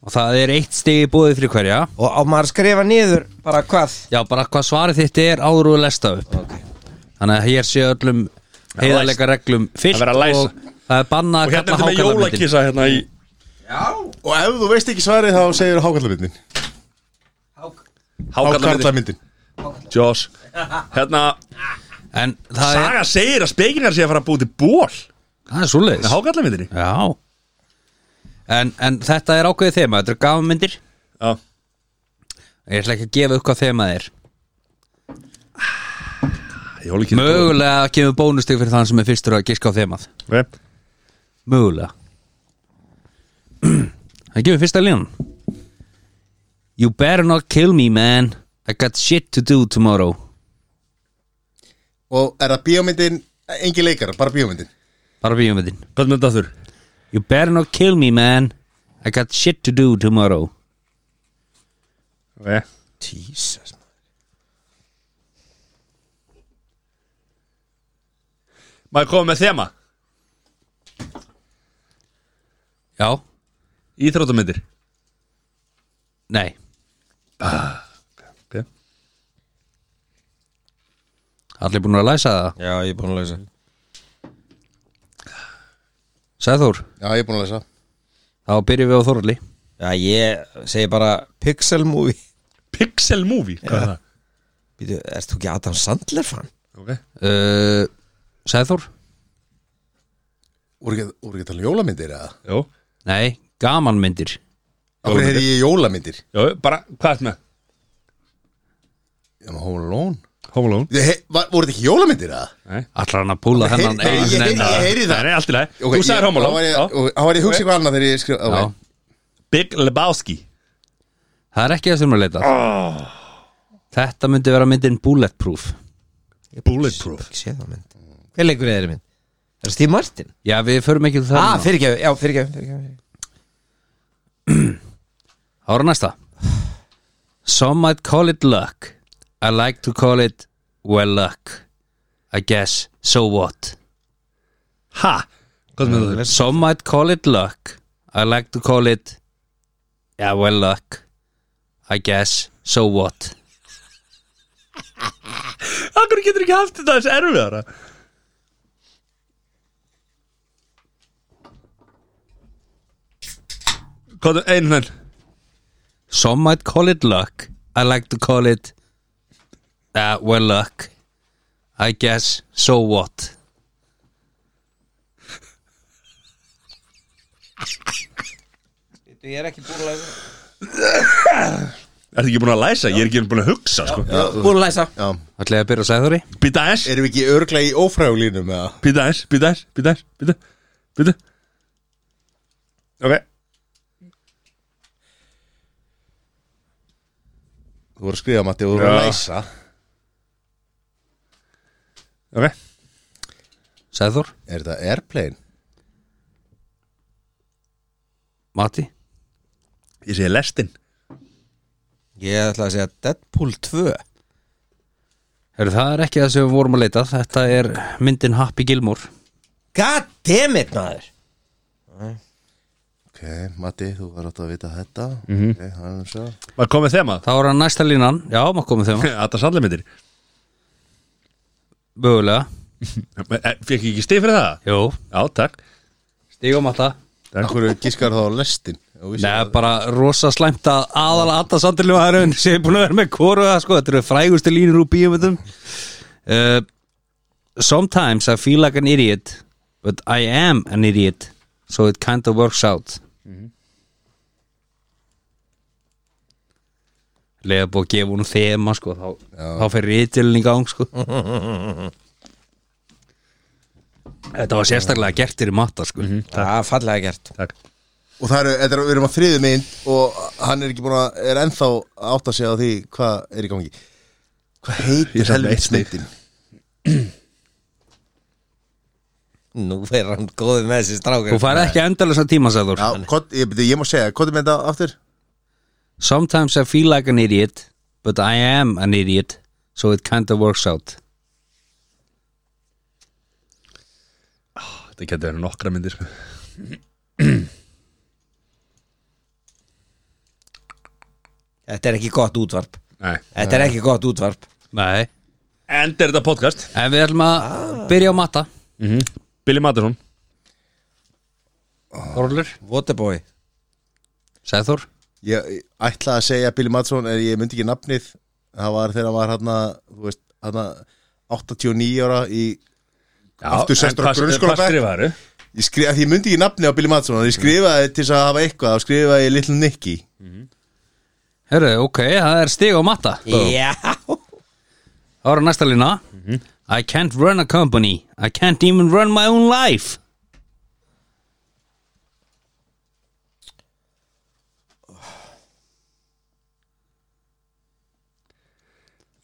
Speaker 3: og það er eitt stigi búið fyrir hverja
Speaker 4: Og á maður að skrifa niður bara hvað
Speaker 3: Já, bara hvað svarið þitt er áður og lesta upp Þannig að hér sé öllum heiðarleika reglum fyllt
Speaker 1: Að vera að læsa.
Speaker 3: og það er
Speaker 1: Og
Speaker 3: banna
Speaker 1: hérna
Speaker 3: að kalla
Speaker 1: ertu með
Speaker 3: hákallamyndin
Speaker 1: jólakísa hérna í
Speaker 2: Og ef þú veist ekki svarið þá segir hákallamyndin Hákallamyndin
Speaker 1: Joss Hérna,
Speaker 3: En það er,
Speaker 1: Saga segir að spekingar sé að fara að búið til ból
Speaker 3: það er svoleiðis
Speaker 1: Með hákallamyndinni
Speaker 3: já en, en þetta er ákveðið þema, þetta er gafmyndir
Speaker 1: Já,
Speaker 3: ég ætla ekki að gefa upp hvað þemað er
Speaker 1: ég hóla ekki
Speaker 3: mögulega kemur bónustig fyrir þann sem er fyrstur að giska á þemað
Speaker 1: Mög
Speaker 3: mögulega það gefur fyrsta línan you better not kill me man I got shit to do tomorrow
Speaker 2: Og er það bíómyndin, engin leikar, bara bíómyndin
Speaker 3: bara bíumvindin
Speaker 1: Hvað mynd það þurr?
Speaker 3: You better not kill me, man. I got shit to do tomorrow.
Speaker 1: Mög
Speaker 4: Jesus
Speaker 1: Má ég koma með þema?
Speaker 3: Já,
Speaker 1: Íþróttamyndir
Speaker 3: nei
Speaker 1: okay.
Speaker 3: Allir búin að læsa það
Speaker 4: Já, ég er búin að leysa
Speaker 3: Sæður,
Speaker 2: Já, ég er búin að lesa
Speaker 3: þá byrjum við á Þorli
Speaker 4: Já, ég segi bara Pixel Movie
Speaker 1: Pixel Movie, hvað er það?
Speaker 4: Býtu, ert þú ekki Adam Sandler fan?
Speaker 1: Okay.
Speaker 3: uh, Sæður?
Speaker 2: Úr ekki, úr ekki talað um jólamyndir eða?
Speaker 1: Jó,
Speaker 3: Nei, gamanmyndir
Speaker 2: Af hverju hefði ég jólamyndir?
Speaker 1: Jó, bara, hvað er það með?
Speaker 2: Já, maður Home Alone
Speaker 1: Home Alone
Speaker 2: Ég he- var- Voru þetta ekki jólamyndir eða?
Speaker 3: Allar hann að púla
Speaker 2: Heyri-
Speaker 3: þennan
Speaker 2: nei,
Speaker 3: einu
Speaker 2: ég-
Speaker 3: sinni
Speaker 2: ég-
Speaker 3: enn að-
Speaker 2: ég- heyri það.
Speaker 1: Nei, nei, allt í lagi
Speaker 2: Ok,
Speaker 1: Þú sagðir
Speaker 2: ég-
Speaker 1: Home
Speaker 2: þá var
Speaker 1: Alone
Speaker 2: ég-
Speaker 1: já.
Speaker 2: og- Þá var ég að hugsa eitthvað annað þegar ég skrif
Speaker 3: Já,
Speaker 2: okay.
Speaker 1: Big Lebowski
Speaker 3: Það er ekki það sem er leitað
Speaker 2: Ah.
Speaker 3: Þetta myndi vera myndin Bulletproof
Speaker 1: Bulletproof
Speaker 4: Ekki séð það mynd Hver leikur er þeirri mynd? Er það Steve Martin?
Speaker 3: Já, við förum ekki til það
Speaker 4: Ah,
Speaker 3: núna.
Speaker 4: fyrirgefðu, já, fyrirgefðu fyrirgefðu.
Speaker 3: Ára næsta Some might call it luck I like to call it well luck I guess, so what
Speaker 1: Ha, hvað er það þurr?
Speaker 3: Some might call it luck I like to call it Yeah, well luck I guess, so what
Speaker 1: Akkur getur ekki haft þetta þessi erfiðara Hvað er einu menn?
Speaker 3: Some might call it luck I like to call it Yeah, well luck I guess, so what
Speaker 4: Bíddu, Ég er ekki búin að leysa
Speaker 1: Ertu ekki búin að læsa? Ég er ekki búin að hugsa sko.
Speaker 4: Búin að leysa
Speaker 2: Já,
Speaker 3: Ætlaði að byrja að segja þóri
Speaker 1: Býta aðeins,
Speaker 2: erum við ekki örglega í ófrægulínum eða?
Speaker 1: býta aðeins, býta aðeins, býta aðeins, býta Býta Ok,
Speaker 2: Þú voru að skrifa, Matti, og þú voru að
Speaker 1: Já.
Speaker 2: læsa
Speaker 1: ok
Speaker 3: Sæður,
Speaker 2: Er þetta Airplane?
Speaker 3: Matti
Speaker 1: Ég segi lestin
Speaker 4: Ég ætla að segja Deadpool 2
Speaker 3: Heru, Það er ekki það sem við vorum að leita Þetta er myndin Happy Gilmore
Speaker 4: God damn it, maður
Speaker 2: Ok, Matti, þú var átt að vita þetta mm
Speaker 1: Mhm.
Speaker 2: -hmm. Ok, hann er svo
Speaker 1: Maður komið þema
Speaker 3: Þá er hann næsta línan Já, maður komið þeim
Speaker 1: Þetta sallamyndir
Speaker 3: Mögulega
Speaker 1: Eh, Fekk ég ekki stig fyrir það?
Speaker 3: Jó
Speaker 1: Já, takk
Speaker 3: Stígum alltaf
Speaker 1: Takk.
Speaker 2: Akkur gískar þá á lestin Ef þú vissir
Speaker 3: Nei,
Speaker 2: það.
Speaker 3: bara rosa slæmt að aðal Adda Sandurljóðarinn sem er búin að vera með koruða sko, þetta eru frægustu línur úr bíómyndum uh, Sometimes I feel like an idiot but I am an idiot so it kind of works out Lega búið að gefa hún þema sko, þá, þá fer rítilin í gang sko. Þetta var sérstaklega gert fyrir matta sko.
Speaker 4: Það er Ah, fallega gert
Speaker 1: Takk
Speaker 2: Og það eru, þetta er, við erum að þriðu mynd Og hann er ekki búin að, er ennþá að átta sig á því Hvað er í gangi Hvað
Speaker 1: Ég
Speaker 2: heitir
Speaker 1: samt með eitt
Speaker 2: helvits
Speaker 1: stig.
Speaker 2: myndin?
Speaker 4: Nú er hann góðið með þessi strákar
Speaker 3: Þú fær ekki endalösa tíma, sagður
Speaker 2: Já, kod, ég, byrju, ég má segja, hvað er þetta aftur?
Speaker 3: Sometimes I feel like an idiot but I am an idiot so it kind of works out
Speaker 1: Þetta getur verið nokkra myndir sko.
Speaker 4: Þetta er ekki gott útvarp
Speaker 1: Nei
Speaker 4: Þetta er ekki gott útvarp
Speaker 3: Nei
Speaker 1: Enda er þetta podcast
Speaker 3: En við ætlum að byrja á matta
Speaker 1: Mhm. Billy Matheson
Speaker 3: Þorlur
Speaker 4: Waterboy
Speaker 3: Sæður
Speaker 2: Ég, ég ætla að segja Billy Madsson En ég myndi ekki nafnið Það var þegar hann var hann að, þú veist, hérna hann að 89 ára í Aftur sestur
Speaker 1: en
Speaker 2: á
Speaker 1: hvað-
Speaker 2: grunnskólabekk.
Speaker 1: Hvað skrifaðu?
Speaker 2: Ég skrifa, því ég myndi ekki nafni á Billy Madsson Ég skrifaði til þess að hafa eitthvað Þá skrifaði ég Little Nicky
Speaker 3: Herru, ok, það er stig á matta
Speaker 4: Já
Speaker 3: Það var næsta lína I can't run a company I can't even run my own life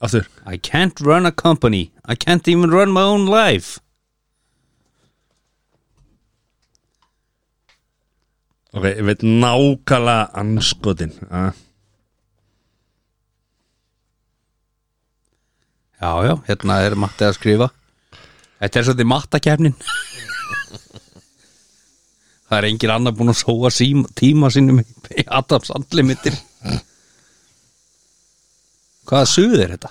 Speaker 1: Aftur
Speaker 3: I can't run a company I can't even run my own life
Speaker 1: Ok, ég veit nákvæmlega anskotin ah.
Speaker 3: Já, já, hérna er Matti að skrifa Þetta er svolítið mattakefnin Það er engin annar búin að sóa síma, tíma sínum í Adams andli mittir Hvaða suð er þetta?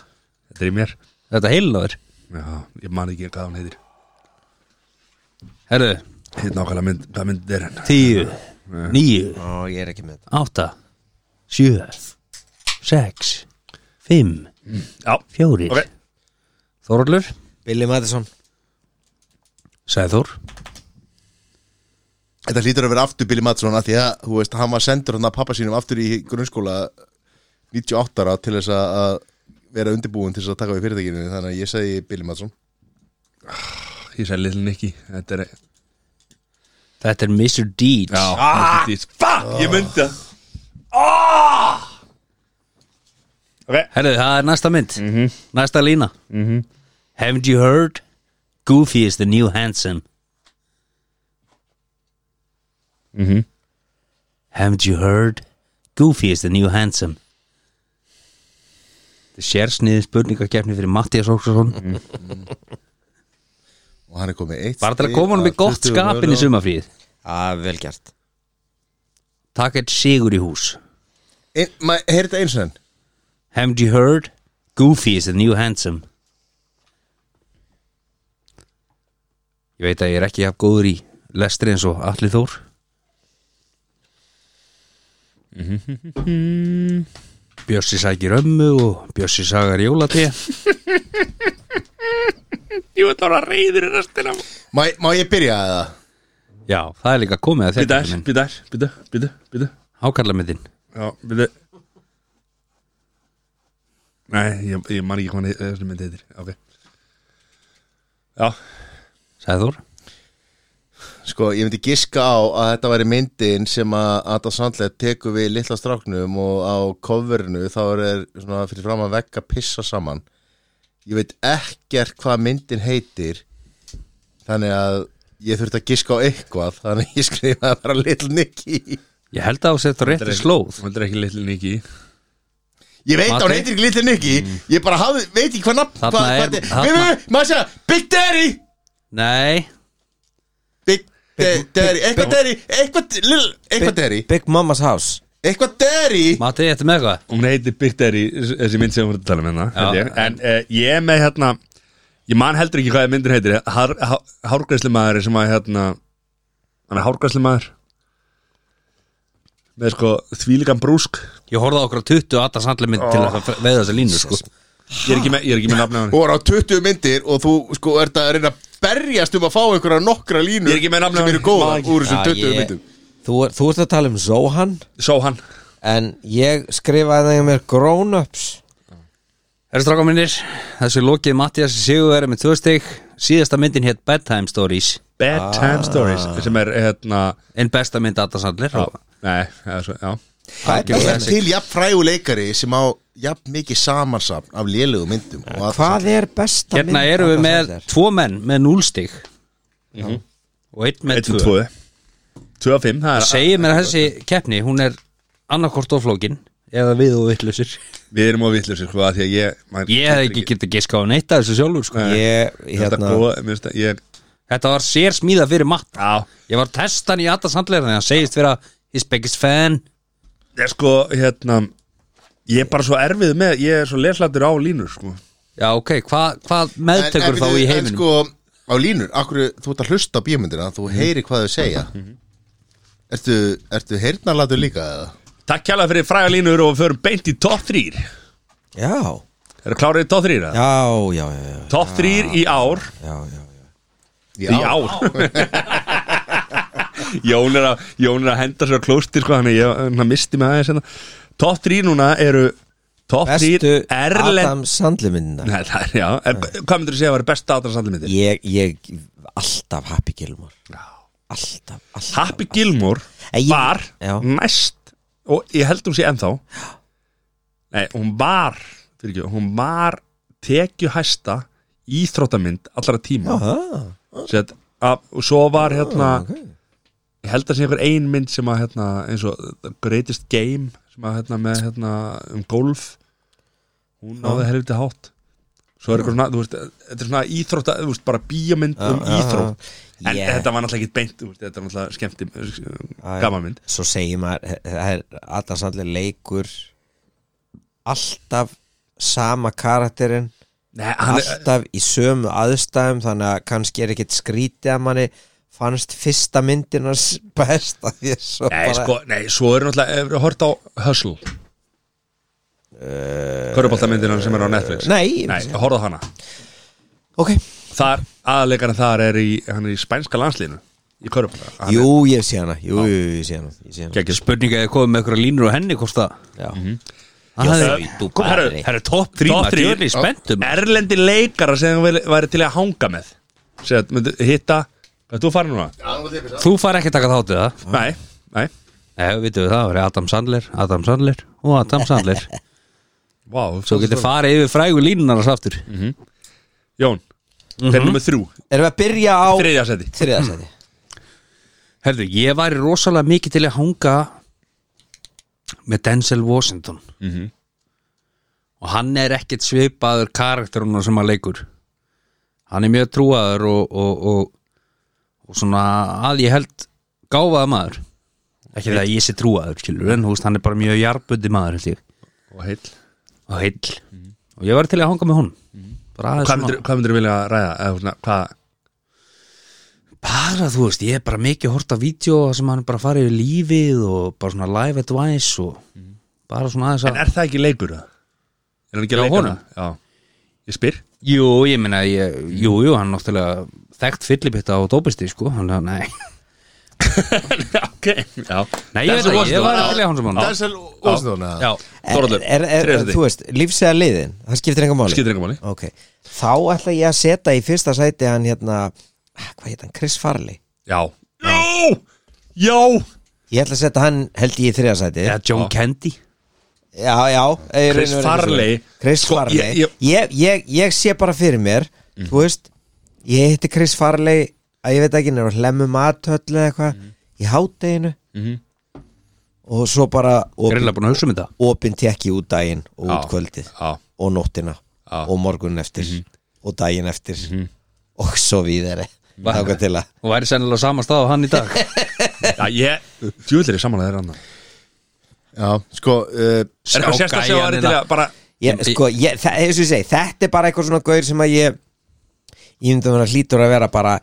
Speaker 1: Þetta er í mér
Speaker 3: Þetta heilaður
Speaker 1: Já, ég man ekki hvað hún heitir
Speaker 3: Herðu,
Speaker 1: Heit nákvæmlega Hérna mynd, hvað mynd er hérna? henn
Speaker 3: tíu, níu,
Speaker 4: Ó, ég er ekki með þetta
Speaker 3: átta, sjö, sex, fimm,
Speaker 1: Já,
Speaker 3: fjórir
Speaker 1: ok
Speaker 3: Þórólfur,
Speaker 4: Billy Madison
Speaker 3: Sæður
Speaker 2: Þetta hlýtur að vera aftur Billy Madsson af Því að, þú veist, hann var sendur hann að pappa sínum aftur í grunnskóla 98 ára til þess að að vera undirbúin til þess að taka við fyrirtækinu Þannig að ég segi Billy Madsson
Speaker 1: Ég segi Little Nicky Þetta er
Speaker 3: Þetta er Mr. Deeds
Speaker 1: Já, ah, fuck, ég myndi það
Speaker 3: Herðu, það er næsta mynd Næsta lína Haven't you heard? Goofy is the new handsome Haven't you heard? Goofy is the new handsome Þetta er sérsniðið spurningakefni fyrir Mattias Óksason
Speaker 2: Og hann er komið eitt
Speaker 3: Bara til að
Speaker 2: stig
Speaker 3: koma hann
Speaker 2: af
Speaker 3: með gott
Speaker 2: 20
Speaker 3: skapin í
Speaker 2: mögulegum.
Speaker 4: Já,
Speaker 3: sumafríð
Speaker 4: Ah, vel gert
Speaker 3: Takk eitt sigur í hús
Speaker 2: Ein- ma- Heyrðu þetta eins og enn
Speaker 3: Haven't you heard? Goofy is the new handsome Ég veit að ég er ekki jafn góður í lestri eins og Atli Þór Mhm. Bjössi sækir ömmu og Bjössi sagar jólatí
Speaker 1: Ég veit ára reyður í restina
Speaker 2: Má, má ég byrja að það?
Speaker 3: Já, það er líka komið að þetta
Speaker 1: Býtar, býtar, býtar, býtar, býtar
Speaker 3: Hákarla með þinn
Speaker 1: Já, býtar Nei, ég, ég man ekki hvað hann- þessi mynd heitir Ok Já,
Speaker 3: Sæður
Speaker 2: Sko, ég myndi giska á að þetta væri myndin sem að Adam Sandler tekur við litla stráknum og á coverinu þá er svona fyrir fram að vekka pissa saman ég veit ekkert hvað myndin heitir þannig að ég þurfti að giska á eitthvað þannig að ég skrifaði bara Little Nicky ég
Speaker 3: Ég held að það sé þetta rétti slóð
Speaker 1: Þetta er ekki Little Nicky
Speaker 2: veit að hún
Speaker 3: Mati? Mm.
Speaker 2: heitir ekki Little Nicky ég bara hafði, veit ekki hvað nafn
Speaker 3: Þarna
Speaker 2: hvað,
Speaker 3: er-
Speaker 2: hvað,
Speaker 3: þarna-
Speaker 2: við, við, maður segja Big Daddy
Speaker 3: Nei,
Speaker 2: Big Da- Daddy, eitthvað Daddy eitthvað, Lil- eitthvað Daddy
Speaker 4: Big Mama's House
Speaker 2: eitthvað Daddy
Speaker 3: Matti, þetta með eitthvað
Speaker 1: Hún heitir Big Daddy, þessi mynd sem hún er að tala um hérna held ég.
Speaker 3: Já.
Speaker 1: En uh, ég er með hérna Ég man heldur ekki hvað myndir heitir Hár, hár, Hárgræslimaður sem að hérna Hann er hárgræslimaður Með sko þvílíkan brúsk
Speaker 3: Ég horfði á okkur á 20 Adam Sandler mynd til að veða þessa línu sko.
Speaker 1: Ég er ekki með, ég er ekki með nafni á henni
Speaker 2: Þú var á 20 myndir og þú sko ert að reyna að berjast um að fá einhverja nokkra línur
Speaker 1: Ég er ekki með nafnið á
Speaker 2: sem eru
Speaker 1: henni.
Speaker 2: góða
Speaker 1: Maður-
Speaker 2: úr þessum
Speaker 4: Já,
Speaker 2: 20
Speaker 4: Ah, ég-
Speaker 2: myndum
Speaker 4: Þú, þú ert að tala um Zohan
Speaker 1: Sá hann
Speaker 4: En ég skrifaði það mér Grown Ups
Speaker 3: Herra stráka minnir, þessu lokið Mattias Sigurveri með tvö stygg Síðasta myndin hétt Bedtime Stories Ah.
Speaker 1: Bedtime Stories sem er hérna
Speaker 3: En besta mynd Adam Sandler
Speaker 1: já,
Speaker 3: og
Speaker 1: Nei, eða svo, já
Speaker 4: Hvað
Speaker 2: Það
Speaker 4: er,
Speaker 2: er til jafn frægu leikari sem á jafn mikið samansapn af lélegu myndum og að
Speaker 4: hvað er besta
Speaker 3: Hérna
Speaker 4: mynd
Speaker 3: erum við
Speaker 4: Adam
Speaker 3: með
Speaker 4: Sandler?
Speaker 3: tvo menn með núl stygg Og einn með
Speaker 1: Eitt og
Speaker 3: tvö
Speaker 1: tvö Tvö og fimm, það er
Speaker 3: Segir mér að þessi keppni, hún er annarkort og flókin Eða við og vittlusir
Speaker 1: Við erum á vittlusir sko að því að ég maður-
Speaker 3: Ég hef ekki getið giska á neitt að þessu sjálfur sko.
Speaker 4: Ég,
Speaker 1: Þetta
Speaker 4: hérna
Speaker 1: góða, mér finnst að ég
Speaker 3: Þetta var sér smíða fyrir Matt
Speaker 1: Já,
Speaker 3: Ég var testan í Adam Sandler Þannig að hann segist vera his biggest fan
Speaker 1: ég sko, hérna Ég er bara svo erfið með, ég er svo leslatur á línur sko
Speaker 3: Já ok, hvað hva
Speaker 2: En- en
Speaker 3: meðtekur þá
Speaker 2: byrju,
Speaker 3: í
Speaker 2: en
Speaker 3: heiminum?
Speaker 2: sko, á línur, akkur, þú ert að hlusta á bíómyndina þú heyri hvað þau segja Ertu, ertu heyrnarlatur líka eða?
Speaker 1: Takk kjalla fyrir fræga línur og við förum beint í top 3
Speaker 4: Já,
Speaker 1: Eru klárið í top 3 það?
Speaker 4: já, já, já, já,
Speaker 1: Top 3 í ár
Speaker 4: já, já, já.
Speaker 1: Í ár Jón er að, Jón er að henda sér á klósti sko, þannig ég hann misti mig aðeins hérna. Top 3 núna eru Top 3
Speaker 4: Bestu
Speaker 1: Erlend
Speaker 4: Adam Sandler myndina
Speaker 1: Nei, það er, já, er, hvað myndir þú segja að vera besta Adam Sandler myndir?
Speaker 4: ég, ég, alltaf Happy Gilmore Alltaf, alltaf
Speaker 1: Happy Gilmore
Speaker 4: Ég-
Speaker 1: var
Speaker 4: Já.
Speaker 1: næst og ég held hún sé ennþá Nei, hún var fyrir ekki, hún var tekju hæsta íþróttamynd allra tíma
Speaker 4: ah,
Speaker 1: Sett, að, og svo var hérna
Speaker 4: okay.
Speaker 1: ég held að sé einhver ein mynd sem að hérna, eins og The Greatest Game sem að hérna með hérna um golf hún náði helviti hátt svo er eitthvað svona, þú veist, þetta er svona íþrótt þú veist, bara bíamynd um
Speaker 4: já,
Speaker 1: íþrótt
Speaker 4: já.
Speaker 1: en
Speaker 4: Yeah.
Speaker 1: þetta var náttúrulega ekki beint þú veist, þetta var náttúrulega skemmti
Speaker 4: Já, já.
Speaker 1: gamanmynd
Speaker 4: Svo segir maður það er Adam Sandler leikur Alltaf sama karakterinn
Speaker 1: Nei, hann er,
Speaker 4: Alltaf í sömu aðstæðum Þannig að kannski er ekkit skrítið að manni Fannst fyrsta myndinars besta Því að svo
Speaker 1: nei, sko, nei, svo er náttúrulega, hefur hort á Hustle uh, Köruboltamyndina sem er á Netflix
Speaker 4: Eh, Nei,
Speaker 1: nei horfðu á hana
Speaker 4: ok
Speaker 1: þar, aðleikarinn þar er í, hann er í spænska landslínu í Körubolta
Speaker 4: Jú, ég sé hana Jú, jú, jú, ég sé hana, ég sé hana.
Speaker 1: Gekkið
Speaker 3: Spurninga eða komið með eitthvað línur á henni hvort það
Speaker 4: Já.
Speaker 3: Hann
Speaker 1: Já,
Speaker 3: hefði-
Speaker 1: það- kom, herru,
Speaker 3: Herru, herru, topp
Speaker 1: Top
Speaker 3: þrýma
Speaker 1: þrír.
Speaker 3: Djörli spenntum
Speaker 1: Erlendi leikara sem þú væri- væri til að hanga með Sér, myndi, hitta Hvað er þú farin núna?
Speaker 3: Þú far ekki að taka þáttið það
Speaker 1: Nei, nei
Speaker 3: Nei, vitum við það, það er Adam Sandler, Adam Sandler og Adam Sandler
Speaker 1: Vá,
Speaker 3: Svo getur farið yfir frægu línunarnas aftur
Speaker 1: Jón, hver er nummer þrjú?
Speaker 4: Erum við að byrja á
Speaker 1: Þriðja seti
Speaker 4: Þriðasæti
Speaker 3: Herðu, ég væri rosalega mikið til að hanga með Denzel Washington
Speaker 1: Mhm.
Speaker 3: og hann er ekkert svipaður karakteruna sem hann leikur hann er mjög trúaður og, og, og, og svona að ég held gáfaða maður ekki það að ég sé trúaður skilur en húst, hann er bara mjög jarbundi maður held ég
Speaker 1: Og heill
Speaker 3: og heill og ég væri til að hanga með hún bara aðeins
Speaker 1: Hvað
Speaker 3: svona-
Speaker 1: myndir, hvað myndir vilja ræða? Eða, svona, hvað,
Speaker 3: bara þú veist, ég er bara mikið hort á vídeo þar sem hann er bara farið yfir lífið og bara svona live advice og bara svona aðeins
Speaker 1: en
Speaker 3: að
Speaker 1: er það ekki leikur? það? Er hann ekki
Speaker 3: Já,
Speaker 1: leikur?
Speaker 3: honum.
Speaker 1: Já, ég spyr
Speaker 3: jú, ég meina, ég, jú, jú, hann er náttúrulega þekkt fyllibitta á dópisti, sko hann er, nei,
Speaker 1: Ok, já
Speaker 3: nei, ég veit
Speaker 1: Denzel
Speaker 3: það, ég var
Speaker 1: Washington.
Speaker 3: að vilja hann sem hann
Speaker 2: Denzel Washington eða?
Speaker 3: já,
Speaker 4: er,
Speaker 1: Þorvallur,
Speaker 4: er, er,
Speaker 1: þriðja sæti.
Speaker 4: Þú veist, lífsega liðin Það skiptir enga máli
Speaker 1: Skiptir engum máli
Speaker 4: Ok, þá ætla ég að setja í fyrsta sæti hann hérna, ah, hvað heit hann, Chris Farley
Speaker 1: Já Já, já
Speaker 4: Ég ætla að setja hann held ég í þriða sæti
Speaker 3: eða John Candy
Speaker 4: Já, já eh,
Speaker 1: Chris
Speaker 4: raun og veru-
Speaker 1: Farley.
Speaker 4: Chris
Speaker 1: Sko,
Speaker 4: Farley
Speaker 1: ég-
Speaker 4: ég,
Speaker 1: ég- Mhm.
Speaker 4: ég, ég, sé bara fyrir mér Þú veist, ég hitti Chris Farley að ég veit ekki, hann er að hlemmu matöll eða eitthvað
Speaker 1: Mhm.
Speaker 4: í hátteginu og svo bara
Speaker 3: greinlega búin að hugsa um þetta
Speaker 4: opinn tekki út daginn og
Speaker 1: Já,
Speaker 4: út kvöldið
Speaker 1: já.
Speaker 4: og nóttina
Speaker 1: Já. Mhm.
Speaker 4: og morgunin eftir og daginn eftir og svo víðari
Speaker 3: Va-
Speaker 4: Þáka til að
Speaker 3: og væri sennilega á sama stað á hann í dag
Speaker 1: Já, ég Djúðlir er samanlega þeirra annar
Speaker 2: Já, sko uh,
Speaker 1: Er eitthvað
Speaker 3: Sjá
Speaker 1: sérstæð sem var
Speaker 3: gæjanina.
Speaker 1: til að bara
Speaker 4: ég, sko, ég, það, eins og ég segi, þetta er bara eitthvað svona gaur sem að ég ég myndi að vera hlýtur að vera bara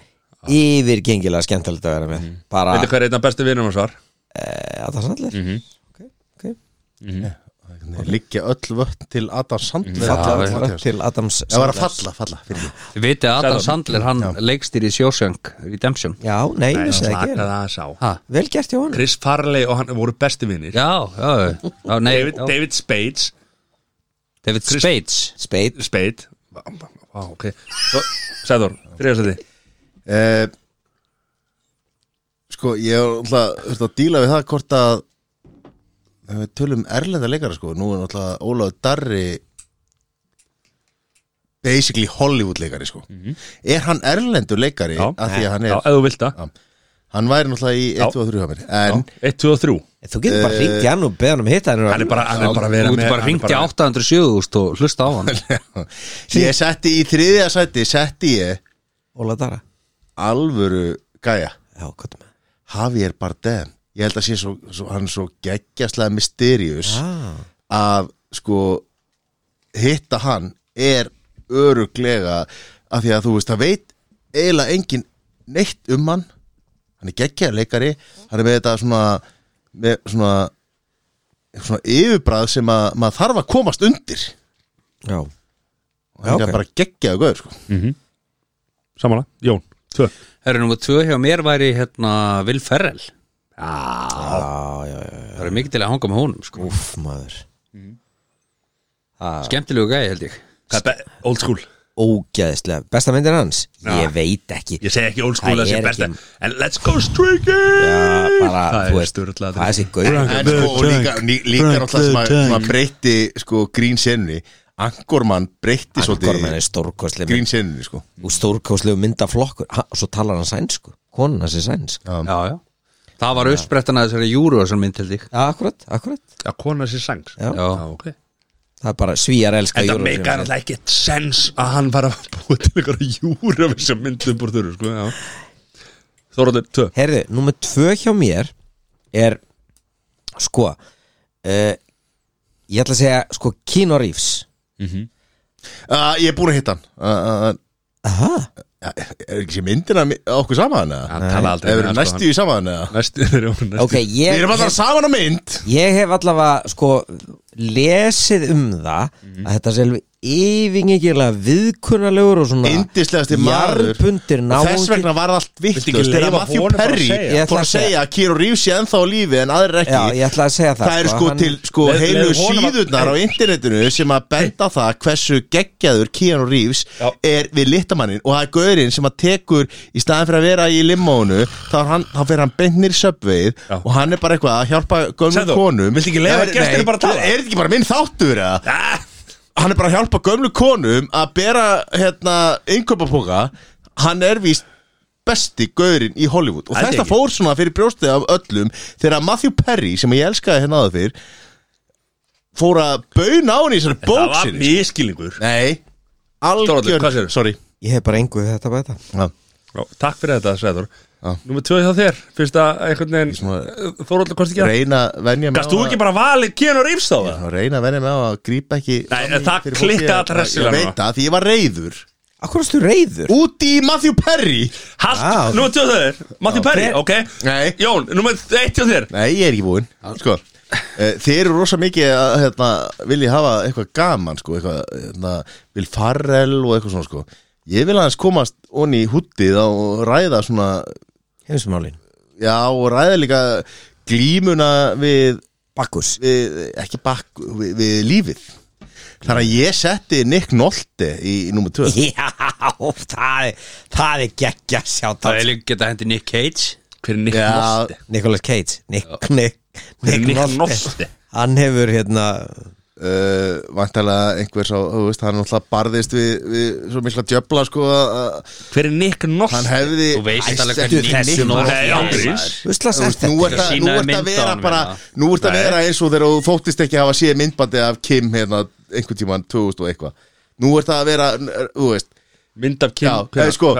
Speaker 4: yfirgengilega skemmtilegt að vera með bara,
Speaker 1: Ah. Mhm. Veitir hver Mhm. er einn af bestu vinnum hans var?
Speaker 4: eh, að það sannlega mm -hmm. ok, ok,
Speaker 2: Liggja öll vötn til Adam Sandler
Speaker 4: falla
Speaker 2: Adam
Speaker 4: ja,
Speaker 2: Sandler.
Speaker 4: til Adams
Speaker 2: Það var að falla, falla fyrir því.
Speaker 3: Þið vitið að Adam
Speaker 1: Sæðan.
Speaker 3: Sandler, hann leikstir í Sjósjönk Redemption
Speaker 4: já, nei, nei það
Speaker 1: slakaði
Speaker 4: ekki
Speaker 1: aðeins á
Speaker 3: ha,
Speaker 4: vel gert hjá hann
Speaker 1: Chris Farley og hann voru bestu vinnir
Speaker 3: já, já, já, nei,
Speaker 1: David,
Speaker 3: já.
Speaker 1: David Spades
Speaker 3: David Spades
Speaker 4: speit,
Speaker 1: Spade Vá, vá, ok Svo, Sæður, þriðastæti
Speaker 2: Eh, Sko, ég er alltaf þurft að díla við það hvort að ef við tölum erlenda leikara sko, nú er alltaf Ólaður Darri basically Hollywood leikari sko er hann erlendur leikari
Speaker 1: Mhm. Já.
Speaker 2: að því að hann
Speaker 1: Já,
Speaker 2: er
Speaker 1: ef þú vilt það
Speaker 2: Já. hann væri náttúrulega í 1 og 3 hjá mér en
Speaker 1: 1, 2 og 3
Speaker 4: þú getur bara hringt í hann og beðan um hitta
Speaker 1: Eh, Hann er bara, hann er bara að
Speaker 3: Þú
Speaker 1: vera
Speaker 3: ert
Speaker 1: með
Speaker 3: bara
Speaker 1: hann er
Speaker 3: hringt í 807 og hlusta á hann
Speaker 2: ég setti í þriðja sæti setti ég
Speaker 4: Óla Dara,
Speaker 2: alvöru gæja
Speaker 4: já, hvað er með
Speaker 2: Javier Bardem ég held að sé svo, svo hann er svo geggjastlega mysterious
Speaker 4: ah.
Speaker 2: að sko hitta hann er öruglega af því að þú veist, það veit eiginlega engin neitt um hann hann er geggjaður leikari hann er með þetta svona með svona, svona yfirbræð sem að maður þarf að komast undir
Speaker 4: já
Speaker 2: og hann
Speaker 4: Já,
Speaker 2: er
Speaker 4: ok.
Speaker 2: bara geggjaður gauður sko.
Speaker 1: Samanlega, Jón Tvö
Speaker 3: Herri nummer tvö hjá mér væri hérna Will Ferrell
Speaker 1: Já,
Speaker 4: já, já, já,
Speaker 3: Það er mikið til að hanga með honum sko.
Speaker 4: úff maður
Speaker 3: Skemmtilegu gæði held ég
Speaker 1: Hvað er be- old school?
Speaker 4: ógæðislega, besta myndir hans
Speaker 1: Já.
Speaker 4: ég veit ekki
Speaker 1: Ég segi ekki old school
Speaker 4: Það
Speaker 1: að sé
Speaker 4: er
Speaker 1: besta
Speaker 4: ekki-
Speaker 1: En let's go streaking
Speaker 4: Já, bara,
Speaker 1: Það
Speaker 4: þú
Speaker 1: er
Speaker 4: veist,
Speaker 1: styrlað
Speaker 4: það er þessi gaur
Speaker 2: En sko, og líka, ný- líka náttúrulega sem að, sem að breytti sko grín senunni Angormann breytti
Speaker 4: Angorman
Speaker 2: svolítið
Speaker 4: er stórkostlega
Speaker 2: grín senunni sko
Speaker 4: og stórkostlegu myndaflokkur Ha, og svo talar hann sænsku, konan hans er sænsk já,
Speaker 3: Já, já Það var uppsprettan að þessari júru sem mynd held ég
Speaker 4: akkurat, akkurat
Speaker 1: Að kona sér sang
Speaker 4: Já.
Speaker 1: ok
Speaker 4: það er bara svíjar elska
Speaker 1: Þetta
Speaker 4: Eurovision.
Speaker 1: meikar alltaf ekkert sens að hann var að búa til ykkur júra við sem myndum búr þurru sko, já Þorvaldur, tvö
Speaker 4: Herðu, nummer tvö hjá mér er sko uh, ég ætla að segja sko Kino Reeves
Speaker 2: uh, Ég er búin að hitta hann uh, uh,
Speaker 4: Aha,
Speaker 2: uh, Er ekki sé myndina mi- á okkur saman eða?
Speaker 1: Hann tala aldrei um sko,
Speaker 2: Ef við erum næstu í saman eða?
Speaker 1: Næstu, við erum næstu
Speaker 4: ok, ég
Speaker 2: Við erum alltaf saman á mynd
Speaker 4: Ég hef allavega sko lesið um það
Speaker 2: Mhm.
Speaker 4: að þetta sé alveg yfingigilega viðkunnalegur og svona
Speaker 2: Indislegasti maður
Speaker 4: jarðbundir
Speaker 2: Og Þess
Speaker 4: náungi
Speaker 2: vegna var það allt
Speaker 1: Viltu
Speaker 2: vittlust
Speaker 1: ekki
Speaker 2: Þegar
Speaker 1: leyfa
Speaker 2: Matthew
Speaker 1: honum bara að
Speaker 2: Perry
Speaker 1: segja?
Speaker 4: Ég ætla
Speaker 2: fór að
Speaker 4: að
Speaker 2: segja að Keanu Reeves sé ennþá á lífi en aðrir ekki
Speaker 4: Já, ég ætla að segja það
Speaker 2: Það eru sko
Speaker 4: hann-
Speaker 2: til sko,
Speaker 1: Leið- leið
Speaker 2: heilu
Speaker 1: honum að-
Speaker 2: síðurnar á internetinu sem að benda á það hversu geggjaður Keanu Reeves
Speaker 1: Já.
Speaker 2: er við litamanninn og það er gaurinn sem að tekur í staðan fyrir að vera í limónu þá, er hann, þá fyrir hann bentnir söpveið
Speaker 1: Já.
Speaker 2: og hann er bara eitthvað að hjálpa gömlu
Speaker 1: Sæþór,
Speaker 2: konum
Speaker 1: viltu ekki leyfa
Speaker 2: Nei,
Speaker 1: gestinum
Speaker 2: nei,
Speaker 1: bara að tala?
Speaker 2: Er þetta ekki bara minn þáttur eða?
Speaker 1: Ah,
Speaker 2: hann er bara að hjálpa gömlu konum að bera hérna innkaupapoka hann er víst besti gaurinn í Hollywood og
Speaker 1: Held
Speaker 2: þess að
Speaker 1: ekki.
Speaker 2: fór svona fyrir brjóstið af öllum þegar Matthew Perry sem ég elskaði hérna aða fyrr fór að bauna á hann í þessari
Speaker 1: Það var
Speaker 2: bóksin
Speaker 1: miskilingur
Speaker 2: nei,
Speaker 1: Þorvaldur, hvað
Speaker 2: algjör
Speaker 1: segirðu?
Speaker 2: sorry
Speaker 4: Ég hef bara engu við þetta bæta
Speaker 2: ja.
Speaker 1: Já, Takk fyrir þetta, Sæður
Speaker 2: Já.
Speaker 1: Númer tvö hjá þér Fyrst að einhvern
Speaker 2: svona-
Speaker 1: veginn Þorvaldur, hvort ekki að
Speaker 2: reyna að venja mig
Speaker 1: Gast þú
Speaker 2: á
Speaker 1: ekki bara valið Keanu Reeves þá það?
Speaker 2: að reyna að venja mig á að grípa ekki
Speaker 1: Nei,
Speaker 2: fram í
Speaker 1: það
Speaker 2: fyrir fólki.
Speaker 1: klikkaði allra hressilega
Speaker 2: ég
Speaker 1: núna.
Speaker 2: veit það, því ég var reyður
Speaker 4: Akkur erstu reyður?
Speaker 2: úti í Matthew Perry
Speaker 1: Hall,
Speaker 4: Já.
Speaker 1: númer tvö hjá þér Matti Perri, ok
Speaker 2: Nei.
Speaker 1: Jón, númer eitt hjá þér
Speaker 2: Nei, ég er ekki búinn sko. eh, Þeir eru rosa mikið að hérna, vilja hafa eitthvað gaman sko, eitthvað, hérna, vil farrel og eitthvað svona sko. Ég vil aðeins komast onni í húttið og ræða svona
Speaker 4: Heimsmálin
Speaker 2: já, og ræða líka glímuna við,
Speaker 4: Bakkus
Speaker 2: við ekki bakk, við, við lífið Þannig að ég setti Nick Nolte í, í númer 2
Speaker 4: Já, það er, það er geggja sjátt
Speaker 3: Það er líka geta hendi Nick Cage Hver er Nick
Speaker 2: Já.
Speaker 1: Nolte?
Speaker 4: Nicolas Cage Nick, Nick,
Speaker 1: er
Speaker 4: Nick,
Speaker 1: Nick
Speaker 4: Nolte.
Speaker 1: Nolte?
Speaker 4: Hann hefur hérna
Speaker 2: uh, Væntalega einhver sá, þú veist, hann náttúrulega barðist við, við svo mikla djöfla sko að
Speaker 1: Hver er Nick Nolte?
Speaker 2: Hann hefði
Speaker 3: Þú veist
Speaker 2: Æ,
Speaker 3: alveg
Speaker 2: settu
Speaker 3: hvernig Nick
Speaker 2: þessu
Speaker 3: Nolte
Speaker 1: Nei,
Speaker 3: er.
Speaker 1: ángríns.
Speaker 4: Usla
Speaker 2: Þú
Speaker 4: sætt
Speaker 2: veist, Nú ert
Speaker 4: þetta
Speaker 2: að,
Speaker 3: Sýna
Speaker 2: nú
Speaker 3: þér
Speaker 2: ert að
Speaker 3: mynd á
Speaker 2: vera
Speaker 3: honum
Speaker 2: bara
Speaker 3: hérna.
Speaker 2: Nú ert að
Speaker 1: Nei.
Speaker 2: vera eins og þegar þú þóttist ekki að hafa séð myndbandi af Kim hérna einhvern tímann 2000 og eitthvað Nú ert að vera, n- þú veist
Speaker 1: Mynd af
Speaker 2: Já,
Speaker 1: Kim
Speaker 2: eða sko,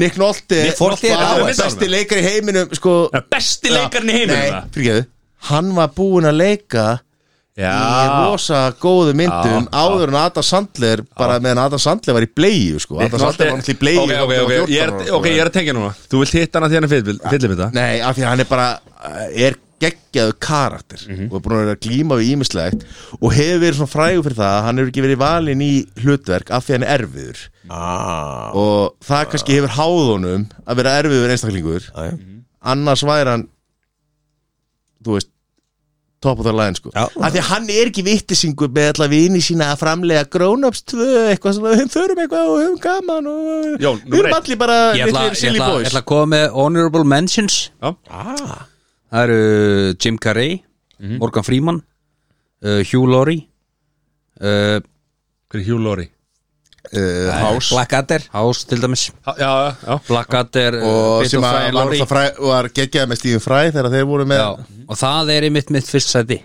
Speaker 2: Nick Nolte
Speaker 1: Nick Nolte
Speaker 4: er
Speaker 2: var
Speaker 1: á þessu.
Speaker 2: besti leikar í heiminum sko,
Speaker 1: Besti leikarinn í heiminum
Speaker 2: Nei,
Speaker 1: það?
Speaker 2: fyrirgeðu Hann var búinn að leika í
Speaker 1: Já
Speaker 2: rosa góðu myndum
Speaker 1: Já,
Speaker 2: áður en Adam Sandler bara meðan Adam Sandler var í bleiðu sko.
Speaker 1: Nick
Speaker 2: Adam Sandler var
Speaker 1: Nolte-
Speaker 2: náttúrulega í sko. bleiðu
Speaker 1: Ok, ok, ok, ég er, ok, ég er að tengja núna Þú Ah. vilt hitta hann að því hann er fyll- fyllibita
Speaker 2: Nei, af því að hann er bara eh, er geggjaðu karakter
Speaker 4: Mhm.
Speaker 2: og er búin að vera að glíma við ímislegt og hefur verið svona frægur fyrir það að hann hefur ekki verið valinn í hlutverk af því að hann er erfiður
Speaker 4: ah,
Speaker 2: og það kannski hefur háð honum að vera erfiður einstaklingur
Speaker 4: já, já.
Speaker 3: Mhm.
Speaker 2: annars væri hann þú veist top of the line sko
Speaker 4: Já.
Speaker 2: af því að hann er ekki vittisingur með alla vini sína að framlega grown-ups tvö eitthvað svona, við þurfum eitthvað og höfum gaman og
Speaker 1: Jón,
Speaker 2: við
Speaker 1: númer
Speaker 2: erum
Speaker 1: eitt.
Speaker 2: allir bara
Speaker 3: Ég ætla,
Speaker 2: litlir
Speaker 3: ég,
Speaker 2: silly
Speaker 3: ætla, ég
Speaker 2: boys
Speaker 3: ætla að koma með honorable mentions
Speaker 1: Já. Ah.
Speaker 3: Það eru uh, Jim Carrey Morgan Freeman uh, Hugh Laurie uh,
Speaker 1: Hver er Hugh Laurie?
Speaker 2: uh, House
Speaker 4: Blackadder
Speaker 3: House til dæmis
Speaker 1: Já, já, já
Speaker 3: Blackadder uh,
Speaker 2: og
Speaker 3: Bit
Speaker 2: sem
Speaker 3: of
Speaker 2: að
Speaker 3: Fry and
Speaker 2: var,
Speaker 3: Laurie.
Speaker 2: náttúrulega fræ, var geggjað með Stephen Fry þegar þeir voru með
Speaker 3: Já, og það er einmitt mitt fyrst sæti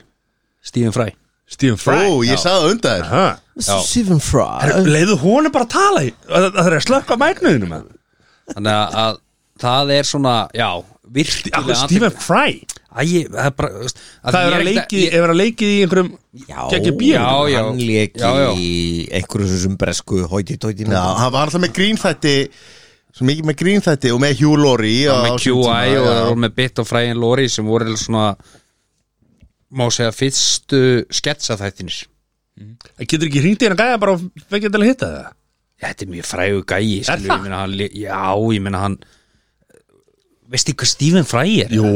Speaker 3: Stephen Fry
Speaker 1: Stephen Fry
Speaker 2: Ó, ég sagði það undan þér
Speaker 1: Aha.
Speaker 4: Stephen Fry
Speaker 1: Herru, Leiðu honum bara að tala í- að að Það er að slökka mæknuðinu með
Speaker 3: Þannig að, að það er svona, já virkilega
Speaker 1: Stephen Fry
Speaker 3: Æ, ég- það er bara veist, að
Speaker 1: Það er
Speaker 3: ég
Speaker 1: að
Speaker 3: ekki-
Speaker 1: leikið,
Speaker 3: ég-
Speaker 1: ef er að leikið í einhverjum
Speaker 4: Já,
Speaker 1: Gekkið bíl
Speaker 3: Já, já.
Speaker 4: hann lék
Speaker 3: Já, já.
Speaker 4: í einhverju sem bresku hóti-tóti
Speaker 2: Já, hann var alltaf með grínþætti svo mikið með grínþætti og með Hugh Laurie á-
Speaker 3: og
Speaker 2: á
Speaker 3: með
Speaker 2: sínum
Speaker 3: QI
Speaker 2: tíma,
Speaker 3: og
Speaker 2: já.
Speaker 3: það voru með Bit og Fræin Lori sem voru eiginlega svona má segja fyrstu sketsa þættinir
Speaker 1: Getur ekki hringt í hann að gæja bara og fengið til að hitta það
Speaker 3: þetta er mjög frægu gæi skilur,
Speaker 1: það?
Speaker 3: ég meina, hann, li- já, ég meina hann veist ekki hvað Stephen Fry er
Speaker 1: Jú,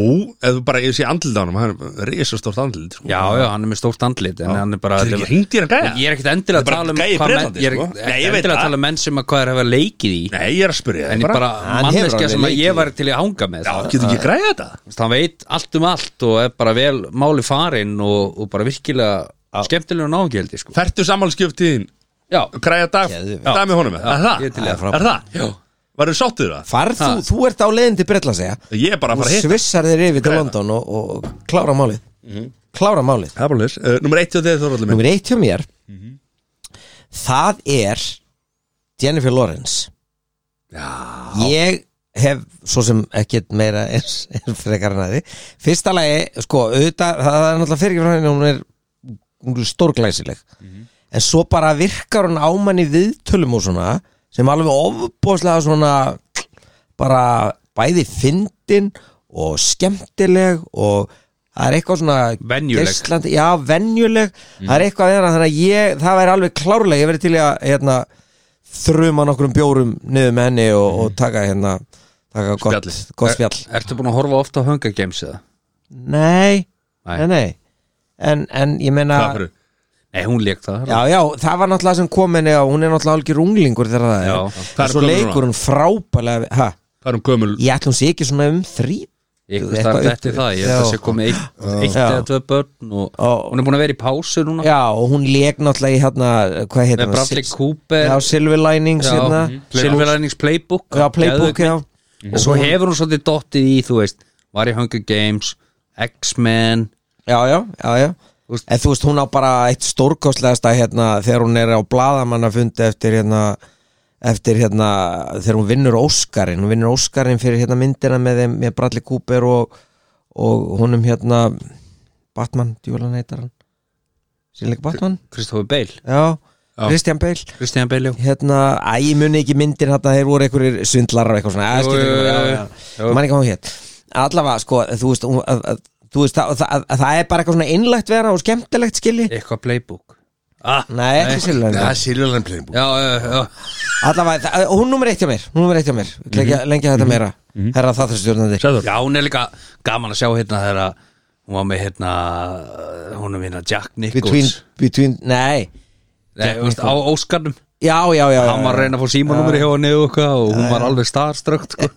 Speaker 1: ef þú bara, ég sé andlit á hann hann er risastórt andlit sko.
Speaker 3: já, já, hann er með stórt andlit en hann er bara um-
Speaker 1: Þetta er ekki hringt í hann gæja
Speaker 3: ég er ekkert endilega
Speaker 1: Þetta er
Speaker 3: að
Speaker 1: bara
Speaker 3: tala um
Speaker 1: gæi í
Speaker 3: hvað menn,
Speaker 1: Bretlandi,
Speaker 3: ég er
Speaker 1: sko.
Speaker 3: ekkert
Speaker 1: Nei, ég veit
Speaker 3: endilega að
Speaker 1: það.
Speaker 3: tala um menn sem að hvað er að hafa leikið í
Speaker 1: Nei, ég er að spyrja
Speaker 3: en
Speaker 1: þig
Speaker 3: ég bara,
Speaker 4: Hann hefur
Speaker 3: manneskja
Speaker 4: alveg
Speaker 3: sem að
Speaker 4: leikið
Speaker 3: ég
Speaker 4: í.
Speaker 3: var til í að hanga með
Speaker 1: Já, getur ekki græða þetta?
Speaker 3: Þess, hann veit allt um allt og er bara vel máli farinn og, og bara virkilega skemmtilega náðgjaldi sko.
Speaker 1: Fertu sammálskjöftiðin,
Speaker 3: já,
Speaker 1: græða dag
Speaker 4: Geðveikt.
Speaker 1: dag með honum, er það?
Speaker 3: ég er til í
Speaker 1: Er
Speaker 3: það.
Speaker 1: það? Er það? Varðu sáttuð það?
Speaker 4: Farð þú, þú ert á leiðin til Bretla segja
Speaker 1: Ég er bara að
Speaker 4: og
Speaker 1: fara að hitta
Speaker 4: svissar þeir yfir til London og, og klára málið klára málið
Speaker 1: Það er bara leys uh, Númer 1 og þeir þorallum minn
Speaker 4: Númer eitt Mhm. hjá mér það er Jennifer Lawrence Já Ég hef svo sem ekkert meira er, er frekar en að því Fyrsta lagi, sko, auðvitað það er náttúrulega fyrir henni, hún er, hún er stórglæsileg en svo bara virkar hún ámann í viðtölum og svona sem alveg ofbóðslega svona bara bæði fyndin og skemmtileg og það er eitthvað svona
Speaker 3: Venjuleg.
Speaker 4: geisla- Íslandi, já, venjuleg það er eitthvað við hana, þannig að ég, það væri alveg klárlega ég verið til í að hérna, þruma nokkrum bjórum niður með henni og, og taka hérna taka gott,
Speaker 1: Spjallið.
Speaker 4: gott spjall
Speaker 3: ertu búin að horfa ofta á Hunger Games eða?
Speaker 4: nei,
Speaker 3: Nei.
Speaker 4: nei, nei en, en ég meina
Speaker 1: Það fyrir
Speaker 3: nei, hún leik það
Speaker 4: já, já, það var náttúrulega sem kom henni og hún er náttúrulega algjör unglingur þegar það
Speaker 3: Já.
Speaker 4: er
Speaker 1: Hvað er
Speaker 4: og svo
Speaker 1: gömul
Speaker 4: leikur hún frábælega ha,
Speaker 1: Það er um gömul
Speaker 4: ég ætlum sé ekki svona um þrý
Speaker 3: Ég veist að þetta er það, ég held að
Speaker 4: Já.
Speaker 3: sé komið eitt, eitt
Speaker 4: Já.
Speaker 3: eða tvö börn og
Speaker 4: Já.
Speaker 3: hún er búin að vera í pásu núna
Speaker 4: já, og hún leik náttúrulega í hérna hvað heitir
Speaker 3: með
Speaker 4: hann?
Speaker 3: Bradley
Speaker 4: Sil-
Speaker 3: Cooper
Speaker 4: já, Silver Linings hérna.
Speaker 3: já, Mhm. Silver Linings Playbook Mhm.
Speaker 4: Já, Playbook, hérna.
Speaker 3: Geðveik
Speaker 4: já
Speaker 3: mynd. og svo hefur hún svolítið dottið í, þú veist var í Hunger Games, X-Men
Speaker 4: Já, já, já, já
Speaker 3: Þú veist-
Speaker 4: En þú veist, hún á bara eitt stórkostlegasta hérna, þegar hún er á bladamannafundi eftir hérna, eftir hérna þegar hún vinnur Óskarinn hún vinnur Óskarinn fyrir hérna myndina með, þeim- með Bradley Cooper og, og honum hérna Batman, djúlan heitar hann Sýnleik Batman,
Speaker 3: Kristoffer Bale,
Speaker 4: já, Christian Bale
Speaker 3: Christian Bale já.
Speaker 4: hérna, að ég muni ekki myndir hérna, þeir voru einhverjir svindlar og eitthvað svona
Speaker 3: Jú,
Speaker 4: að skilja
Speaker 3: jú,
Speaker 4: ekki,
Speaker 3: jú,
Speaker 4: já,
Speaker 3: jú.
Speaker 4: já, mann ekki hvað hún hétt allavega, sko, þú veist hún- að- að- þú veist, það, það, að- það er bara eitthvað svona innlegt vera og skemmtilegt skilji
Speaker 3: eitthvað Playbook ah,
Speaker 4: nei, ekki
Speaker 2: Það
Speaker 4: silvæðan
Speaker 2: er Silverland Playbook
Speaker 3: já, já, já,
Speaker 4: allavega, það- hún nummer eitt hjá mér hún nummer eitt hjá mér, lengja,
Speaker 3: Mhm.
Speaker 4: lengja þetta meira herra þáttur stjórnandi
Speaker 1: Sæður
Speaker 3: já, hún er líka gaman að sjá hérna þegar hún var með hérna hún er með hérna Jack
Speaker 4: between,
Speaker 3: Nichols
Speaker 4: between, nei
Speaker 3: Nei, þú veist, á Óskarnum
Speaker 4: já, já, já, já,
Speaker 3: hann var að
Speaker 4: já.
Speaker 3: reyna að fá símanúmeri hjá henni og, eitthvað og hún var alveg starströkt sko.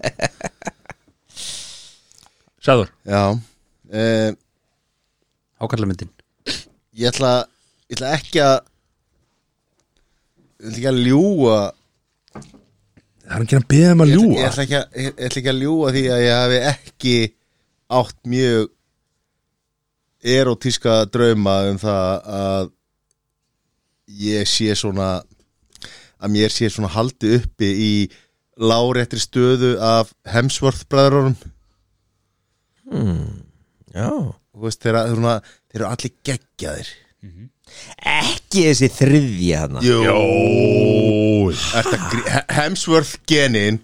Speaker 1: Sæður
Speaker 2: Já uh,
Speaker 3: ákallamyndin
Speaker 2: Ég ætla Ég ætla ekki að Ég ætla ekki að ljúga
Speaker 1: Það er ekki að beða um að
Speaker 2: Ég
Speaker 1: ljúa
Speaker 2: ætla- ég ætla ekki að, ég ég ætla ekki að ljúga því að ég hafi ekki átt mjög erotíska drauma um það að ég sé svona að mér sé svona haldi uppi í láréttri stöðu af Hemsworth bræðurunum
Speaker 4: já.
Speaker 2: þú veist þeirra, þeirra, þeirra allir geggjaðir
Speaker 4: ekki þessi þriðja hann
Speaker 1: Jó
Speaker 2: Ertu að grí- He- Hemsworth genin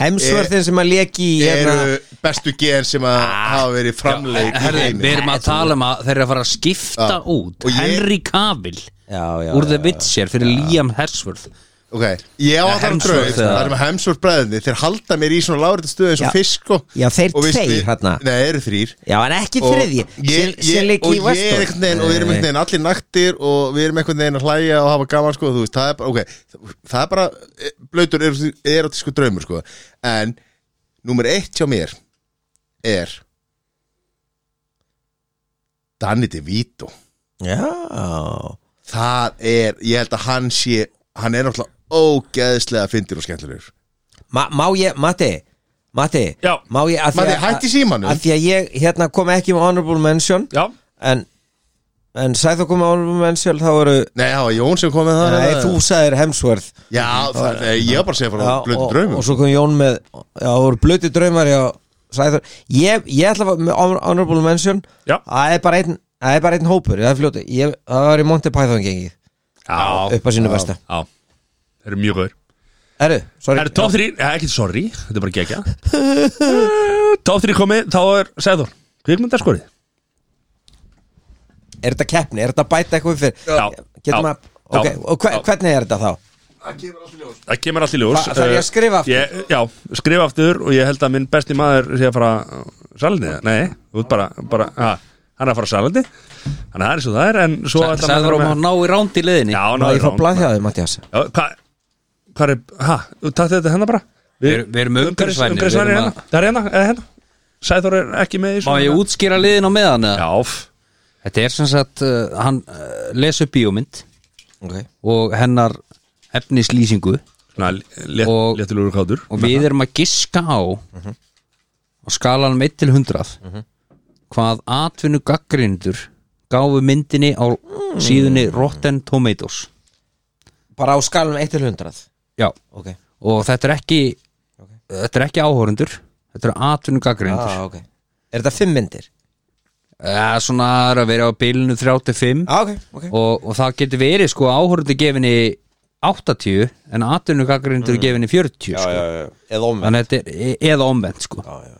Speaker 3: Eh,
Speaker 4: hemsvörðin sem að leki í hérna,
Speaker 2: eru bestu gen sem að hafa verið framleik í
Speaker 3: Herði,
Speaker 2: heimi.
Speaker 3: Ah, við erum að tala um að þeir eru að fara að skipta
Speaker 2: Já.
Speaker 3: út
Speaker 2: Og ég-
Speaker 3: Henry Cavill
Speaker 4: já, já,
Speaker 3: úr
Speaker 4: já,
Speaker 3: The Witcher fyrir Liam Hemsworth
Speaker 2: Ok, ég á að það um
Speaker 3: Hemsworth
Speaker 2: draug
Speaker 3: eða-
Speaker 2: Það er með Hemsworth bræðinni Þeir halda mér í svona lárétt stöðu eins og
Speaker 4: Já.
Speaker 2: fisk sko.
Speaker 4: Já, þeir
Speaker 2: Og veist
Speaker 4: tveir,
Speaker 2: við-
Speaker 4: þarna.
Speaker 2: Nei, þeir eru þrýr
Speaker 4: já, en ekki
Speaker 2: Og
Speaker 4: þriðji
Speaker 2: ég,
Speaker 4: sem- sem
Speaker 2: ég,
Speaker 4: leki
Speaker 2: og
Speaker 4: í
Speaker 2: ég er
Speaker 4: Vestor
Speaker 2: einhvern veginn og við erum einhvern veginn allir naktir og við erum einhvern veginn að hlæja og hafa gaman sko, þú veist, það er bara, ok, það er bara eh, blautur erot- erotísku draumur sko. en númer eitt hjá mér er Danny DeVito
Speaker 4: já
Speaker 2: það er, ég held að hann sé hann er náttúrulega ógeðslega fyndir og skemmtilegur
Speaker 4: Ma, má ég, Matti Matti,
Speaker 1: Já.
Speaker 4: má ég að því
Speaker 2: Matti,
Speaker 4: að-
Speaker 2: hætti símanum.
Speaker 4: Að því að ég hérna kom ekki með honorable mention
Speaker 1: Já
Speaker 4: En, en sæð þú kom með honorable mention Þá eru,
Speaker 2: Nei, það var Jón sem kom með það
Speaker 4: nei, þú sagðir Hemsworth
Speaker 2: Já, það, nei, ég var bara að segja frá blötu
Speaker 4: og,
Speaker 2: draumum
Speaker 4: og svo kom Jón með Já, það voru blöti draumar já, Sæþór, ég, ég ætla að fá- með honor- honorable mention
Speaker 1: Já.
Speaker 4: Það er bara einn Það er bara einn hópur, það er fljóti ég, Það var í Monty Python gengið,
Speaker 1: Já
Speaker 4: upp að sínu besta
Speaker 1: Já Þeir eru mjög góður
Speaker 4: Herru, sorry
Speaker 1: Það eru top 3 Ekki sorry Þetta er bara gegja Eh, Top 3 komið Þá er Sæður Kvikmyndaskorið
Speaker 4: er þetta keppni, er þetta að bæta eitthvað fyrir
Speaker 1: Já. Já.
Speaker 4: getum að, ok,
Speaker 1: Já.
Speaker 4: og hver,
Speaker 1: Já.
Speaker 4: hvernig er þetta þá?
Speaker 1: Það kemur allt í ljós
Speaker 4: Þa- þarf ég að
Speaker 1: Eh,
Speaker 4: skrifa aftur?
Speaker 1: Ég, já, skrifa aftur og ég held að minn besti maður sé að fara á salinni Nei, þú ert bara, bara ha, hann er að fara á salinni Þannig að það er svo það er en svo ætlar maður
Speaker 3: Sæður
Speaker 1: að
Speaker 3: um
Speaker 1: vera
Speaker 3: að ná í ránd í leiðinni
Speaker 1: Já, ná
Speaker 4: Má
Speaker 1: í
Speaker 4: ég fá
Speaker 1: rán
Speaker 4: blað hérna? hjá þig, Mattias
Speaker 1: Já, Hvað hva er, hæ, takk þetta hennar bara
Speaker 3: Við erum- við erum umhverfisvænir,
Speaker 1: Umhverfisvænir
Speaker 3: við erum
Speaker 1: hérna, það er hérna, eða hérna Sæður er ekki með í
Speaker 3: Má
Speaker 1: svona- hérna.
Speaker 3: ég útskýra liðin á meðan eða?
Speaker 1: Já, f-
Speaker 3: Þetta er sem sagt, uh, hann uh, les upp bíómynd
Speaker 4: okay.
Speaker 3: og hennar efnislýsingu
Speaker 1: svona létt,
Speaker 3: Og-
Speaker 1: léttilugur kátur
Speaker 3: og við erum að giska á á skalanum 1 til 100 hvað atvinnu gaggrindur gáfu myndinni á síðunni Rotten Tomatoes
Speaker 4: Bara á skalum 1-100
Speaker 3: Já,
Speaker 4: okay.
Speaker 3: og þetta er ekki þetta er ekki áhorundur þetta er atvinnu gaggrindur
Speaker 4: ah, okay. Er þetta 5 myndir?
Speaker 3: ah. Svona er að vera á bilinu 35
Speaker 4: Ah, okay, okay.
Speaker 3: og, og það getur verið sko áhorundur gefinni 80 en atvinnu gaggrindur gefinni 40
Speaker 4: Mm.
Speaker 3: sko.
Speaker 4: já. Eða omvendt
Speaker 3: þannig að þetta er e- eða omvend sko.
Speaker 4: Já, já, já.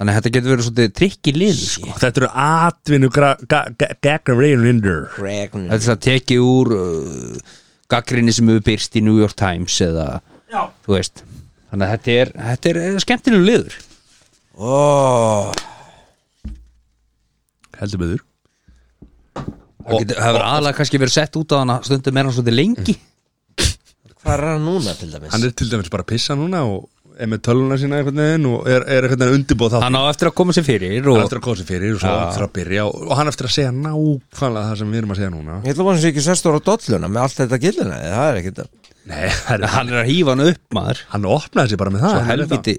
Speaker 3: þannig að þetta getur verið svolítið trikk í lið sko.
Speaker 1: Þetta eru atvinnu Gaggarindur
Speaker 4: Pregnant.
Speaker 3: þetta er það tekið úr uh, gaggrinni sem hefur byrst í New York Times eða, þú veist þannig að þetta er, þetta er eh, skemmtilegur liður
Speaker 4: Ó,
Speaker 1: Heldur beður
Speaker 3: það getur- það hefur aðalega kannski verið sett út á hana stundum er hann svolítið lengi
Speaker 4: Hvað er hann núna til dæmis?
Speaker 1: Hann er til dæmis bara að pissa núna og er með töluna sína einhvern veginn og er, er einhvern veginn undirbúð þá
Speaker 3: hann á eftir að koma sér fyrir
Speaker 1: hann
Speaker 3: og
Speaker 1: eftir að kósi fyrir og svo eftir að byrja og, og hann eftir að segja nákvæmlega það sem við erum að segja núna
Speaker 4: Ég ætla að hann sé ekki sestur á dolluna með allt þetta gillina Það er ekkert að
Speaker 1: Nei, það er,
Speaker 3: hann er að hífa hann upp maður
Speaker 1: hann opnaði sér bara með það
Speaker 3: svo
Speaker 1: hann er
Speaker 3: helviti,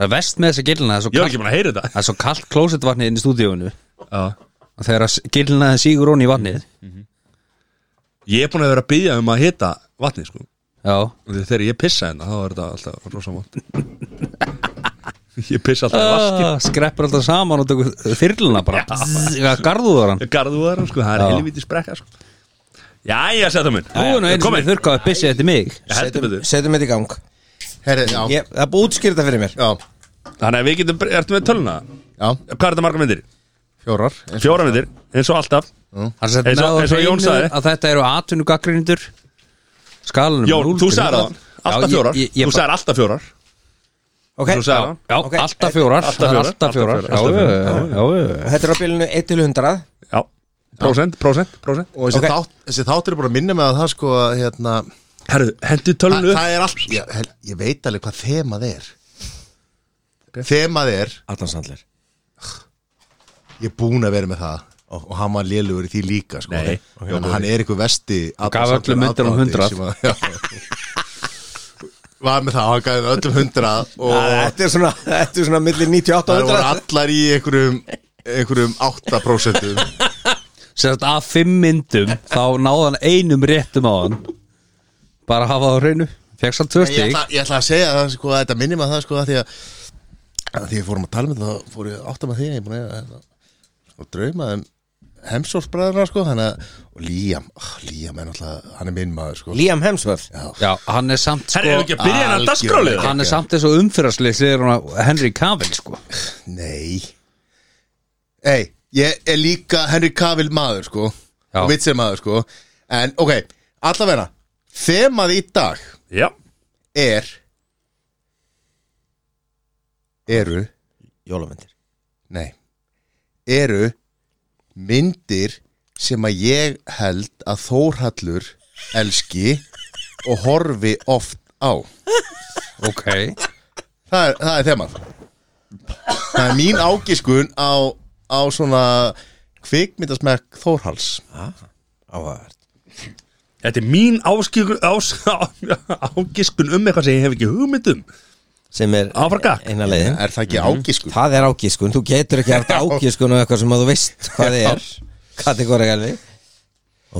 Speaker 3: það er vest með þessa gillina það er
Speaker 1: þetta. Ég
Speaker 3: svo
Speaker 1: var ekki
Speaker 3: kalt-
Speaker 1: búin að heyra þetta
Speaker 3: það er svo kallt klósetvatnið inn í stúdíóinu
Speaker 1: Já.
Speaker 3: og þegar að gillinaði sígur honni í vatnið
Speaker 1: Ég er búin að vera að byggja um að hita vatnið sko
Speaker 3: já,
Speaker 1: Og því Þegar ég pissa hérna þá er þetta alltaf rosa vant Ég pissa alltaf í vaskinn
Speaker 3: Ah, skreppur alltaf saman og tökur þyrluna bara ja. garðuður hann
Speaker 1: Garðuðar sko, það er
Speaker 3: Ah. Já.
Speaker 1: helviti sprekka sko Jæja, setja minn
Speaker 3: þú er nú einu sem
Speaker 1: Komið.
Speaker 3: við þurrkaði bissið eftir mig
Speaker 1: Ég heldur betur
Speaker 4: Setjum þetta í gang
Speaker 2: Herri, já,
Speaker 4: ég, Það er búið útskýrt það fyrir mér
Speaker 2: já,
Speaker 1: Þannig að við getum, ertu með töluna?
Speaker 2: já,
Speaker 1: Hvað er þetta marga myndir?
Speaker 2: fjórar eins og-
Speaker 1: Fjóra myndir, eins og alltaf
Speaker 3: hann sett
Speaker 1: Eins
Speaker 3: með
Speaker 1: og-
Speaker 3: á
Speaker 1: eins og Jón
Speaker 3: hreinu
Speaker 1: sagði.
Speaker 3: að þetta eru atvinnu gaggrindur skalanum
Speaker 1: Jón, þú sagði það, alltaf fjórar Þú sagði alltaf fjórar Þú
Speaker 4: okay.
Speaker 3: þú sagði
Speaker 1: sagði það
Speaker 3: Já,
Speaker 4: Ok.
Speaker 3: alltaf fjórar
Speaker 1: Alltaf fjórar,
Speaker 3: Alltaf fjórar
Speaker 1: alltaf fjórar,
Speaker 3: Já, já, já, já.
Speaker 4: Þetta er á bylunu 1 til 100
Speaker 1: Já, prósent, prósent, prósent
Speaker 2: Og þessi,
Speaker 4: Ok.
Speaker 2: þátt, þessi þáttur er bara að minna mig að það sko að hérna,
Speaker 1: Herru, hendu
Speaker 2: það,
Speaker 1: tölunu
Speaker 2: það er allt ég, hel- ég veit alveg hvað þemað er Þemað er
Speaker 4: Allan Sandler
Speaker 2: Ég er búinn að vera með það Og hann var lélugur í því líka sko.
Speaker 1: Nei.
Speaker 2: Þannig að Hann er einhver vesti
Speaker 3: gaf öllum myndunum 100.
Speaker 2: Var með það, hann gaf öllum hundrað Og
Speaker 4: Þetta er svona, þetta er svona millir 98
Speaker 2: það
Speaker 4: og
Speaker 2: voru
Speaker 4: 100
Speaker 2: allar í einhverjum einhverjum 8%
Speaker 3: sem sagt að fimm myndum þá náði hann einum réttum á hann bara hafa það á hreinu fegst hann tvö
Speaker 2: ég
Speaker 3: stík
Speaker 2: ætla, ég ætla að segja það sko að þetta minnir maður það sko að því að að því að fórum að tala með það fór ég átt að maður því að ég er búin að eiga hérna, sko drauma um hemsórsbræðurna sko hana, og Líam, oh, Líam er náttúrulega hann er minn maður sko
Speaker 4: Liam Hemsworth
Speaker 3: já, hann er samt
Speaker 1: Herru,
Speaker 3: sko
Speaker 1: hefur ekki að byrja hérna hennar
Speaker 2: algjörlega.
Speaker 1: dagskrálið
Speaker 3: hann er samt eins og umfyrarslið þegar hann á Henry Cavill sko
Speaker 2: Nei Ei, ég er líka Henry Cavill maður sko
Speaker 3: Já.
Speaker 2: og vitsir maður sko en ok, allavega þemað í dag
Speaker 1: Já,
Speaker 2: er eru
Speaker 4: Jólamyndir
Speaker 2: Nei Eru myndir sem að ég held að Þórhallur elski og horfi oft á
Speaker 3: ok
Speaker 2: Það er, það er þemað Það er mín ágiskun á, á svona kvikmyndasmekk Þórhalls
Speaker 4: Áhært
Speaker 1: þetta er mín áskikun, ás, á, ágiskun um eitthvað sem ég hef ekki um. hugmyndum
Speaker 4: Sem er
Speaker 1: Áfarka
Speaker 4: eina leiðin
Speaker 2: Er það ekki ágiskun?
Speaker 4: Það er ágískun, þú getur ekki haft ágískun og eitthvað sem að þú veist hvað þið er Kategóri gæli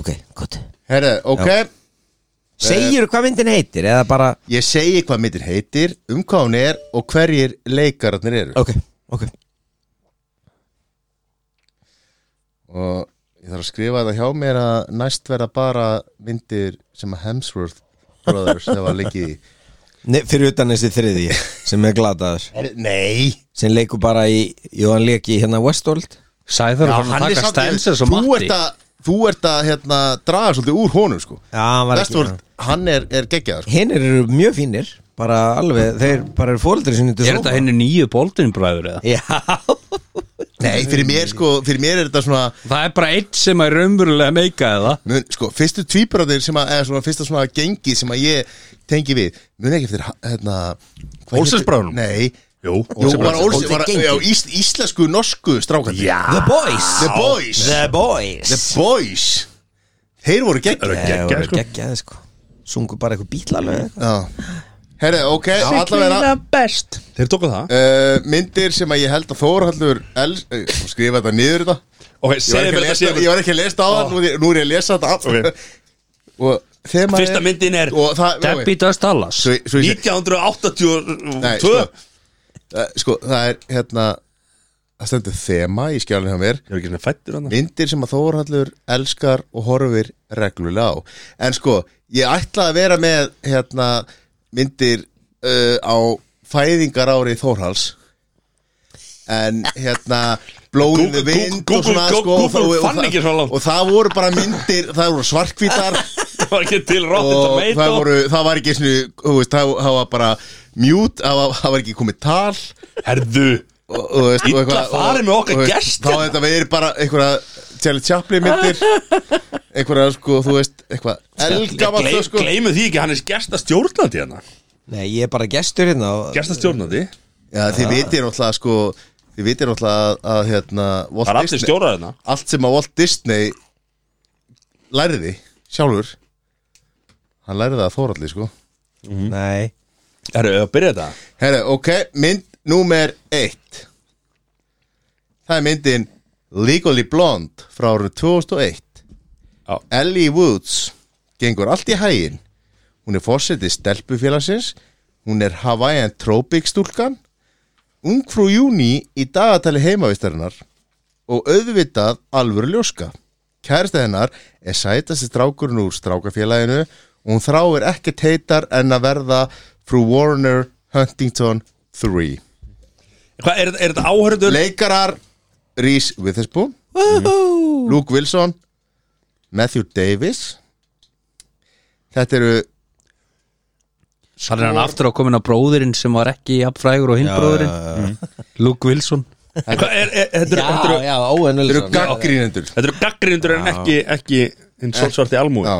Speaker 4: Ok, gott Eh.
Speaker 2: Herre, ok
Speaker 4: Segir hvað myndin heitir eða bara
Speaker 2: Ég segi hvað myndir heitir, um hvað hún er og hverjir leikararnir eru
Speaker 4: Ok, ok
Speaker 2: og ég þarf að skrifa þetta hjá mér að næst verða bara myndir sem að Hemsworth Brothers hefa leikið í
Speaker 4: Nei, fyrir utan þessi þriði sem er glataður
Speaker 2: Nei
Speaker 4: sem leikur bara í, jú hann leik í hérna Westworld
Speaker 3: Sæður er hann að taka stenses og
Speaker 2: Þú
Speaker 3: matti
Speaker 2: ert að, þú ert að hérna, draga svolítið úr honum sko
Speaker 4: Já, hann var
Speaker 2: Westworld hann er, er geggjaður sko.
Speaker 4: Hinn eru mjög fínir Bara alveg, þeir bara eru fóreldri sinni til
Speaker 3: Er þetta
Speaker 4: sóma.
Speaker 3: henni nýju Baldwin bræður eða?
Speaker 4: Já
Speaker 2: Nei, fyrir mér sko, fyrir mér er þetta svona
Speaker 3: Það er bara eitt sem er raunverulega meika eða
Speaker 2: mun, sko, fyrstu tvíbröðir sem að, eða svona fyrsta svona gengi sem að ég tengi við, mun ekki eftir hérna, hvað
Speaker 1: Olsensbræðrunum?
Speaker 2: hétu- Nei,
Speaker 1: Jú,
Speaker 2: Jú, var
Speaker 1: Olsen-
Speaker 2: Olsen, var,
Speaker 4: Gengi.
Speaker 2: já, ís, íslensku, norsku strákandi
Speaker 1: Já,
Speaker 4: The Boys
Speaker 2: The Boys
Speaker 4: The Boys
Speaker 2: The Boys Þeir voru gegn
Speaker 1: eru
Speaker 4: Þeir voru
Speaker 1: geggjaði sko
Speaker 4: geggjaði, sko Sungu bara eitthvað bítlalega
Speaker 2: Herri, ok, allavega
Speaker 1: best Þeir tóku það
Speaker 2: uh, myndir sem að ég held að Þórhallur els, uh, skrifa þetta niður þetta
Speaker 1: Ok,
Speaker 2: ég var,
Speaker 1: segðu mér þetta
Speaker 2: ekki að lesa, ég
Speaker 1: sé
Speaker 2: var ekki að lesa á það, nú, er ég- nú er ég að lesa þetta allt
Speaker 1: Ok.
Speaker 2: og þegar maður
Speaker 1: Fyrsta
Speaker 2: er-
Speaker 1: myndin er
Speaker 2: og það,
Speaker 3: Debbie Does Dallas
Speaker 2: svo, svo ég sé- Nei,
Speaker 1: 1982
Speaker 2: sko, uh, sko, það er hérna það stendur þema í skjálunni hjá mér
Speaker 1: Ég var ekki svona fættur hann
Speaker 2: myndir sem að Þórhallur elskar og horfir reglulega á en sko, ég ætla að vera með hérna myndir uh, á fæðingar ári Þórhalls en hérna blóðin
Speaker 1: Google-
Speaker 2: við vind
Speaker 1: Google-
Speaker 2: og svona
Speaker 1: Google-
Speaker 2: sko og það-
Speaker 1: Google
Speaker 2: og
Speaker 1: fann
Speaker 2: það-
Speaker 1: ekki svo langt.
Speaker 2: og það voru bara myndir, það voru svarkvítar
Speaker 1: Það var ekki til Rotten
Speaker 2: og það,
Speaker 1: Tomato
Speaker 2: voru, það var ekki svona, þú veist, það, það var bara mjút, það, var- það var ekki komið tal
Speaker 1: Herðu
Speaker 2: og, og, og, veist, og
Speaker 1: Illa
Speaker 2: eitthvað-
Speaker 1: farið
Speaker 2: og-
Speaker 1: með okkar
Speaker 2: og veist,
Speaker 1: gest hérna.
Speaker 2: þá er þetta verið bara einhverja Charlie Chaplin myndir einhverja sko, þú veist, eitthvað elgamall
Speaker 1: Gleim,
Speaker 2: sko
Speaker 1: Gleimu því ekki, hann er gesta stjórnandi hérna
Speaker 4: Nei, ég er bara gestur hérna og...
Speaker 1: Gesta stjórnandi, Ah.
Speaker 2: Já, þið vitir náttúrulega sko þið vitir náttúrulega að, að hérna Walt
Speaker 1: það er allir
Speaker 2: Disney,
Speaker 1: stjórað hérna
Speaker 2: allt sem að Walt Disney læriði sjálfur hann læriði að þóralli sko
Speaker 4: Nei
Speaker 1: Herru, ef að byrja þetta
Speaker 2: Herra, ok, mynd númer eitt það er myndin Legally Blonde frá árið 2001
Speaker 1: Já.
Speaker 2: Ellie Woods gengur allt í hægin hún er fórsetið stelpufélagsins hún er Hawaiian Tropic stúlkan ungfrú júni í dagatali heimavistarinnar og auðvitað alvöru ljóska kærasta hennar er sætasti strákurinn úr strákafélaginu og hún þráir ekkert heitar en að verða frú Warner Huntington 3
Speaker 1: Hvað, er, er þetta áhörður?
Speaker 2: Leikarar Reese Witherspoon Luke Wilson Matthew Davis Þetta eru
Speaker 3: Hann er hann
Speaker 4: Sko-
Speaker 3: aftur á komin að bróðurinn sem var ekki jafnfrægur og hinn bróðurinn Luke Wilson
Speaker 1: Hvað, er, er, þetta
Speaker 4: Já,
Speaker 1: eru- þetta eru-
Speaker 4: já, Óen
Speaker 2: Þetta eru
Speaker 4: Wilson
Speaker 2: gaggrínendur
Speaker 1: þetta eru gaggrínundur en ekki, ekki hinn solsvarti almúi
Speaker 2: Já,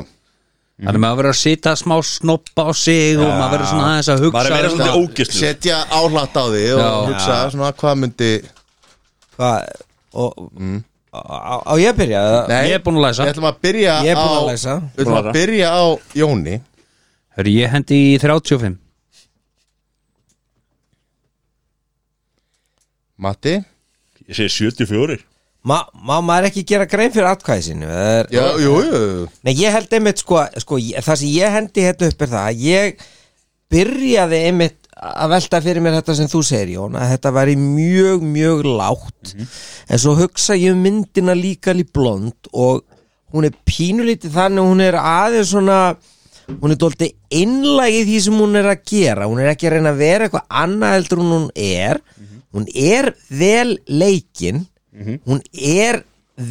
Speaker 3: Þannig maður verður að sitja smá snoppa á sig og maður verður svona aðeins að hugsa um
Speaker 1: Maður er meira
Speaker 3: svona-
Speaker 1: svolítið ógislu
Speaker 2: setja áhlatt á því og
Speaker 3: Já.
Speaker 2: hugsa svona hvað myndi
Speaker 4: Hvað og, á, á, á ég að byrja Mm. Nei.
Speaker 3: Ég er búinn að læsa
Speaker 2: Við ætlum að byrja
Speaker 4: Ég er búinn að
Speaker 2: á-
Speaker 4: læsa.
Speaker 2: Við ætlum að byrja á Jóni
Speaker 3: Hörru, ég hendi í 35
Speaker 2: Matti
Speaker 1: Ég segi 74
Speaker 4: Má, má maður ekki gera grein fyrir atkvæði sinu er,
Speaker 2: Já, jú, jú
Speaker 4: Nei, ég held einmitt sko, sko ég- Það sem ég hendi hérna upp er það að Ég byrjaði einmitt að velta fyrir mér þetta sem þú segir Jón að þetta væri mjög, mjög lágt en svo hugsa ég um myndina líka lí blond og hún er pínulítið þannig að hún er aðeins svona hún er dóltið innlæg í því sem hún er að gera hún er ekki að reyna að vera eitthvað annað heldur en hún er hún er vel leikin hún er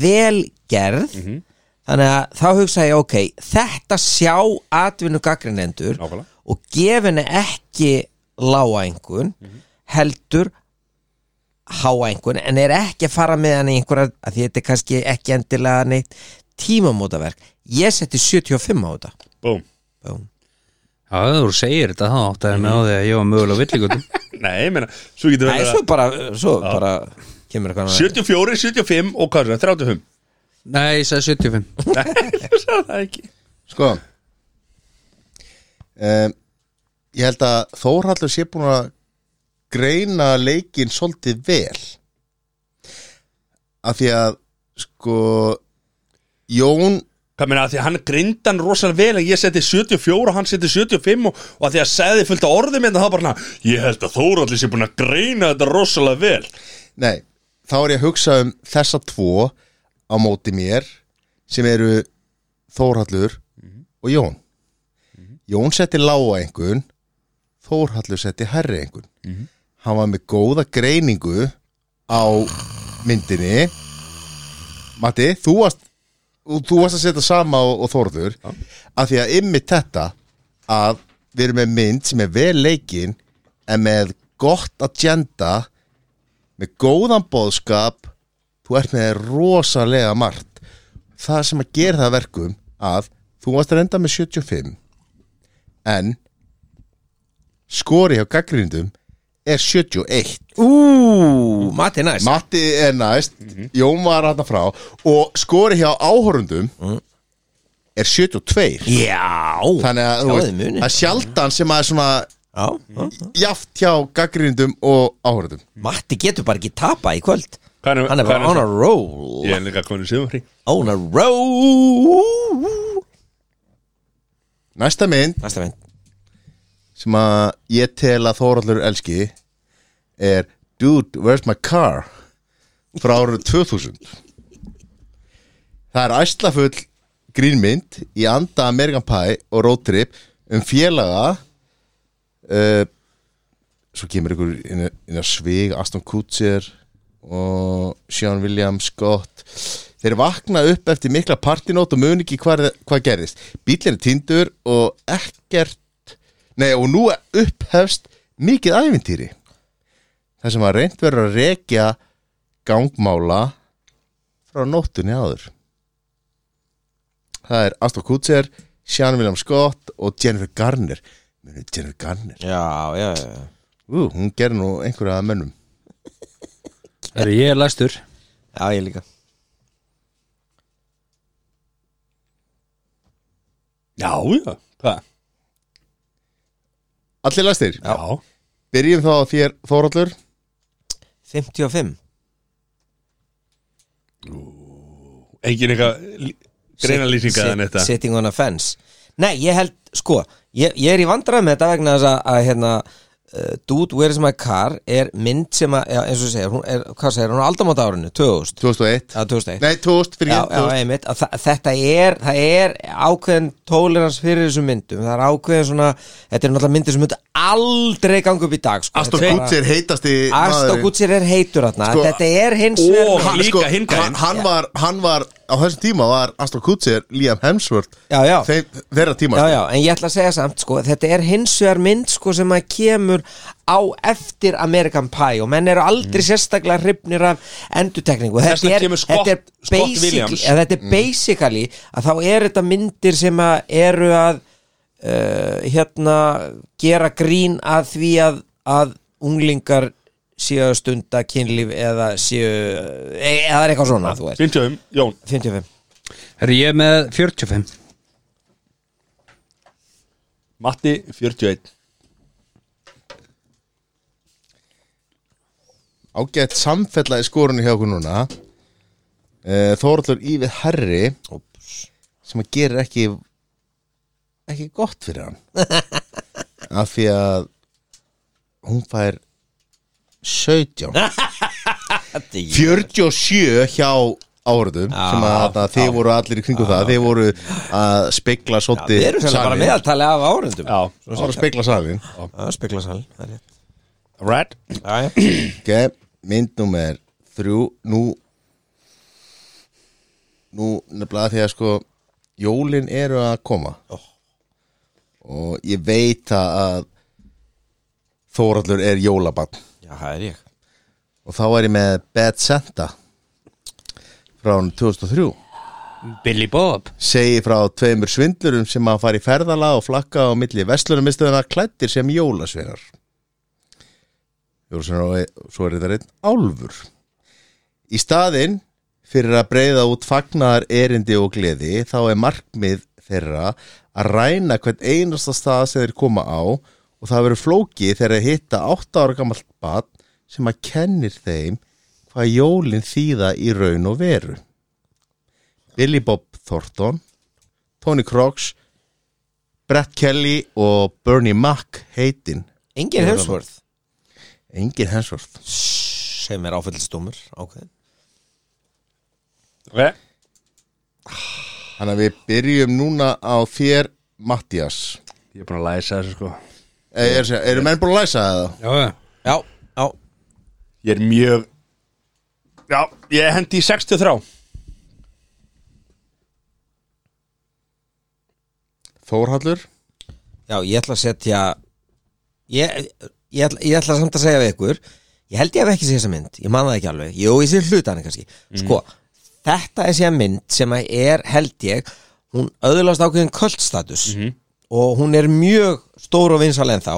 Speaker 4: vel gerð þannig að þá hugsa ég ok þetta sjá atvinnu gaggrinendur
Speaker 1: Nákvæmlega.
Speaker 4: og gef henni ekki lága einhvern
Speaker 1: Mhm.
Speaker 4: heldur háa einhvern en er ekki að fara með hann í einhverja að því þetta er kannski ekki endilega neitt tímamótaverk ég setti 75 á þetta
Speaker 1: Búm
Speaker 4: Búm.
Speaker 3: Já, ef þú segir þetta þá áttaði mig á því að ég var mögulega villigutum
Speaker 1: Nei, ég meina, svo getur
Speaker 4: Nei,
Speaker 1: verið
Speaker 4: svo
Speaker 1: að-
Speaker 4: bara, svo bara kemur eitthvað annað.
Speaker 1: 74, 75 og hvað er það? 35
Speaker 3: Nei, ég sagði 75
Speaker 1: Nei, þú sagði það ekki
Speaker 2: Sko um, Ég held að Þórhallur sé búin að greina leikinn svolítið vel af því að sko Jón
Speaker 1: Hvað meina, af því að hann grinda hann rosalega vel en ég seti 74 og hann seti 75 og, og að því að segði fullt af orðum en það bara hana, ég held að Þóralli sé búin að greina þetta rosalega vel
Speaker 2: Nei, þá er ég að hugsa um þessa tvo á móti mér sem eru Þórhallur og Jón Jón setti lága einhvern Þórhallur setti herri einhvern Hann var með góða greiningu á myndinni Matti, þú varst og þú varst að setja sama og, og Þórður af því að ymmið þetta að við erum með mynd sem er vel leikin en með gott agenda með góðan bóðskap þú ert með rosalega margt það sem að gera það að verkum að þú varst að enda með 75 en skori hjá gaggrindum er 71
Speaker 4: Ú, Matti er næst
Speaker 2: Matti er næst
Speaker 4: Mhm.
Speaker 2: Jón var hann frá og skori hjá áhorundum
Speaker 4: Mm.
Speaker 2: er 72
Speaker 4: Já
Speaker 2: þannig að þú
Speaker 4: Já,
Speaker 2: veist,
Speaker 4: þið munið.
Speaker 2: það er sjaldan sem að er svona
Speaker 4: Já, já.
Speaker 2: jaft hjá gaggrindum og áhorundum
Speaker 4: Matti getur bara ekki tapa í kvöld
Speaker 1: Hvað er-
Speaker 4: Hann er
Speaker 1: hvað
Speaker 4: bara
Speaker 1: er-
Speaker 4: on a roll
Speaker 1: Ég er líka komin í sumafrí
Speaker 4: On a roll
Speaker 2: næsta mynd
Speaker 4: Næsta mynd
Speaker 2: sem að ég tel að Þóraldur elski er Dude, where's my car? frá árunum 2000 Það er æslafull grínmynd í anda Amerikan Pie og Road Trip um félaga uh, svo kemur ykkur inn, á- inn á svig Aston Kutcher og Sean William Scott þeir vakna upp eftir mikla partinót og mun ekki hvað, hvað gerðist bílinn er tindur og ekkert Nei, og nú upphefst mikið ævintýri þar sem að reynd verður að rekja gangmála frá nóttunni áður Það er Astor Kutzer, Sean William Scott og Jennifer Garner Munu Jennifer Garner,
Speaker 4: Já, já, já
Speaker 2: Ú, hún gerir nú einhverja að mönnum
Speaker 3: Herri, ég er læstur
Speaker 4: Já, ég líka
Speaker 1: Já, já, hvað?
Speaker 2: Allir læstir,
Speaker 1: Já,
Speaker 2: byrjum þá á þér Þóraldur
Speaker 4: 55
Speaker 1: engin eitthvað lí- greina lýsinga en
Speaker 4: Sit-
Speaker 1: þetta
Speaker 4: Sitting on a fence Nei, ég held, sko, ég, ég er í vandræð með þetta vegna þess að, að hérna uh, Dude, where's my car er mynd sem að, já, eins og segir, hún er, hvað segir, hún er aldamóta árinu, 2000
Speaker 2: 2001
Speaker 4: Já, 2001
Speaker 2: Nei, 2000 fyrir
Speaker 4: já,
Speaker 2: ég,
Speaker 4: já,
Speaker 2: 2000.
Speaker 4: einmitt, að þa- þetta er það er ákveðin tólerans fyrir þessum myndum það er ákveðin svona, þetta er náttúrulega myndir sem myndu aldrei ganga upp í dag sko.
Speaker 2: Astor
Speaker 4: Þetta er bara-
Speaker 2: Kutzer heitasti
Speaker 4: Astor
Speaker 2: maðurinn.
Speaker 4: Kutser er heitur þarna
Speaker 2: Sko,
Speaker 4: þetta er hins
Speaker 1: og-
Speaker 4: vegar
Speaker 1: Hann- líka hinn gæinn.
Speaker 2: hann, hann, var, hann var, á þessum tíma var Astor Kutzer, Liam Hemsworth
Speaker 4: Já, já.
Speaker 2: Þeim, þeirra tíma
Speaker 4: Já,
Speaker 2: sko.
Speaker 4: já, en ég ætla að segja samt, sko, þetta er hins vegar mynd, sko, sem að kemur á eftir American Pie og menn eru aldrei sérstaklega hrifnir af endutekningu.
Speaker 1: Þess vegna
Speaker 4: er,
Speaker 1: Mm. kemur Scott-
Speaker 4: þetta er
Speaker 1: Scott
Speaker 4: basic-
Speaker 1: Williams. Mm.
Speaker 4: eða þetta er basically að þá er þetta myndir sem að eru að uh, hérna gera grín að því að, að unglingar séu að stunda kynlíf eða séu, eh, eða er eitthvað svona, þú veist.
Speaker 1: 50 um, Jón
Speaker 4: 55.
Speaker 3: Herri, ég er með 45
Speaker 1: Matti 41
Speaker 2: ágætt samfella í skorunni hjá okkur núna Eh, Þóraldur Ívið Herri Ops. sem að gerir ekki ekki gott fyrir hann af því að hún fær 17 47 hjá áhörðum sem að, að þið voru allir í kringu það þið voru að spegla
Speaker 4: Við
Speaker 2: svolítið
Speaker 4: erum sem bara
Speaker 2: salinn.
Speaker 4: meðaltali af árendum.
Speaker 1: Já,
Speaker 2: Það voru að spegla salin
Speaker 4: Já, spekla sal, það er
Speaker 1: red
Speaker 4: rétt. Já, já.
Speaker 2: Ok, mynd nummer þrjú Nú Nú nefnilega því að sko Jólin eru að koma Og ég veit að- að Þórallur er jólabann
Speaker 4: Já, það er ég
Speaker 2: Og þá er ég með Bad Santa Frá hann 2003
Speaker 3: Billy Bob
Speaker 2: Segir frá tveimur svindlurum sem að fara í ferðala og flakka á milli Vestlurumistuðina klættir sem jólasveinar Jólasveinar og svo er þetta reynd álfur Í staðinn fyrir að breyða út fagnar erindi og gleði þá er markmið þeirra að ræna hvern einasta stað sem þeir koma á og það verður flókið þegar þeir hitta 8 ára gamalt bat sem að kennir þeim hvað jólin þýða í raun og veru Billy Bob Thornton Tony Crocs Brett Kelly og Bernie Mac heitin,
Speaker 4: Engin Hemsworth
Speaker 2: engin hensvort
Speaker 4: sem er áfællstumur okay.
Speaker 1: Ok,
Speaker 2: Þannig að við byrjum núna á þér Mattias
Speaker 1: ég er búin að læsa þessu sko
Speaker 2: er, er, Eru menn búin að læsa það?
Speaker 3: Já, já
Speaker 4: Já, já
Speaker 1: Ég er mjög Já, ég hendi í 63
Speaker 2: Þórhallur
Speaker 4: Já, ég ætla að setja ég, ég, ætla, ég ætla samt að segja við ykkur Ég held ég hef ekki séð þessa mynd Ég man það ekki alveg, jú, ég sé hlutani kannski Sko, þetta er séð mynd sem að er, held ég Hún öðlast ákveðin kultstatus Og hún er mjög stór og vinsal ennþá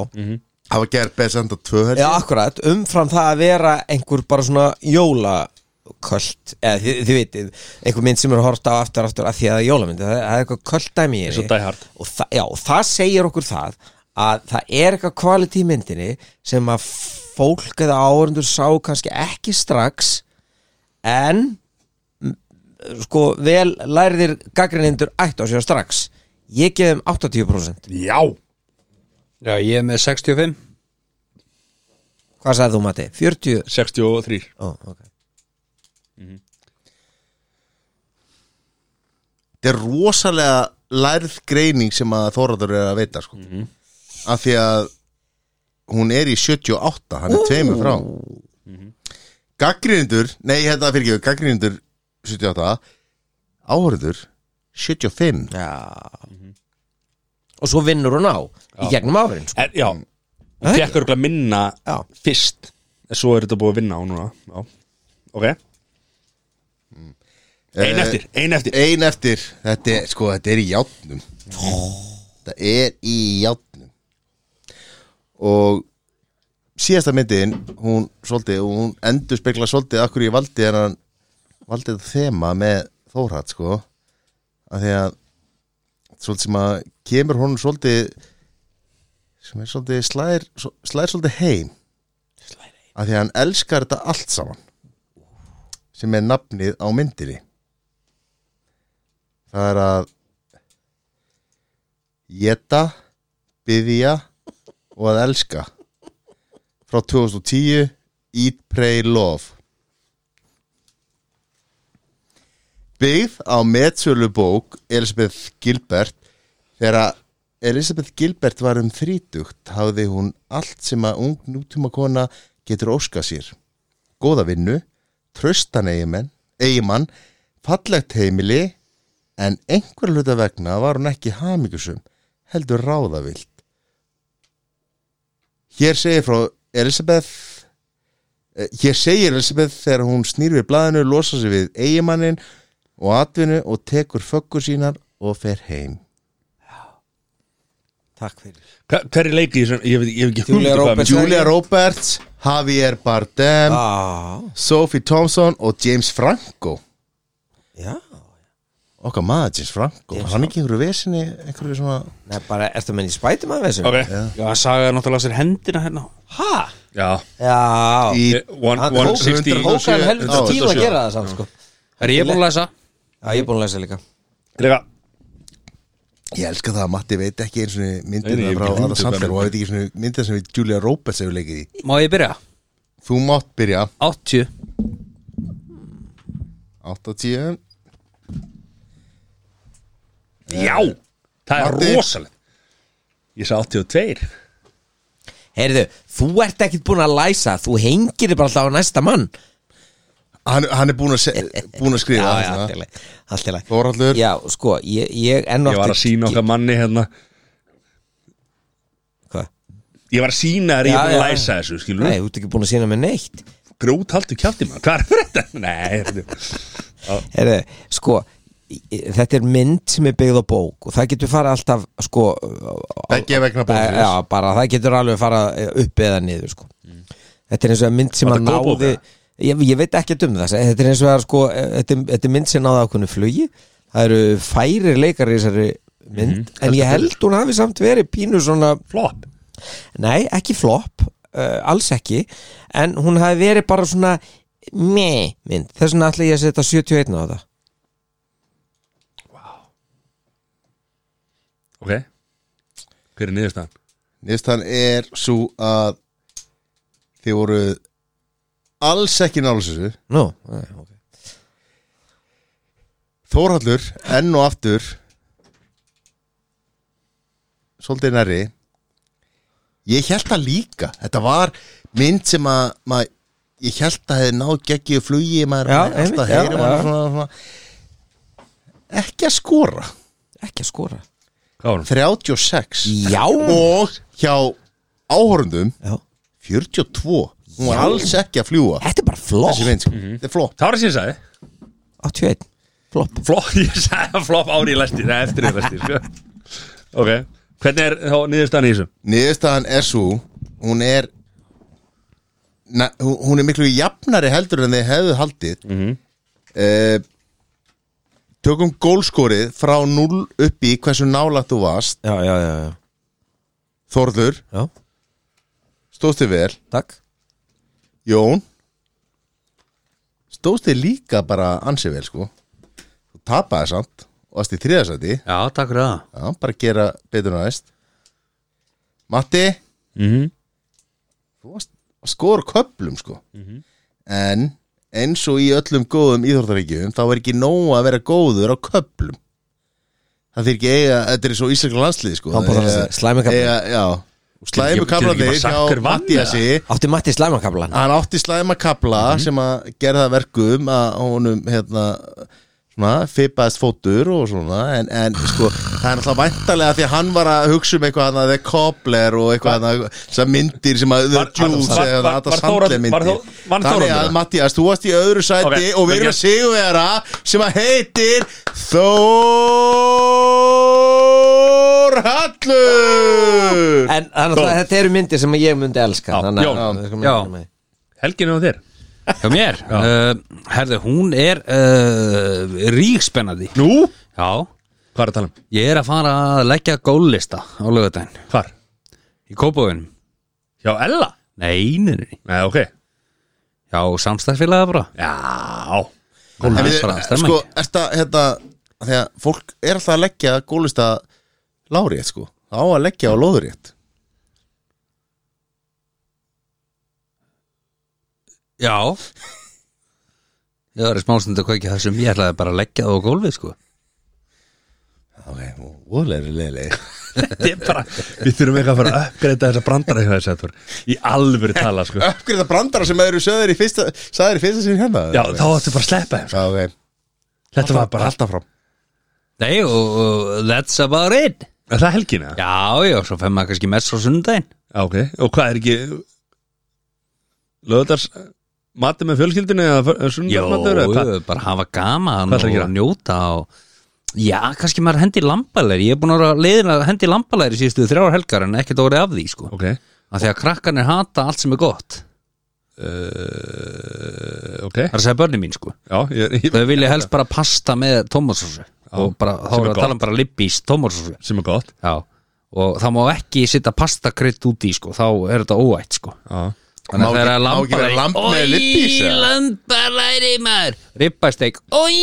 Speaker 2: hafa gert best enda tvö held
Speaker 4: Já,
Speaker 2: ég.
Speaker 4: akkurat, umfram það að vera einhver bara svona jólaköld eða þið, þið vitið, einhver mynd sem er hort á aftur aftur af því að það er jólamynd það, það er eitthvað köldæmi í
Speaker 1: Eins og Die Hard.
Speaker 4: og, það, já, og það segir okkur það að það er eitthvað kvaliti í myndinni sem að fólk eða áhörundur sá kannski ekki strax en m, sko vel læriðir gaggrinindur ættu á sér strax ég gefum 80%
Speaker 1: Já
Speaker 3: Já, ég er með 65
Speaker 4: hvað sagði þú Mati? 40?
Speaker 1: 63
Speaker 4: Ó, ok
Speaker 2: þetta er rosalega lærð greining sem að Þórhallur er að veita sko. af því að hún er í 78 hann er tveimur frá gaggrindur, nei hérna fyrir ekki gaggrindur 78 áhörður 75
Speaker 4: Já Og svo vinnur hún á Í gegnum árin sko.
Speaker 1: er, Já, hún fekk örgulega minna
Speaker 4: Já.
Speaker 1: fyrst en svo er þetta búið að vinna á núna já. Ok, ein eftir, ein eftir
Speaker 2: ein eftir, þetta er, sko, þetta er í játnum þetta er í játnum og síðasta myndin hún svolítið, og hún endur spekla svolítið akkur ég valdi hennan valdi þetta þema með Þórhatt sko af því að svolítið sem að kemur honum svolítið sem er svolítið slæðir slæðir svolítið heim af því að hann elskar þetta allt saman sem er nafnið á myndinni Það er að Geta Byðja Og að elska Frá 2010 Eat, Pray, Love Byggð á metsölu bók Elisabeth Gilbert Þegar Elisabeth Gilbert var um þrítugt hafði hún allt sem að ung nútíma kona getur óska sér góða vinnu, tröstan eigimann, eigimann fallegt heimili en einhver hluta vegna var hún ekki hamingusum, heldur ráðavild. Hér segir frá Elisabeth eh, Hér segir Elisabeth þegar hún snýr við blaðinu, losa sig við eigimannin og atvinnu og tekur föggur sínar og fer heim.
Speaker 4: Takk fyrir
Speaker 1: Hver, hver er leikið í þessum, ég veit ég hef ekki
Speaker 4: Julia
Speaker 1: hugmynd um hvað
Speaker 4: Roberts.
Speaker 1: mynd-
Speaker 2: Julia Roberts, Javier Bardem,
Speaker 4: ah,
Speaker 2: Sophie Thompson og James Franco.
Speaker 4: Já
Speaker 2: Okkar maður James Franco, James hann ekki einhverju vesinni, einhverju svona...
Speaker 4: Nei, bara ertu að menn í spætum að þessu
Speaker 1: Ok,
Speaker 3: Já, það sagði náttúrulega sér hendina hérna
Speaker 4: Ha?
Speaker 1: já Eh,
Speaker 4: Já
Speaker 2: Í,
Speaker 1: One-
Speaker 4: Hann-
Speaker 1: 160
Speaker 2: 100
Speaker 4: Hókar en helvita
Speaker 2: Já,
Speaker 4: tíma að
Speaker 1: 107.
Speaker 4: gera það samt sko
Speaker 3: Er ég búin að lesa?
Speaker 4: Já, ég er búin að lesa líka
Speaker 1: Lega,
Speaker 2: Ég elska það að Matti veit ekki eins og myndir
Speaker 1: Nei, nei,
Speaker 2: það
Speaker 1: ég veit ekki
Speaker 2: frá aðra
Speaker 1: hugmynd um
Speaker 2: samfélag
Speaker 1: hvað
Speaker 2: og veit ekki eins og myndir sem við Julia Roberts hefur leikið í
Speaker 3: Má ég byrja?
Speaker 2: Þú mátt byrja
Speaker 3: 80
Speaker 2: 80
Speaker 1: já Það er
Speaker 2: Matti.
Speaker 1: rosalegt Ég sá 82
Speaker 4: Heyrðu, þú ert ekkit búin að læsa Þú hengir þig bara alltaf á næsta mann
Speaker 2: Hann, hann er búin að, se, búin að skrifa
Speaker 4: Já, já,
Speaker 2: það,
Speaker 4: allt í
Speaker 2: svona.
Speaker 4: lagi, allt í lagi.
Speaker 2: Þórhallur
Speaker 4: Já, sko, ég, ég enn og
Speaker 1: Ég var að
Speaker 4: aftur-
Speaker 1: sína okkar manni hérna
Speaker 4: Hvað?
Speaker 1: Ég var að sína þér, ég
Speaker 4: Já,
Speaker 1: var að
Speaker 4: já.
Speaker 1: læsa þessu, skilur
Speaker 4: Nei, þú ert ekki búin að sína með neitt
Speaker 1: Grút haldu kjátti maður, hvað er fyrir þetta? Nei, þetta
Speaker 4: Heyrðu, sko í- í- þetta er mynd sem er byggð á bók og það getur fara alltaf sko á-
Speaker 2: Beggja vegna bóksins.
Speaker 4: Já, bara það getur alveg fara upp eða niður sko. þetta er eins og að mynd sem
Speaker 1: Var
Speaker 4: að
Speaker 1: þetta góð bók,
Speaker 4: náði ég, ég veit ekki um það þetta er eins og að sko, þetta, er- þetta er mynd sem náði ákveðnu flugi það eru færir leikar í þessari mynd en ég held hún hafi samt verið pínu svona
Speaker 1: flop
Speaker 4: Nei, ekki flop, uh, alls ekki En hún hafi verið bara svona Meh mynd Þess vegna ætla ég að setja 71 á það
Speaker 1: Ok, hver er niðurstaðan?
Speaker 2: Nýðstan er svo að Þið voru alls ekki nálusessu
Speaker 4: Nú, eh, ok
Speaker 2: Þórhallur enn og aftur Svolítið nærri Ég held það líka Þetta var mynd sem að mað, Ég held að hefði náð geggið flugi maður
Speaker 4: Já,
Speaker 2: alltaf um
Speaker 4: einmitt, já,
Speaker 2: heyri maður
Speaker 4: já.
Speaker 2: svona, svona Ekki að skora
Speaker 4: Ekki að skora
Speaker 1: Hvað var hún?
Speaker 2: 36
Speaker 4: Já.
Speaker 2: Og hjá áhorundum
Speaker 4: Já.
Speaker 2: 42 Hún var alls ekki að fljúa
Speaker 4: Þetta er bara flop
Speaker 2: Þessi mynd, sko
Speaker 4: Mhm.
Speaker 2: Þetta er flott
Speaker 1: Það var það sem ég sagði
Speaker 4: 81 Flop
Speaker 1: Flop, ég sagði að flop ári í læsti Það er eftir í læsti sko. Ok, hvernig er þá niðurstaðan í þessu?
Speaker 2: Niðurstaðan er svo Hún er na, hún- Hún er miklu jafnari heldur en þið hefðu haldið mm -hmm. Tökum gólskorið frá 0 upp í hversu nálægt þú varst
Speaker 4: Já, já, já, já.
Speaker 2: Þorður,
Speaker 4: já.
Speaker 2: stóðstu vel
Speaker 4: Takk
Speaker 2: Jón Stóðst þið líka bara ansi vel sko Þú tapaði samt og varst í þriðasæti
Speaker 3: Já, takk fyrir það
Speaker 2: Já, bara gera betur næst Matti
Speaker 1: Mm -hmm.
Speaker 2: Þú varst að skora köplum sko
Speaker 1: Mhm.
Speaker 2: En eins og í öllum góðum íþórtaríkjum þá er ekki nóg að vera góður á köplum Það þykir ekki eiga Þetta er svo íslenska landslið sko
Speaker 4: Handbolta
Speaker 2: Eiga-
Speaker 4: landslið, slæmi kaflar.
Speaker 2: eiga- Já, slæmu
Speaker 1: Getur ekki- getur ekki
Speaker 2: kaplarnir
Speaker 1: bara sagt
Speaker 2: hjá
Speaker 1: hver vann,
Speaker 2: Mattiasi
Speaker 4: Átti Matti slæmakablan
Speaker 2: hann átti slæma kapla
Speaker 1: Mhm.
Speaker 2: sem að gera það verkum að honum hérna svona, fipaðist fótur og svona en, en sko, það er alltaf væntalega því að hann var að hugsa um eitthvað hann að The Cobbler og eitthvað hann þessar myndir sem að The
Speaker 1: Var-
Speaker 2: Jules
Speaker 1: var-
Speaker 2: eða
Speaker 1: var-
Speaker 2: Adam
Speaker 1: var Þóra-
Speaker 2: Sandler
Speaker 1: var
Speaker 2: myndir
Speaker 1: Þó- vann
Speaker 2: þannig
Speaker 1: Þóra
Speaker 2: að
Speaker 1: með það?
Speaker 2: Mattias, þú varst í öðru sæti
Speaker 1: Ok,
Speaker 2: og við erum
Speaker 1: vel
Speaker 2: að sigurvera sem að heitir Þór Hallur
Speaker 4: En þannig að þetta eru myndir sem ég myndi elska
Speaker 1: Já,
Speaker 4: þannig
Speaker 1: Jón.
Speaker 4: að-
Speaker 3: Já.
Speaker 4: já.
Speaker 1: Helgin er á þér
Speaker 3: Hjá mér, uh, herðu, hún er uh, ríkspennandi
Speaker 1: Nú?
Speaker 3: Já,
Speaker 1: Hvað er að tala um?
Speaker 3: ég er að fara að leggja góllista á laugardaginn
Speaker 1: Hvar?
Speaker 3: Í Kópavöginum
Speaker 1: Hjá Ella?
Speaker 3: Nei, nei, nei, nei.
Speaker 1: Nei, ok
Speaker 3: já, samstæðsfélaga bara
Speaker 1: Já
Speaker 2: En
Speaker 3: Gólfið
Speaker 2: við,
Speaker 3: er bara stemming
Speaker 2: sko, er þetta, hérna þegar fólk er alltaf að leggja gólista lárétt, sko það á að leggja á lóðurétt
Speaker 3: Já Ég var í smástund að kveikja þessum Ég ætlaði bara að leggja það á gólfið, sko
Speaker 2: ok, ólega leiðileg
Speaker 1: Þetta er bara Við þurfum eitthvað að fara að uppgreita þessa brandara hjá þess að þú Í alvöru tala sko
Speaker 2: uppgriða brandara sem eru söður í fyrsta sagður í fyrsta sinni hérna
Speaker 1: Já, þá áttu bara að sleppa þeim sko.
Speaker 2: Já, ok.
Speaker 1: Þetta var bara
Speaker 2: alltaf fram
Speaker 3: Nei, og, og that's about it
Speaker 1: Er það helgin eða?
Speaker 3: Já, já, svo fem maður kannski mest frá sundaginn
Speaker 1: Já, ok Og hvað er ekki Löðars Mati með fjölskyldinu eða
Speaker 3: Jó, eh,
Speaker 1: sundarmatur eða hvað?
Speaker 3: bara hafa gaman
Speaker 1: Hvað ætlarðu
Speaker 3: og
Speaker 1: að gera?
Speaker 3: njóta og... Já, kannski maður hendi lambalæri Ég er búin að vera leiðin að hendi lambalæri síðustu þrjár helgar en ekkert orðið af því, sko
Speaker 1: Ok
Speaker 3: Af því að krakkarnir hata allt sem er gott
Speaker 1: uh, Ok
Speaker 3: Það er að segja börnin mín, sko
Speaker 1: Já, ég, ég,
Speaker 3: Þau vilja helst bara pasta með tómatsósu og bara, þá
Speaker 1: sem
Speaker 3: er
Speaker 1: er
Speaker 3: að tala um bara lippís tómatsósu
Speaker 1: sem er gott
Speaker 3: Já, og það má ekki sitta pastakrydd út í sko, þá er þetta óætt sko
Speaker 1: Já
Speaker 2: Má
Speaker 3: Þannig að
Speaker 2: ekki-
Speaker 3: það er að
Speaker 2: má ekki vera
Speaker 3: lambalæri
Speaker 2: lamb með lippís, eða?
Speaker 3: lambalæri maður Rippasteik, oi,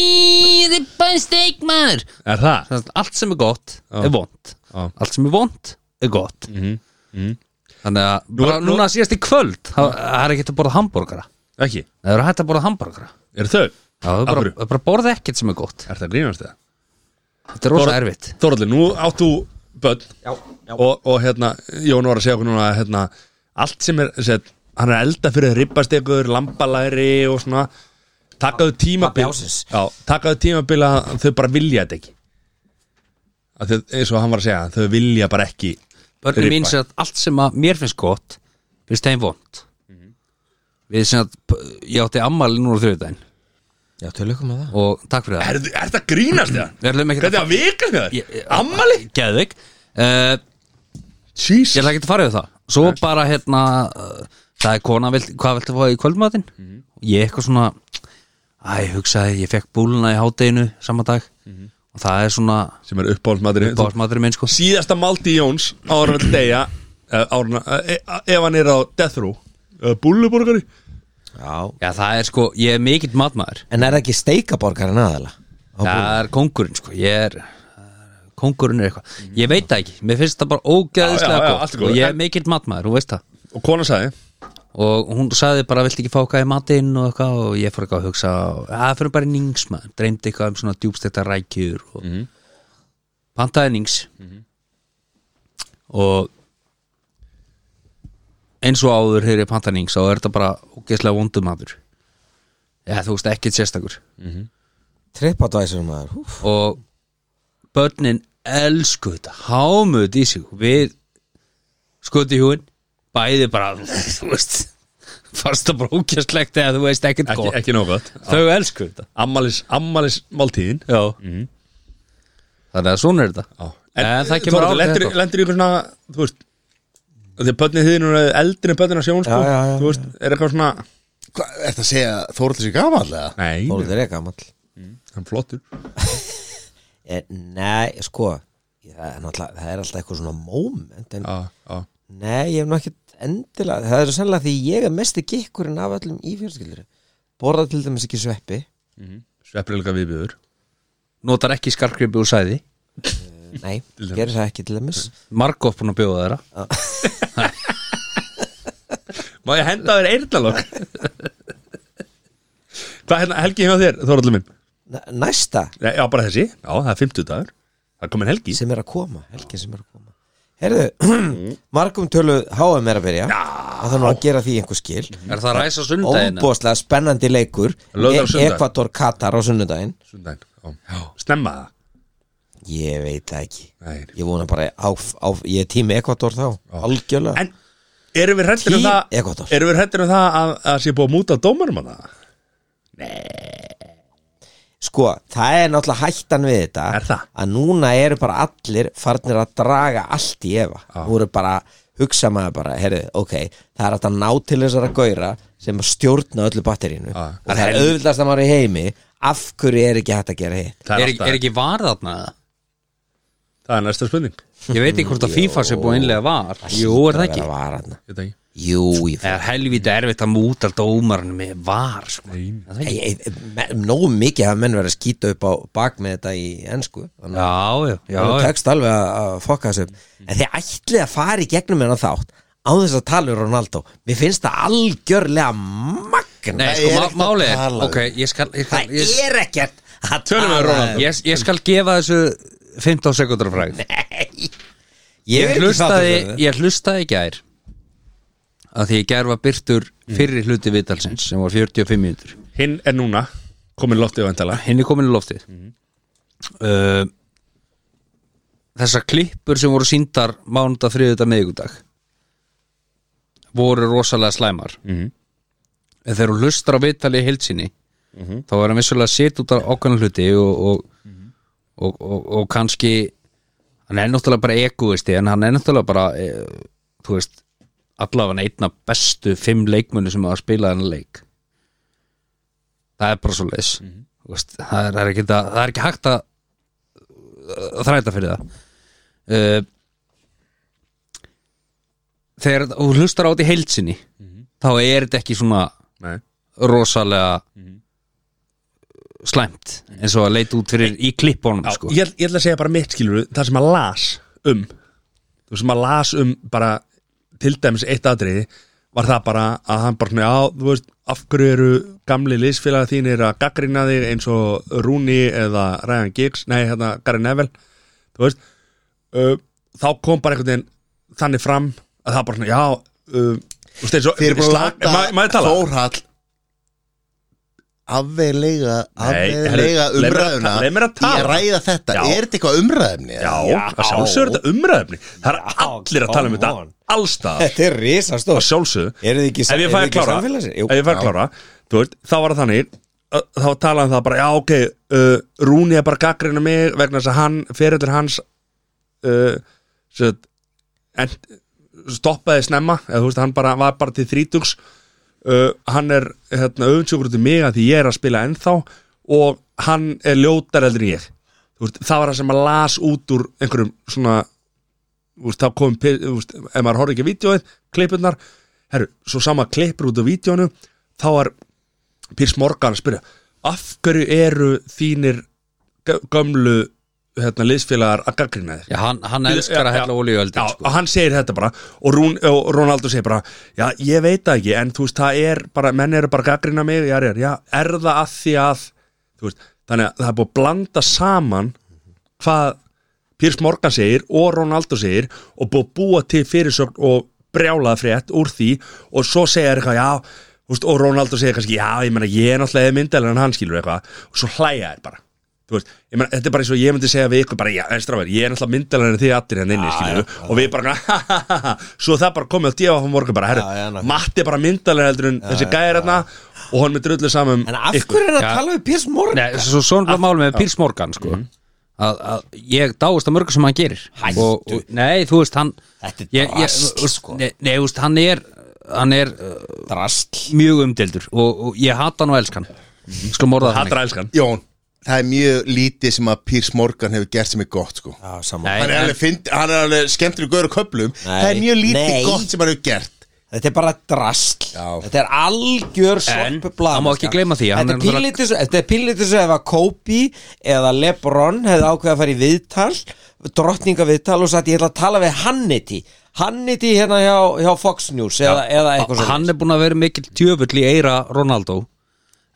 Speaker 3: rippasteik maður
Speaker 1: Er það?
Speaker 3: Þannig að allt sem er gott er vond
Speaker 1: Já.
Speaker 3: Allt sem er vond er gott
Speaker 1: Mhm, mhm.
Speaker 3: Þannig að bara,
Speaker 1: nú-
Speaker 3: núna síðast í kvöld þá- það er ekki að borða hambúrgara
Speaker 1: Ekki
Speaker 3: Það eru hægt að borða hambúrgara
Speaker 1: Er þau?
Speaker 3: Já, það er
Speaker 1: Af
Speaker 3: bara,
Speaker 1: hverju?
Speaker 3: það er bara að borða ekkert sem er gott
Speaker 1: Er það grínast eða?
Speaker 3: Þetta er rosa
Speaker 1: Borða-
Speaker 3: erfitt
Speaker 1: Þoralli, nú áttu börn
Speaker 4: Já, já.
Speaker 1: og, og hérna, Jón var að segja okkur núna að, hérna, allt sem er, sem, sagt, hann er að elda fyrir ribbastekur, lambalæri og svona, takaðu tímabil
Speaker 4: Pabbi ársins.
Speaker 1: já, takaðu tímabil að þau bara vilja þetta ekki að þau, eins og hann var að segja, þau vilja bara ekki
Speaker 3: börnum
Speaker 1: Ribba.
Speaker 3: mín sem að allt sem að mér finnst gott finnst þeim vond
Speaker 1: Mhm.
Speaker 3: við sem að ég átti ammali núna þrjóðdæn
Speaker 4: já til lukkum með það
Speaker 3: og takk fyrir það
Speaker 1: er, er það grínast eða?
Speaker 3: við ætlum ekki
Speaker 1: Hvernig að vika þér?
Speaker 3: Ég- ég-
Speaker 1: Ammali?
Speaker 3: geðvig uh,
Speaker 1: Jesus
Speaker 3: ég ætla ekki að fara yfir það svo bara hérna uh, það er kona, vilt, hvað viltu fá í kvöldmatinn
Speaker 1: Mhm.
Speaker 3: ég eitthvað svona æ, hugsaði, ég fekk búluna í hádeginu sama dag
Speaker 1: Mhm.
Speaker 3: og það er svona
Speaker 1: sem er uppáhaldsmaturinn
Speaker 3: básmaturinn minn sko
Speaker 1: síðasta Maldi Jóns ára til eh, degja ára, ef hann eh, er á Death Row eh, búlluborgari
Speaker 4: Já
Speaker 3: já, það er sko, ég er mikill matmaður
Speaker 4: En er það ekki steikaborgarinn aðala?
Speaker 3: Það er kóngurinn sko Ég er Kóngurinn er eitthvað Ég veit það ekki Mér finnst það bara
Speaker 1: Mhm. Já, já, já,
Speaker 3: ógæðislega
Speaker 1: allt
Speaker 3: gott
Speaker 1: er góð.
Speaker 3: Og ég er
Speaker 1: En-
Speaker 3: mikill matmaður, þú veist það
Speaker 1: og kona sagði
Speaker 3: Og hún sagði bara, viltu ekki fá hvað í matinn og eitthvað Og ég fór eitthvað að hugsa og- Það fyrir bara í nings maður Dreymdi eitthvað um svona djúbstekta rækjur og... Pantaði nings Og Eins og áður hefur ég pantaði nings Og er þetta bara ógeðslega vondumatur Já, þú veist, ekkert sérstakur
Speaker 4: Trippadvæsir maður Húf.
Speaker 3: og börnin elsku þetta, hámuð í sig við skoði hjúin bæði bara, þú veist fast að brókjaslegt eða þú veist ekkert
Speaker 1: ekki,
Speaker 3: gott
Speaker 1: ekki nóg gott
Speaker 3: þau elsku þetta
Speaker 1: Ammalis, ammalis máltíðin
Speaker 3: Já. þannig að svona er þetta En það kemur
Speaker 1: Þóra,
Speaker 3: á-
Speaker 1: lendir,
Speaker 3: þetta.
Speaker 1: lendir ykkur svona, þú veist Þegar bönnið þín eru eldri en bönnið á sjón sko,
Speaker 4: Já, já, já.
Speaker 1: Þú veist, er eitthvað svona
Speaker 2: Hva, Er að segja Þórhildur sér gaman eða?
Speaker 1: Nei,
Speaker 4: Þórður er gamall
Speaker 1: hann flottur
Speaker 4: Eh, Nei, sko það er, náttúrulega- það er alltaf eitthvað svona moment en
Speaker 1: Já, já,
Speaker 4: nei, ég hef nú ekkert endilega það er sennilega því ég er mesti gikkurinn af öllum í fjörskildur borða til dæmis ekki sveppi
Speaker 1: svepprilega viðbjöður
Speaker 3: notar ekki skarkripi úr sæði
Speaker 4: nei, gerir það ekki til dæmis
Speaker 3: margótt búin að bjóða þeirra
Speaker 1: Má ég henda þér eyrnalokk? Hvað er hérna, helgi hjá þér, Þóraldur minn?
Speaker 4: N- næsta
Speaker 1: Nei, Já, bara þessi, já, það er 50 dagur Það er komin helgi
Speaker 4: sem er að koma, helgin sem er að koma Herðu, margum tölu HM er að byrja að það nú að gera því einhver skil
Speaker 3: er það ræsa sundaginn?
Speaker 4: óbúðslega spennandi leikur E-
Speaker 1: Lögð á sunnudag.
Speaker 4: Ekvator Katar á sunnudaginn
Speaker 1: Sundaginn, já. Snemma það
Speaker 4: ég veit það ekki
Speaker 1: Nei.
Speaker 4: ég vona bara á, á, ég er tími Ekvator þá algjörlega
Speaker 1: En erum við hrættir um
Speaker 4: Tím
Speaker 1: það
Speaker 4: Ekvador.
Speaker 1: Erum við hrættir um það að, að sé búið að múta dómarum að það?
Speaker 4: Sko, það er náttúrulega hættan við þetta
Speaker 1: Er það?
Speaker 4: Að núna eru bara allir farnir að draga allt í efa ah. Nú eru bara, hugsa maður bara, herri, ok Það er hægt að ná til þessara gauðra sem stjórna öllu batterínu
Speaker 1: Ah.
Speaker 4: Og það er auðvitaðst að maður í heimi Af hverju er ekki hægt að gera hitt?
Speaker 1: Það
Speaker 3: er,
Speaker 1: er,
Speaker 3: ekki-
Speaker 1: alltaf,
Speaker 3: er ekki var þarna eða?
Speaker 1: það er næsta spurning Ég
Speaker 3: ég veit ekki hvort að FIFA sé búin einlega var jú, er það ekki?
Speaker 4: ekki?
Speaker 1: veit það ekki
Speaker 4: Jú, ég
Speaker 3: Það er helvítið erfitt að múta dómarinn með var sko. Er það ekki?
Speaker 4: Ei, ei, me- Nógu mikið hafa menn verið að skýta upp á bak með þetta í ensku Þannig að
Speaker 3: já, já, já,
Speaker 4: það
Speaker 3: já.
Speaker 4: tekst alveg að að fokka þessu upp. en þið ætlið að fara í gegnum hennar þátt á þess að tala um Ronaldo mér finnst það algjörlega magna
Speaker 3: Nei,
Speaker 2: Það er
Speaker 3: sko, má,
Speaker 2: ekkert að
Speaker 3: málið er
Speaker 2: tala um.
Speaker 3: Ok, ég skal ég, skal,
Speaker 4: það
Speaker 3: ég,
Speaker 4: er ekkert að
Speaker 1: Tölum við
Speaker 4: tala
Speaker 1: Ronaldo.
Speaker 4: um.
Speaker 3: ég, ég skal gefa þessu 15 sekundar fræg
Speaker 4: ég er
Speaker 3: Ég
Speaker 4: ekki sáttur
Speaker 3: hlustaði,
Speaker 4: með það.
Speaker 3: ég hlustaði í gær að því í gær var byrtur fyrri hluti vitalsins sem var 45 mínútur
Speaker 1: Hinn er núna, komin loftið vendala
Speaker 3: Hérna, hinn er komin í loftið uh, þessar klippur sem voru síndar mánunda þriðuta meðvíkudag voru rosalega slæmar
Speaker 1: Mhm.
Speaker 3: en þegar hún hlustar á vitali í heilsinni þá er hann vissulega að setja út á ákveðan hluti og og, og, og, og kannski hann er náttúrulega bara egoisti en hann er náttúrulega bara e, þú veist, allavega einna bestu fimm leikmunni sem hafa spilað hann leik það er bara svo leis
Speaker 1: Mhm.
Speaker 3: veist, það, er, það, er ekki, það, það er ekki hægt að að þræta fyrir það uh, þegar þú hlustar á þetta í heilsinni þá er þetta ekki svona
Speaker 1: Mhm. Nei, Mhm.
Speaker 3: rosalega slæmt eins og að leita út fyrir í klippunum
Speaker 1: Já,
Speaker 3: sko.
Speaker 1: ég, ætl- ég ætla að segja bara mitt skilur Það sem að las um Það sem að las um bara Til dæmis eitt atriði Var það bara að hann bara svona Já, þú veist, af hverju eru gamli liðsfélaga þínir Að gaggrina þig eins og Rúni Eða Ryan Giggs, nei hérna Gary Neville Þú veist uh, Þá kom bara einhvern veginn Þannig fram að það bara svona Já, uh, þú veist, eins og
Speaker 2: Þið eru búin
Speaker 1: Slag-
Speaker 2: að
Speaker 1: Má- má ég
Speaker 2: láta
Speaker 1: tala?
Speaker 2: Þórhall afveilega afveilega
Speaker 1: heyrðu, leið mér að-
Speaker 2: umræðuna
Speaker 1: leið mér að
Speaker 2: í
Speaker 1: tala.
Speaker 2: að ræða þetta,
Speaker 1: Já.
Speaker 2: er þetta eitthvað umræðumni?
Speaker 1: Já, að sjálfsögur þetta umræðefni Það er
Speaker 4: Já,
Speaker 1: allir að tala um
Speaker 4: come
Speaker 1: þetta
Speaker 4: on.
Speaker 1: Allstað,
Speaker 4: þetta er
Speaker 1: að
Speaker 4: risastór
Speaker 1: sjálfsögur
Speaker 4: eru þið ekki,
Speaker 1: ef ég fæði
Speaker 4: eru þið
Speaker 1: að
Speaker 4: ekki
Speaker 1: klára
Speaker 4: samfélagsir? Jú,
Speaker 1: ef ég fæði að klára þú veist, þá var það þannig að- þá talaði um það bara, já ok uh, Rúni er bara gaggrina mig vegna þess að hann, fyrirlir hans uh, set, en, stoppaði snemma eða þú veist, hann bara, var bara til þrítugs uh, hann er hérna, öfundsjúkur út í mig að því ég er að spila ennþá og hann er ljótar eldur en ég Þú veist, það var það sem að las út úr einhverjum svona þú veist, þá komum, pi- þú veist, ef maður horfði ekki á vídjóið, klippurnar herru, svo sama klippur út á vídjónu þá er Pírs Morgan að spyrja af hverju eru þínir gö- gömlu hérna, liðsfélagar að gaggrina þér
Speaker 3: Já, hann, hann elskar að
Speaker 1: Já,
Speaker 3: hella
Speaker 1: já.
Speaker 3: olíu öldin
Speaker 1: Já, Ah.
Speaker 3: sko.
Speaker 1: og hann segir þetta bara og, Rún, og Ronaldo segir bara já, ég veit það ekki, en þú veist, það er bara, menn eru bara að gaggrina mig, já, já, já er það að því að, þú veist þannig að það er búið að blanda saman hvað Pírs Morgan segir og Ronaldo segir og búið að búa til fyrirsögn og brjálaða frétt úr því og svo segir eitthvað, já, þú veist, og Ronaldo segir kannski, já, ég meina, ég er náttúrulega myndalinn en hann skilur eitthvað og svo hlæja þér bara Þú þú veist, ég meina, þetta er bara eins og ég myndi segja við ykkur bara, já, strafver, ég er náttúrulega myndalegin þið allir hérna inni, skilju, og við bara ha, ha, ha, ha, svo það bara komið á djöfa á morgun bara, herru,
Speaker 4: Já, já, nákvæmlega.
Speaker 1: Matti er bara myndalegin heldur en þessi gæðir hérna og hann með drullu saman um
Speaker 4: En af hverju er það að tala við Piers Morgan?
Speaker 3: Nei, svo svona mál með Pírs Morgan sko. að, að ég dáist að mörgu sem hann gerir
Speaker 4: Hættu.
Speaker 3: og, og, Nei, þú veist, hann
Speaker 4: Þetta er
Speaker 3: ég, ég,
Speaker 4: drasl,
Speaker 3: þú veist,
Speaker 4: sko.
Speaker 3: Nei, nei, þú veist, hann er hann er uh,
Speaker 4: Drastl
Speaker 3: mjög umdeldur og, og ég hata hann og elska hann Sko morða hann
Speaker 1: hattra elskan
Speaker 2: Jón, það er mjög lítið sem að Pírs Morgan hefur gert sem er gott sko
Speaker 4: Já, saman
Speaker 2: hann, er alveg fynd, hann er alveg skemmtileg gaur á köplum Það er mjög lítið
Speaker 4: Nei.
Speaker 2: gott sem hann hefur gert
Speaker 4: Þetta er bara drastl
Speaker 2: Já.
Speaker 4: Þetta er algjör
Speaker 3: En,
Speaker 4: sorpubla
Speaker 3: það má ekki gleyma því að hann
Speaker 4: Þetta
Speaker 3: er
Speaker 4: er pínlítið svo- þetta er pínlítið svo ef að Kobe eða Lebron hefði ákveða að fara í viðtal drottninga viðtal og sagt ég ætla að tala við Hannity Hannity hérna hjá, hjá Fox News eða, eða eitthvað svo
Speaker 3: Hann er búin að vera mikill tjöfull í eira Ronaldo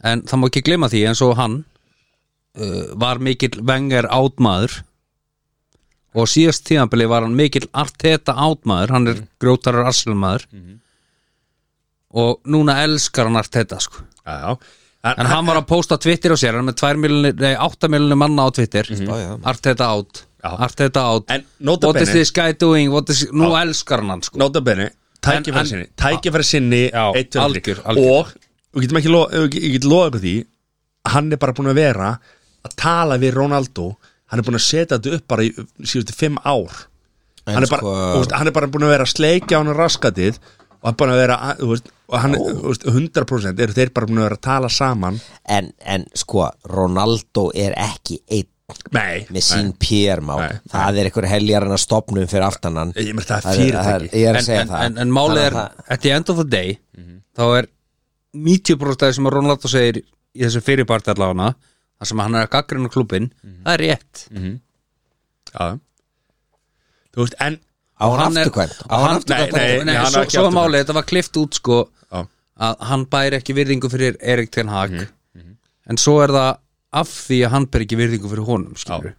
Speaker 3: en það má ekki gleyma því eins og hann uh, var mikill vengar átmaður og síðast tíðanbili var hann mikill Arteta átmaður, hann er grjótarar arsenalmaður og núna elskar hann Arteta sko.
Speaker 1: já, já. En,
Speaker 3: en hann var að posta Twitter á sér hann er með 2 miljonir, nei 8 miljonir manna á Twitter
Speaker 4: já.
Speaker 3: Arteta át
Speaker 1: Já.
Speaker 3: Arteta át,
Speaker 1: En nota
Speaker 3: what is
Speaker 1: bene-
Speaker 3: this guy doing What is, nú elskar hann hann sko.
Speaker 1: notabene, tækifæri
Speaker 3: En- en-
Speaker 1: sinni tækifæri sinni,
Speaker 3: Já,
Speaker 1: eitt, tveir,
Speaker 3: algjör,
Speaker 1: þrír.
Speaker 3: algjör.
Speaker 1: og við getum ekki lo- við- ég get lofa ykkur því að hann er bara búin að vera að tala við Ronaldo hann er búin að setja þetta upp bara í síðustu fimm ár hann er, bara,
Speaker 4: sko-
Speaker 1: sko... veist, hann er bara búin að vera að sleikja hann raskatið og hann er búin að vera að- þú veist, og hann, þú veist, 100% eru þeir bara búin að vera að tala saman
Speaker 4: en, en sko, Ronaldo er ekki einn
Speaker 1: nei,
Speaker 4: með sín PR má
Speaker 1: Nei.
Speaker 4: það er einhver heljarinn að stopnum fyrir aftanan
Speaker 1: Ég meina, það er fyrirtæki.
Speaker 4: ég er að
Speaker 3: en,
Speaker 4: segja
Speaker 3: en,
Speaker 4: það
Speaker 3: en, en málið
Speaker 4: Þannig
Speaker 3: er,
Speaker 4: að það-
Speaker 3: at the end of the day þá er 90% af því sem að Ronaldo segir í þessu fyrirparti allavega það sem hann er að gaggrinu klubin það er rétt
Speaker 1: já þú veist, en
Speaker 4: á hann
Speaker 3: Hann er-
Speaker 4: afturkvæmt á
Speaker 3: hann-
Speaker 4: hann
Speaker 1: nei,
Speaker 4: afturkvæmt
Speaker 1: nei,
Speaker 3: Nei,
Speaker 1: hann
Speaker 3: svo,
Speaker 1: er ekki
Speaker 3: svo er
Speaker 1: afturkvæmt.
Speaker 3: málið, þetta var klift út sko
Speaker 1: Já.
Speaker 3: að hann bæri ekki virðingu fyrir Erik Ten Hag en svo er það af því að hann bæri ekki virðingu fyrir honum skilur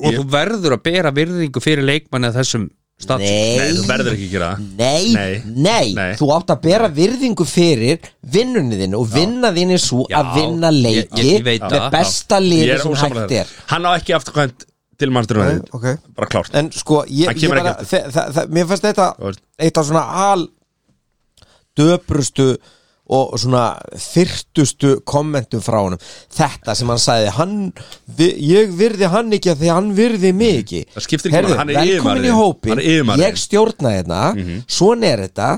Speaker 3: og þú verður að bera virðingu fyrir leikmanni af þessum status
Speaker 1: nei, þú
Speaker 4: nei,
Speaker 1: verður ekki að gera það
Speaker 4: Nei,
Speaker 1: Nei.
Speaker 4: nei,
Speaker 1: Nei.
Speaker 4: þú átt að bera virðingu fyrir vinnunni þinn og vinna þinn er svo
Speaker 3: Já,
Speaker 4: að vinna
Speaker 3: ég-
Speaker 4: leiki
Speaker 3: ég- ég veit
Speaker 4: með
Speaker 3: það.
Speaker 4: besta
Speaker 1: Ég
Speaker 4: liði
Speaker 1: er
Speaker 4: sem
Speaker 1: ósammála
Speaker 4: hægt
Speaker 1: þér.
Speaker 4: er
Speaker 1: hann á ekki afturkvæmt til mannsturinn
Speaker 4: okay.
Speaker 1: bara klárt
Speaker 4: En sko, ég,
Speaker 1: Hann
Speaker 4: ég
Speaker 1: kemur
Speaker 4: bara,
Speaker 1: ekki
Speaker 4: þe- þa- þa- mér fannst þetta
Speaker 1: Þú veist.
Speaker 4: eitt af svona al döprustu og svona fyrtustu kommentum frá honum þetta sem hann sagði hann, vi, ég virði hann ekki af því að hann virði mig ekki
Speaker 1: Mhm. Það skiptir ekki máli, hann er
Speaker 4: velkomin
Speaker 1: yfirmaður
Speaker 4: í
Speaker 1: þinn.
Speaker 4: hópin
Speaker 1: Hann er Mhm. yfirmaður
Speaker 4: ég
Speaker 1: þinn.
Speaker 4: stjórna hérna, svona er þetta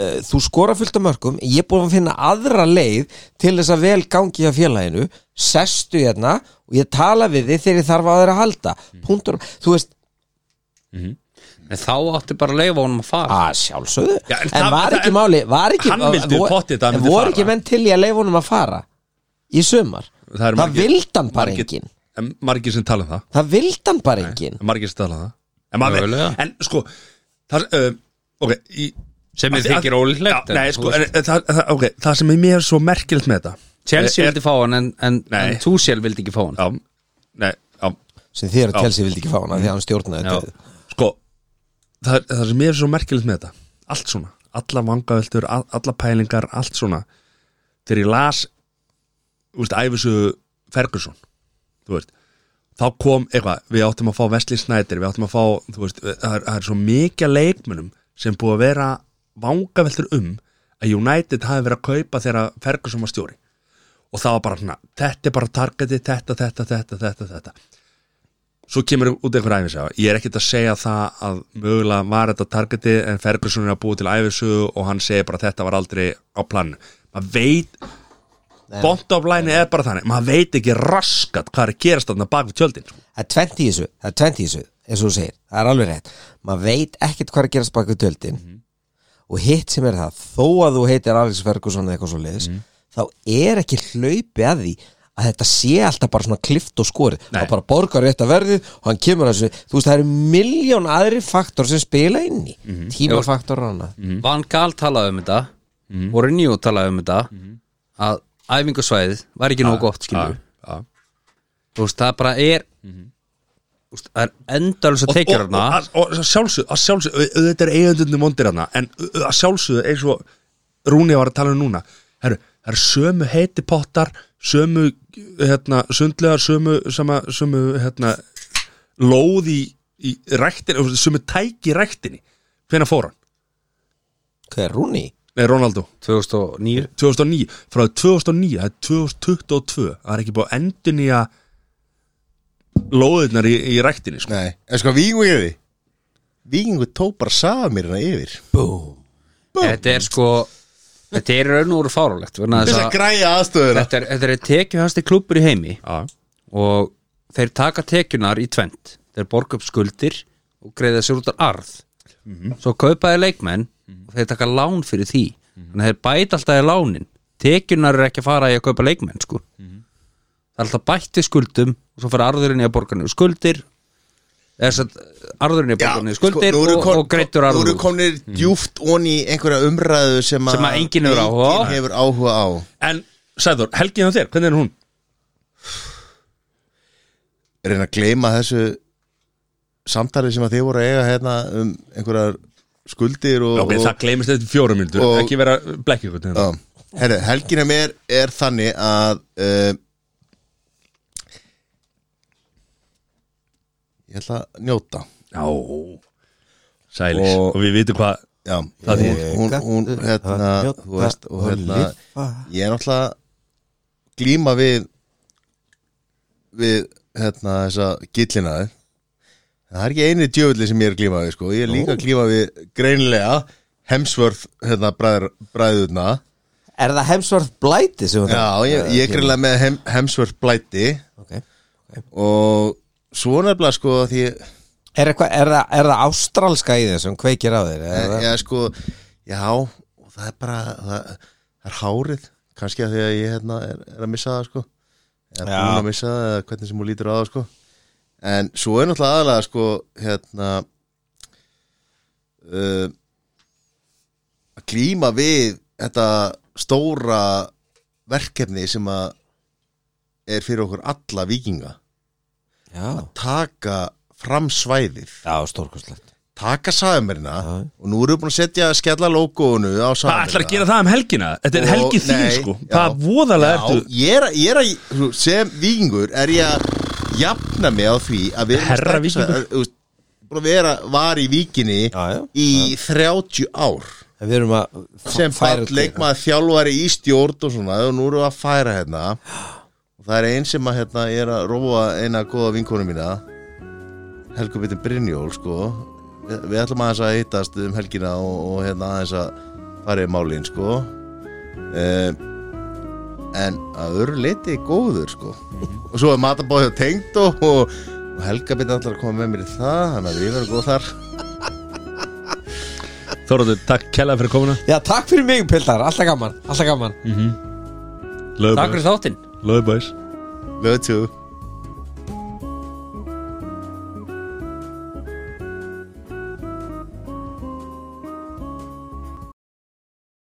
Speaker 4: uh, þú skora fullt af mörgum ég er búin að finna aðra leið til þess að vel gangi hjá félaginu sestu hérna og ég tala við þig þegar ég þarf á þeirra að halda punktur, þú veist,
Speaker 3: en þá átti bara að leifa honum að fara
Speaker 4: að sjálfsögðu
Speaker 1: Já, en
Speaker 4: en,
Speaker 1: það-
Speaker 4: var
Speaker 1: það-
Speaker 4: ekki máli var ekki,
Speaker 1: Hann vildi
Speaker 4: vo-
Speaker 1: pottþétt að hann
Speaker 4: en
Speaker 1: myndi
Speaker 4: voru
Speaker 1: fara.
Speaker 4: ekki menn til í að leifa honum að fara í sumar
Speaker 1: það, eru margir-
Speaker 4: vildi hann bara
Speaker 1: margir-
Speaker 4: enginn
Speaker 1: en margir sem tala um það
Speaker 4: það vildi hann bara enginn
Speaker 1: en margir sem tala um það en, maður,
Speaker 3: Mögulega.
Speaker 1: en sko það, uh, ok í,
Speaker 3: Sem mér
Speaker 1: að- að-
Speaker 3: þykir ólíklegt,
Speaker 1: já,
Speaker 3: en
Speaker 1: nei,
Speaker 3: þú
Speaker 1: sko, en,
Speaker 3: veist.
Speaker 1: það, það, okay, það sem er mér svo merkilegt með þetta
Speaker 3: Chelsea
Speaker 1: er-
Speaker 3: vildi fá hann en, en,
Speaker 1: Nei.
Speaker 3: en Túsjál vildi ekki fá hann
Speaker 1: já, nei, já,
Speaker 4: sem
Speaker 1: Já.
Speaker 4: þér að telsi vildi ekki fá hann af því að hann stjórnaði
Speaker 3: Já.
Speaker 4: þetta
Speaker 1: sko það, það sem mér er svo merkilegt með þetta allt svona, alla vangaveltur, all- alla pælingar allt svona þegar ég las þú veist, æfisögu Ferguson þú veist, þá kom eitthvað við áttum að fá Wesley Snyder, við áttum að fá þú veist, það er, það er svo mikið af leikmunum sem búið að vera vangaveltur um að United hafi verið að kaupa þegar Ferguson var stjóri og það var bara svona, þetta er bara targetið þetta, þetta, þetta, þetta, þetta svo kemur út einhver æfisaga ég er ekkert að segja það að mögulega var þetta targetið en Ferguson er að búa til æfisögu og hann segir bara að þetta var aldrei á planu maður veit bont of line er bara þannig maður veit ekki raskat hvað er að gerast þarna bak við tjöldin sko.
Speaker 4: það er tvent í þessu, það er tvent í þessu eins og þú segir, það er alveg rétt maður veit ekkert hvað er að gerast bak við tjöldin og hitt sem er það þó að þú heitir Alex Ferguson eða eitthvað svo leiðis þá er ekki hlaupi að því að þetta sé alltaf bara svona klift og skorið
Speaker 1: Nei.
Speaker 4: það bara borgar rétt að verðið og hann kemur að þessu, þú veist það eru miljón aðri faktor sem spila inn í mm -hmm. tímafaktor og annað
Speaker 1: Mhm.
Speaker 3: Van Gaal talaði um þetta Mourinho talaði um þetta
Speaker 1: Mhm.
Speaker 3: að æfingasvæðið var ekki nóg gott skilur
Speaker 1: ja.
Speaker 3: þú veist það bara er mm veist, það er endalus að
Speaker 1: Mhm. og,
Speaker 3: tekja
Speaker 1: og, og,
Speaker 3: hana
Speaker 1: að- og, og sjálfsög, að sjálfsög þetta er eigundundum vondir hana en au- au- að sjálfsög eins og Rúni var að tala um núna Heru, það eru sömu heiti pottar sömu hérna, sundlegar sömu, sama, sömu hérna, lóð í, í ræktinni, sömu tæki í ræktinni hvenær fór hann?
Speaker 4: Hvað er Rúni?
Speaker 1: Nei, Ronaldo
Speaker 3: 2009
Speaker 1: 2009, frá 2009 það er 2022, það er ekki búið að endurnýja lóðirnar í, í ræktinni sko.
Speaker 2: Nei, en sko vikingu yfir því Vikingu tók bara safamirna yfir
Speaker 4: Búm
Speaker 3: Þetta er sko Þetta er í raun og úr fárálegt vegna
Speaker 2: Þess
Speaker 3: þess
Speaker 2: að
Speaker 3: að
Speaker 2: græja aðstöðuna
Speaker 3: Þetta er, þetta er tekjuhasti klubur í heimi
Speaker 1: Já.
Speaker 3: og þeir taka tekjunar í tvent þeir borga upp skuldir og greiða sér út af arð
Speaker 2: Mhm.
Speaker 3: svo kaupa þeir leikmenn og þeir taka lán fyrir því þannig að þeir bæta alltaf í lánin tekjunar er ekki að fara í að kaupa leikmenn sko.
Speaker 2: Mhm.
Speaker 3: það er alltaf bætt við skuldum og svo fyrir arðurinn í að borga niður skuldir eða þess að arðurinn í að borga niður skuldir
Speaker 2: sko, nú eru
Speaker 3: og,
Speaker 2: kon-
Speaker 3: og greittur
Speaker 2: Nú
Speaker 3: arður
Speaker 2: eru
Speaker 3: út.
Speaker 2: komnir djúft onni í einhverja umræðu sem,
Speaker 3: Sem að enginn hefur áhuga á.
Speaker 2: enginn hefur áhuga á
Speaker 1: en Sæður, Helgi hjá þér, hvernig er hún?
Speaker 2: Reyna að gleyma þessu samtali sem að þið voru að eiga hérna um einhverjar skuldir og,
Speaker 1: Já, ok, það
Speaker 2: og,
Speaker 1: gleymist eftir fjórum myndur
Speaker 2: og-
Speaker 1: ekki vera blekkið hvernig
Speaker 2: og herri, helgina mér er þannig að uh, ég ætla að njóta
Speaker 1: Já, sælis og,
Speaker 2: Og-
Speaker 1: við vitum hvað
Speaker 2: Já,
Speaker 1: Það
Speaker 2: hún,
Speaker 1: þýðir-
Speaker 2: hún, hún hérna, þú veist, og hérna ég er náttúrulega glíma við við, hérna, þessa gillinaði það er ekki eini djöfulli sem ég er að glíma við, sko ég er líka að glíma við greinilega hemsvörð, hérna, bræður, bræðurna
Speaker 4: Er það Hemsworth Blæti sem þú um?
Speaker 2: já, ég, ég er greinilega með hem, hemsvörð blæti
Speaker 4: okay.
Speaker 2: og svo nefnilega, sko, að því ég,
Speaker 4: er, eitthva, er, það, er það ástralska í þessum kveikir á þér? Er það-
Speaker 2: ég, sko, já og það er bara, það, það er hárið kannski að því að ég, hérna, er, er að missa það, sko eða
Speaker 4: Já.
Speaker 2: búin að missa það, eða hvernig sem hún lítur á það sko. en svo er náttúrulega aðalega sko, hérna uh, að glíma við þetta stóra verkefni sem að er fyrir okkur alla vikinga
Speaker 4: Já,
Speaker 2: taka fram svæðið
Speaker 4: já stórkostlegt
Speaker 2: taka samirna og nú erum við búin að setja skella logoinu á samirna
Speaker 1: Það ætlar að gera það um helgina Þetta er
Speaker 2: Og-
Speaker 1: helgi þín
Speaker 2: nei,
Speaker 1: sko
Speaker 2: já.
Speaker 1: Hvað voðalega
Speaker 2: Já,
Speaker 1: ertu
Speaker 2: ég er, að- ég er að, þú- sem vikingur er ég að jafna mig á því að við erum
Speaker 1: Herra
Speaker 2: sterkasta-
Speaker 1: víkingur.
Speaker 2: þú veist, búin að vera var í vikinni
Speaker 4: Já, já.
Speaker 2: í 30 ár
Speaker 4: En Við erum að f-
Speaker 2: sem
Speaker 4: færa
Speaker 2: fall
Speaker 4: til-
Speaker 2: leikmaður þjálfari í stjórn og svona og nú erum við að færa hérna og það er einn sem að hérna ég er að róa eina góða vinkonu mína Helgu bitur Brynjól sko við, við ætlum aðeins að hittast um helgina og, og hérna aðeins að fara í málin sko eh, en að öru liti góður sko og svo er matabóðið tengt og, og, og Helga bitur allar að koma með mér í það þannig að við verðum góð þar
Speaker 1: Þóraður, takk kella fyrir komuna
Speaker 4: Já, takk fyrir mig, Pildar, alltaf gaman Alltaf gaman
Speaker 3: Takk fyrir þáttinn
Speaker 1: Löðbæs
Speaker 2: love you